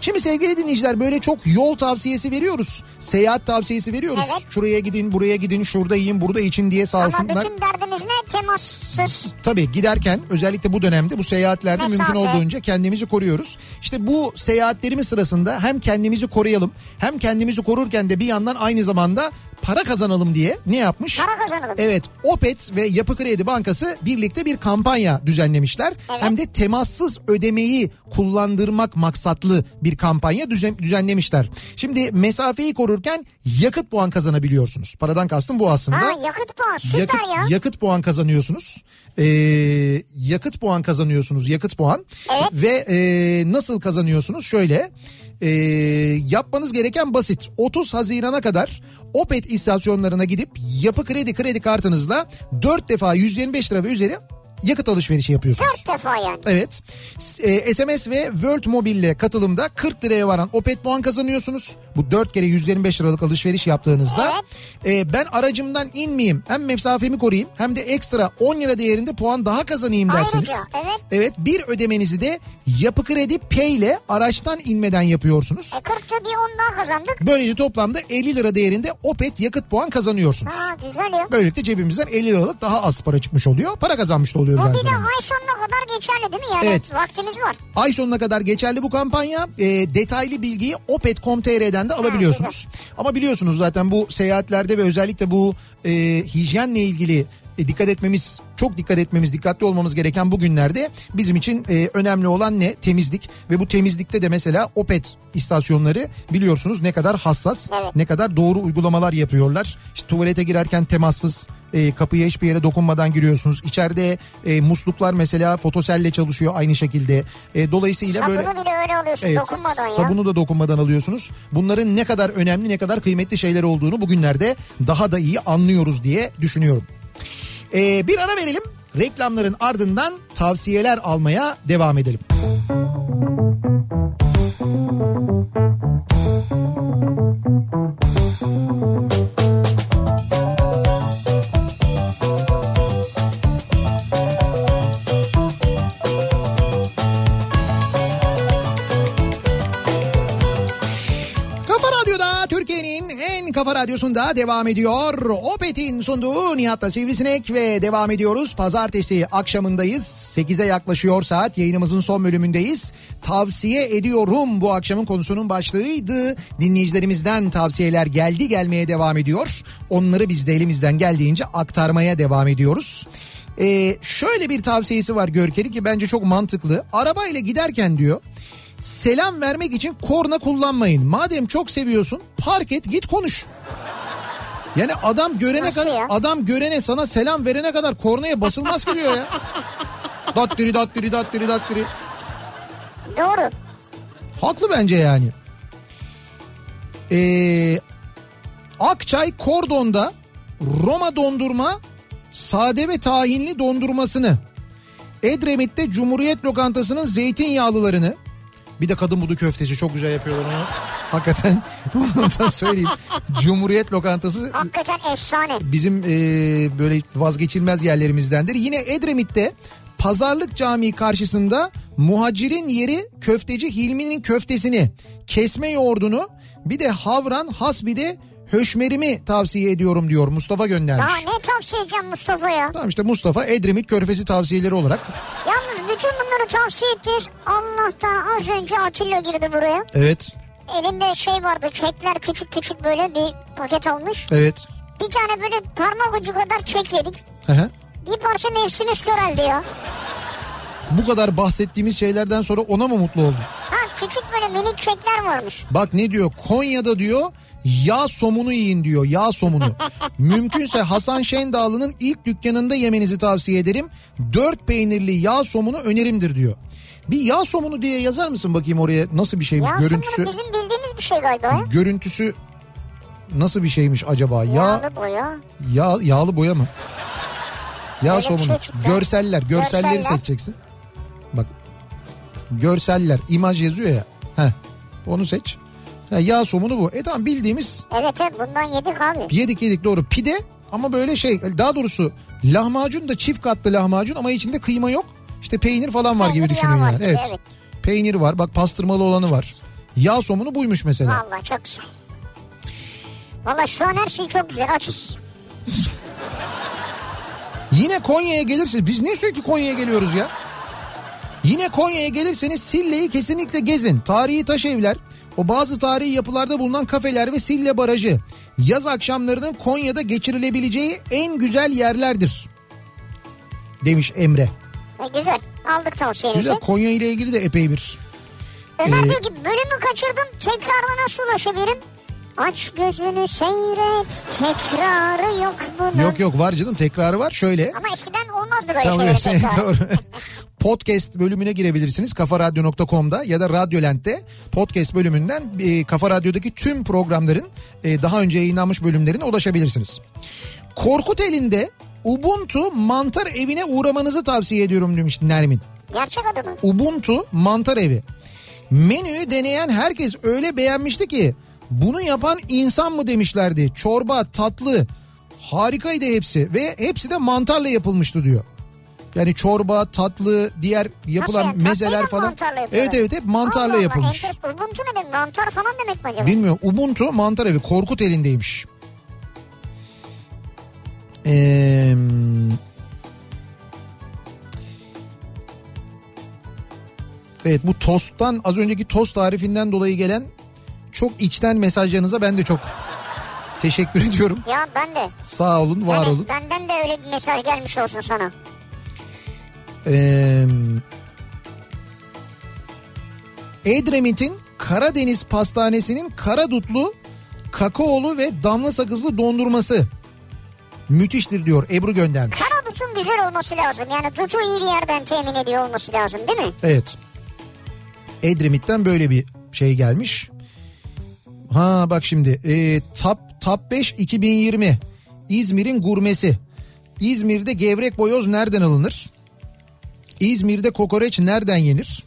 Şimdi sevgili dinleyiciler böyle çok yol tavsiyesi veriyoruz. Seyahat tavsiyesi veriyoruz. Evet. Şuraya gidin, buraya gidin, şurada yiyin, burada için diye sağ Ama olsunlar. bütün derdimiz ne? Temassız. Tabii giderken özellikle bu dönemde bu seyahatlerde Mesafe. mümkün olduğunca kendimizi koruyoruz. İşte bu seyahatlerimiz sırasında hem kendimizi koruyalım hem kendimizi korurken de bir yandan aynı zamanda para kazanalım diye ne yapmış? Para kazanalım. Evet Opet ve Yapı Kredi Bankası birlikte bir kampanya düzenlemişler. Evet. Hem de temassız ödemeyi kullandırmak maksatlı bir kampanya düzen- düzenlemişler. Şimdi mesafeyi korurken yakıt puan kazanabiliyorsunuz. Paradan kastım bu aslında. Ha yakıt puan süper Yakıt, ya. yakıt puan kazanıyorsunuz. Ee, yakıt puan kazanıyorsunuz. Yakıt puan. Evet. Ve e, nasıl kazanıyorsunuz? Şöyle. e, yapmanız gereken basit. 30 Haziran'a kadar Opet istasyonlarına gidip yapı kredi kredi kartınızla 4 defa 125 lira ve üzeri yakıt alışverişi yapıyorsunuz. Dört defa yani. Evet. S- e, SMS ve World Mobile ile katılımda 40 liraya varan Opet puan kazanıyorsunuz. Bu 4 kere 125 liralık alışveriş yaptığınızda. E, ben aracımdan inmeyeyim. Hem mesafemi koruyayım hem de ekstra 10 lira değerinde puan daha kazanayım Ayrıca, dersiniz. evet. Evet bir ödemenizi de Yapı Kredi Pay ile araçtan inmeden yapıyorsunuz. E 40'ta bir 10 daha kazandık. Böylece toplamda 50 lira değerinde Opet yakıt puan kazanıyorsunuz. Ha güzel ya. Böylelikle cebimizden 50 liralık daha az para çıkmış oluyor. Para kazanmış da oluyoruz Bu aynı bir de zamanda. ay sonuna kadar geçerli değil mi yani? Evet. Vaktimiz var. Ay sonuna kadar geçerli bu kampanya. E, detaylı bilgiyi opet.com.tr'den de alabiliyorsunuz. Ama biliyorsunuz zaten bu seyahatlerde ve özellikle bu e, hijyenle ilgili e, dikkat etmemiz, çok dikkat etmemiz, dikkatli olmamız gereken bu günlerde bizim için e, önemli olan ne? Temizlik ve bu temizlikte de mesela Opet istasyonları biliyorsunuz ne kadar hassas, Evet. ne kadar doğru uygulamalar yapıyorlar. İşte tuvalete girerken temassız e, kapıya hiçbir yere dokunmadan giriyorsunuz. İçeride e, musluklar mesela fotoselle çalışıyor aynı şekilde. E, dolayısıyla Sabunu böyle bile öyle alıyorsun Evet, dokunmadan ya. sabunu da dokunmadan alıyorsunuz. Bunların ne kadar önemli ne kadar kıymetli şeyler olduğunu bugünlerde daha da iyi anlıyoruz diye düşünüyorum. E, bir ara verelim. Reklamların ardından tavsiyeler almaya devam edelim. Kafa Radyo'da Türkiye'nin en kafa radyosunda devam ediyor. Opet'in sunduğu Nihat'la Sivrisinek ve devam ediyoruz. Pazartesi akşamındayız. 8'e yaklaşıyor saat. Yayınımızın son bölümündeyiz. Tavsiye ediyorum bu akşamın konusunun başlığıydı. Dinleyicilerimizden tavsiyeler geldi gelmeye devam ediyor. Onları biz de elimizden geldiğince aktarmaya devam ediyoruz. Ee, şöyle bir tavsiyesi var Görkeli ki bence çok mantıklı. Araba ile giderken diyor selam vermek için korna kullanmayın. Madem çok seviyorsun park et git konuş. Yani adam görene Nasıl kadar ya? adam görene sana selam verene kadar kornaya basılmaz ki diyor ya. dat diri dat diri dat diri dat diri. Doğru. Haklı bence yani. Ee, Akçay Kordon'da Roma dondurma sade ve tahinli dondurmasını Edremit'te Cumhuriyet lokantasının zeytinyağlılarını bir de kadın budu köftesi çok güzel yapıyorlar onu. Hakikaten onu da söyleyeyim. Cumhuriyet lokantası Hakikaten efsane. bizim e, böyle vazgeçilmez yerlerimizdendir. Yine Edremit'te Pazarlık Camii karşısında muhacirin yeri köfteci Hilmi'nin köftesini, kesme yoğurdunu bir de havran has bir de höşmerimi tavsiye ediyorum diyor Mustafa göndermiş. Daha ne tavsiye edeceğim Mustafa ya? Tamam işte Mustafa Edremit körfezi tavsiyeleri olarak. Yalnız bütün bunları tavsiye ettiniz. Allah'tan az önce Atilla girdi buraya. Evet, Elinde şey vardı kekler küçük küçük böyle bir paket almış. evet. Bir tane böyle parmak ucu kadar kek yedik. Hı hı. Bir parça nefsimiz köreldi ya. Bu kadar bahsettiğimiz şeylerden sonra ona mı mutlu oldun? Ha küçük böyle minik kekler varmış. Bak ne diyor Konya'da diyor yağ somunu yiyin diyor yağ somunu. Mümkünse Hasan Şendağlı'nın ilk dükkanında yemenizi tavsiye ederim. Dört peynirli yağ somunu önerimdir diyor. Bir yağ somunu diye yazar mısın bakayım oraya nasıl bir şeymiş Ya görüntüsü aslında bizim bildiğimiz bir şey galiba ya. görüntüsü nasıl bir şeymiş acaba yağ Yağlı boya. yağ yağlı boya mı? Yağ Öyle bir somunu şey çıktı. görseller görselleri Görseller. seçeceksin. Bak görseller imaj yazıyor ya. Heh, onu seç. Ha, yağ somunu bu. E tamam bildiğimiz Evet evet bundan yedik abi. Yedik yedik doğru pide ama böyle şey daha doğrusu lahmacun da çift katlı lahmacun ama içinde kıyma yok. İşte peynir falan var gibi Peynir, düşünün yağ var yani. gibi, Evet. evet. Peynir var bak pastırmalı olanı var. Yağ somunu buymuş mesela. Vallahi çok güzel. Valla şu an her şey çok güzel açız. Yine Konya'ya gelirsiniz. Biz niye sürekli Konya'ya geliyoruz ya? Yine Konya'ya gelirseniz Sille'yi kesinlikle gezin. Tarihi taş evler, o bazı tarihi yapılarda bulunan kafeler ve Sille Barajı yaz akşamlarının Konya'da geçirilebileceği en güzel yerlerdir. Demiş Emre. E, güzel aldık tavsiyenizi. Güzel Konya ile ilgili de epey bir. Ömer Ee, diyor ki bölümü kaçırdım tekrarına nasıl ulaşabilirim? Aç gözünü seyret tekrarı yok bunun. Yok yok var canım tekrarı var. Şöyle. Ama eskiden olmazdı böyle Tamam, şeyler evet, tekrar. doğru. Podcast bölümüne girebilirsiniz kafaradyo.com'da ya da Radyolent'te podcast bölümünden e, Kafa Radyo'daki tüm programların e, daha önce yayınlanmış bölümlerine ulaşabilirsiniz. Korkut elinde Ubuntu mantar evine uğramanızı tavsiye ediyorum demiş Nermin. Gerçek adı mı? Ubuntu mantar evi. Menüyü deneyen herkes öyle beğenmişti ki bunu yapan insan mı demişlerdi. Çorba, tatlı harikaydı hepsi ve hepsi de mantarla yapılmıştı diyor. Yani çorba, tatlı, diğer yapılan yani? Tatlıyı mezeler da falan. mantarla yapıyorlar? Evet evet hep mantarla Allah yapılmış. Allah enteresan. Ubuntu ne demek? Mantar falan demek mi acaba? Bilmiyorum Ubuntu mantar evi Korkut elindeymiş. Ee, evet bu tosttan az önceki tost tarifinden dolayı gelen çok içten mesajlarınıza ben de çok teşekkür ediyorum. ya ben de. Sağ olun var Evet, olun. Benden de öyle bir mesaj gelmiş olsun sana. Ee, Edremit'in Karadeniz Pastanesi'nin karadutlu, kakaolu ve damla sakızlı dondurması. Müthiştir diyor Ebru göndermiş. Kara dutun güzel olması lazım. Yani dutu iyi bir yerden temin ediyor olması lazım değil mi? Evet. Edremit'ten böyle bir şey gelmiş. Ha bak şimdi ee, Top, Top 5 2020 İzmir'in gurmesi. İzmir'de gevrek boyoz nereden alınır? İzmir'de kokoreç nereden yenir?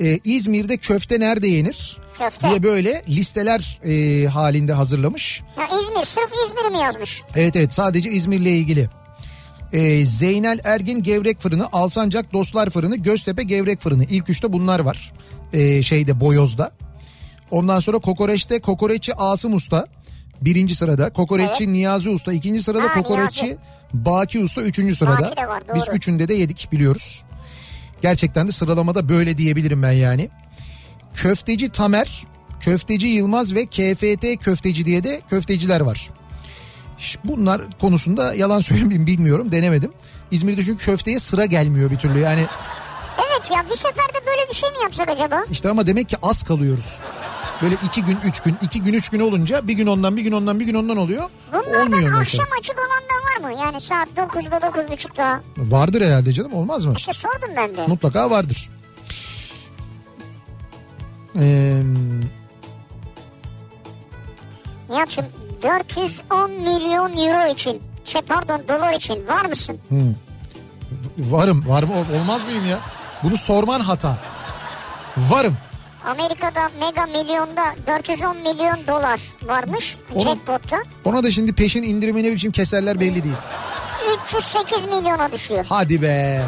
Ee, İzmir'de köfte nerede yenir? Köfte. Diye böyle listeler ee, halinde hazırlamış. Ya İzmir sırf İzmir mi yazmış? Evet evet sadece İzmir'le ilgili. Ee, Zeynel Ergin Gevrek Fırını, Alsancak Dostlar Fırını, Göztepe Gevrek Fırını. İlk üçte bunlar var. Ee, şeyde Boyoz'da. Ondan sonra Kokoreç'te Kokoreççi Asım Usta birinci sırada. Kokoreççi Niyazi Usta ikinci sırada. Ha, Kokoreççi Niyazi. Baki Usta üçüncü sırada. Baki de var, doğru. Biz üçünde de yedik biliyoruz. Gerçekten de sıralamada böyle diyebilirim ben yani. Köfteci Tamer, Köfteci Yılmaz ve KFT Köfteci diye de köfteciler var. Ş- Bunlar konusunda yalan söylemeyeyim bilmiyorum denemedim. İzmir'de çünkü köfteye sıra gelmiyor bir türlü yani Evet ya bir seferde böyle bir şey mi yapsak acaba? işte ama demek ki az kalıyoruz. Böyle iki gün üç gün iki gün üç gün olunca bir gün ondan bir gün ondan bir gün ondan oluyor. Bunlardan Olmuyor akşam mesela. açık olan da var mı? Yani saat 9'da 9.30'da. Vardır herhalde canım olmaz mı? İşte sordum ben de. Mutlaka vardır. Ee, Nihat'cığım 410 milyon euro için şey pardon dolar için var mısın? varım var mı Ol- olmaz mıyım ya? Bunu sorman hata. Varım. Amerika'da mega milyonda 410 milyon dolar varmış Oğlum. jackpotta. Ona da şimdi peşin indirimi ne biçim keserler belli değil. 308 milyona düşüyor. Hadi be.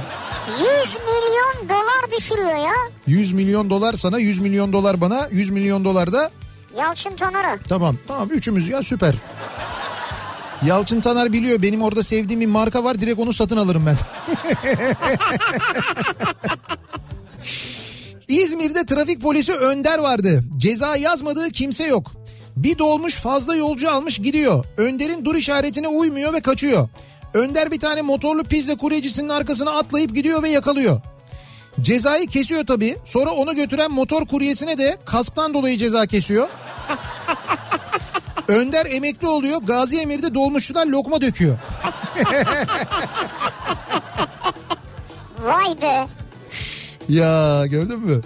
100 milyon dolar düşürüyor ya. 100 milyon dolar sana 100 milyon dolar bana 100 milyon dolar da Yalçın Tonar'a. tamam tamam üçümüz ya süper. Yalçın Taner biliyor benim orada sevdiğim bir marka var direkt onu satın alırım ben. İzmir'de trafik polisi Önder vardı. Ceza yazmadığı kimse yok. Bir dolmuş fazla yolcu almış gidiyor. Önder'in dur işaretine uymuyor ve kaçıyor. Önder bir tane motorlu pizza kuryecisinin arkasına atlayıp gidiyor ve yakalıyor. Cezayı kesiyor tabii. Sonra onu götüren motor kuryesine de kasktan dolayı ceza kesiyor. Önder emekli oluyor. Gazi Emir'de dolmuşçular lokma döküyor. Vay be. Ya gördün mü?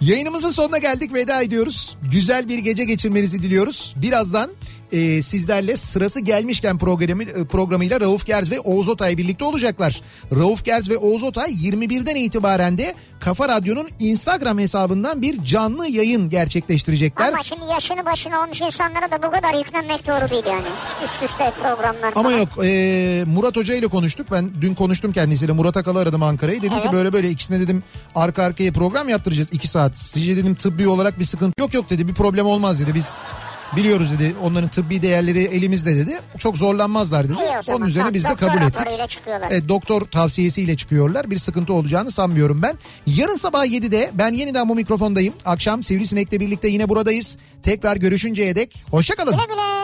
Yayınımızın sonuna geldik veda ediyoruz. Güzel bir gece geçirmenizi diliyoruz. Birazdan e, sizlerle sırası gelmişken programı, e, programıyla Rauf Gerz ve Oğuz Otay birlikte olacaklar. Rauf Gerz ve Oğuz Otay 21'den itibaren de Kafa Radyo'nun Instagram hesabından bir canlı yayın gerçekleştirecekler. Ama şimdi yaşını başına olmuş insanlara da bu kadar yüklenmek doğru değil yani. Üst üste programlar. Ama falan. yok e, Murat Hoca ile konuştuk. Ben dün konuştum kendisiyle. Murat Akal'ı aradım Ankara'yı. Dedim ki Evet. böyle böyle ikisine dedim arka arkaya program yaptıracağız. iki saat. Sizce dedim tıbbi olarak bir sıkıntı yok yok dedi. Bir problem olmaz dedi. Biz biliyoruz dedi. Onların tıbbi değerleri elimizde dedi. Çok zorlanmazlar dedi. İyi o Onun zaman. üzerine Tamam, biz de doktor kabul ettik. Ee, raporuyla çıkıyorlar. Evet, doktor tavsiyesiyle çıkıyorlar. Bir sıkıntı olacağını sanmıyorum ben. Yarın sabah 7'de ben yeniden bu mikrofondayım. Akşam Sivrisinek'le birlikte yine buradayız. Tekrar görüşünceye dek hoşçakalın. Güle güle.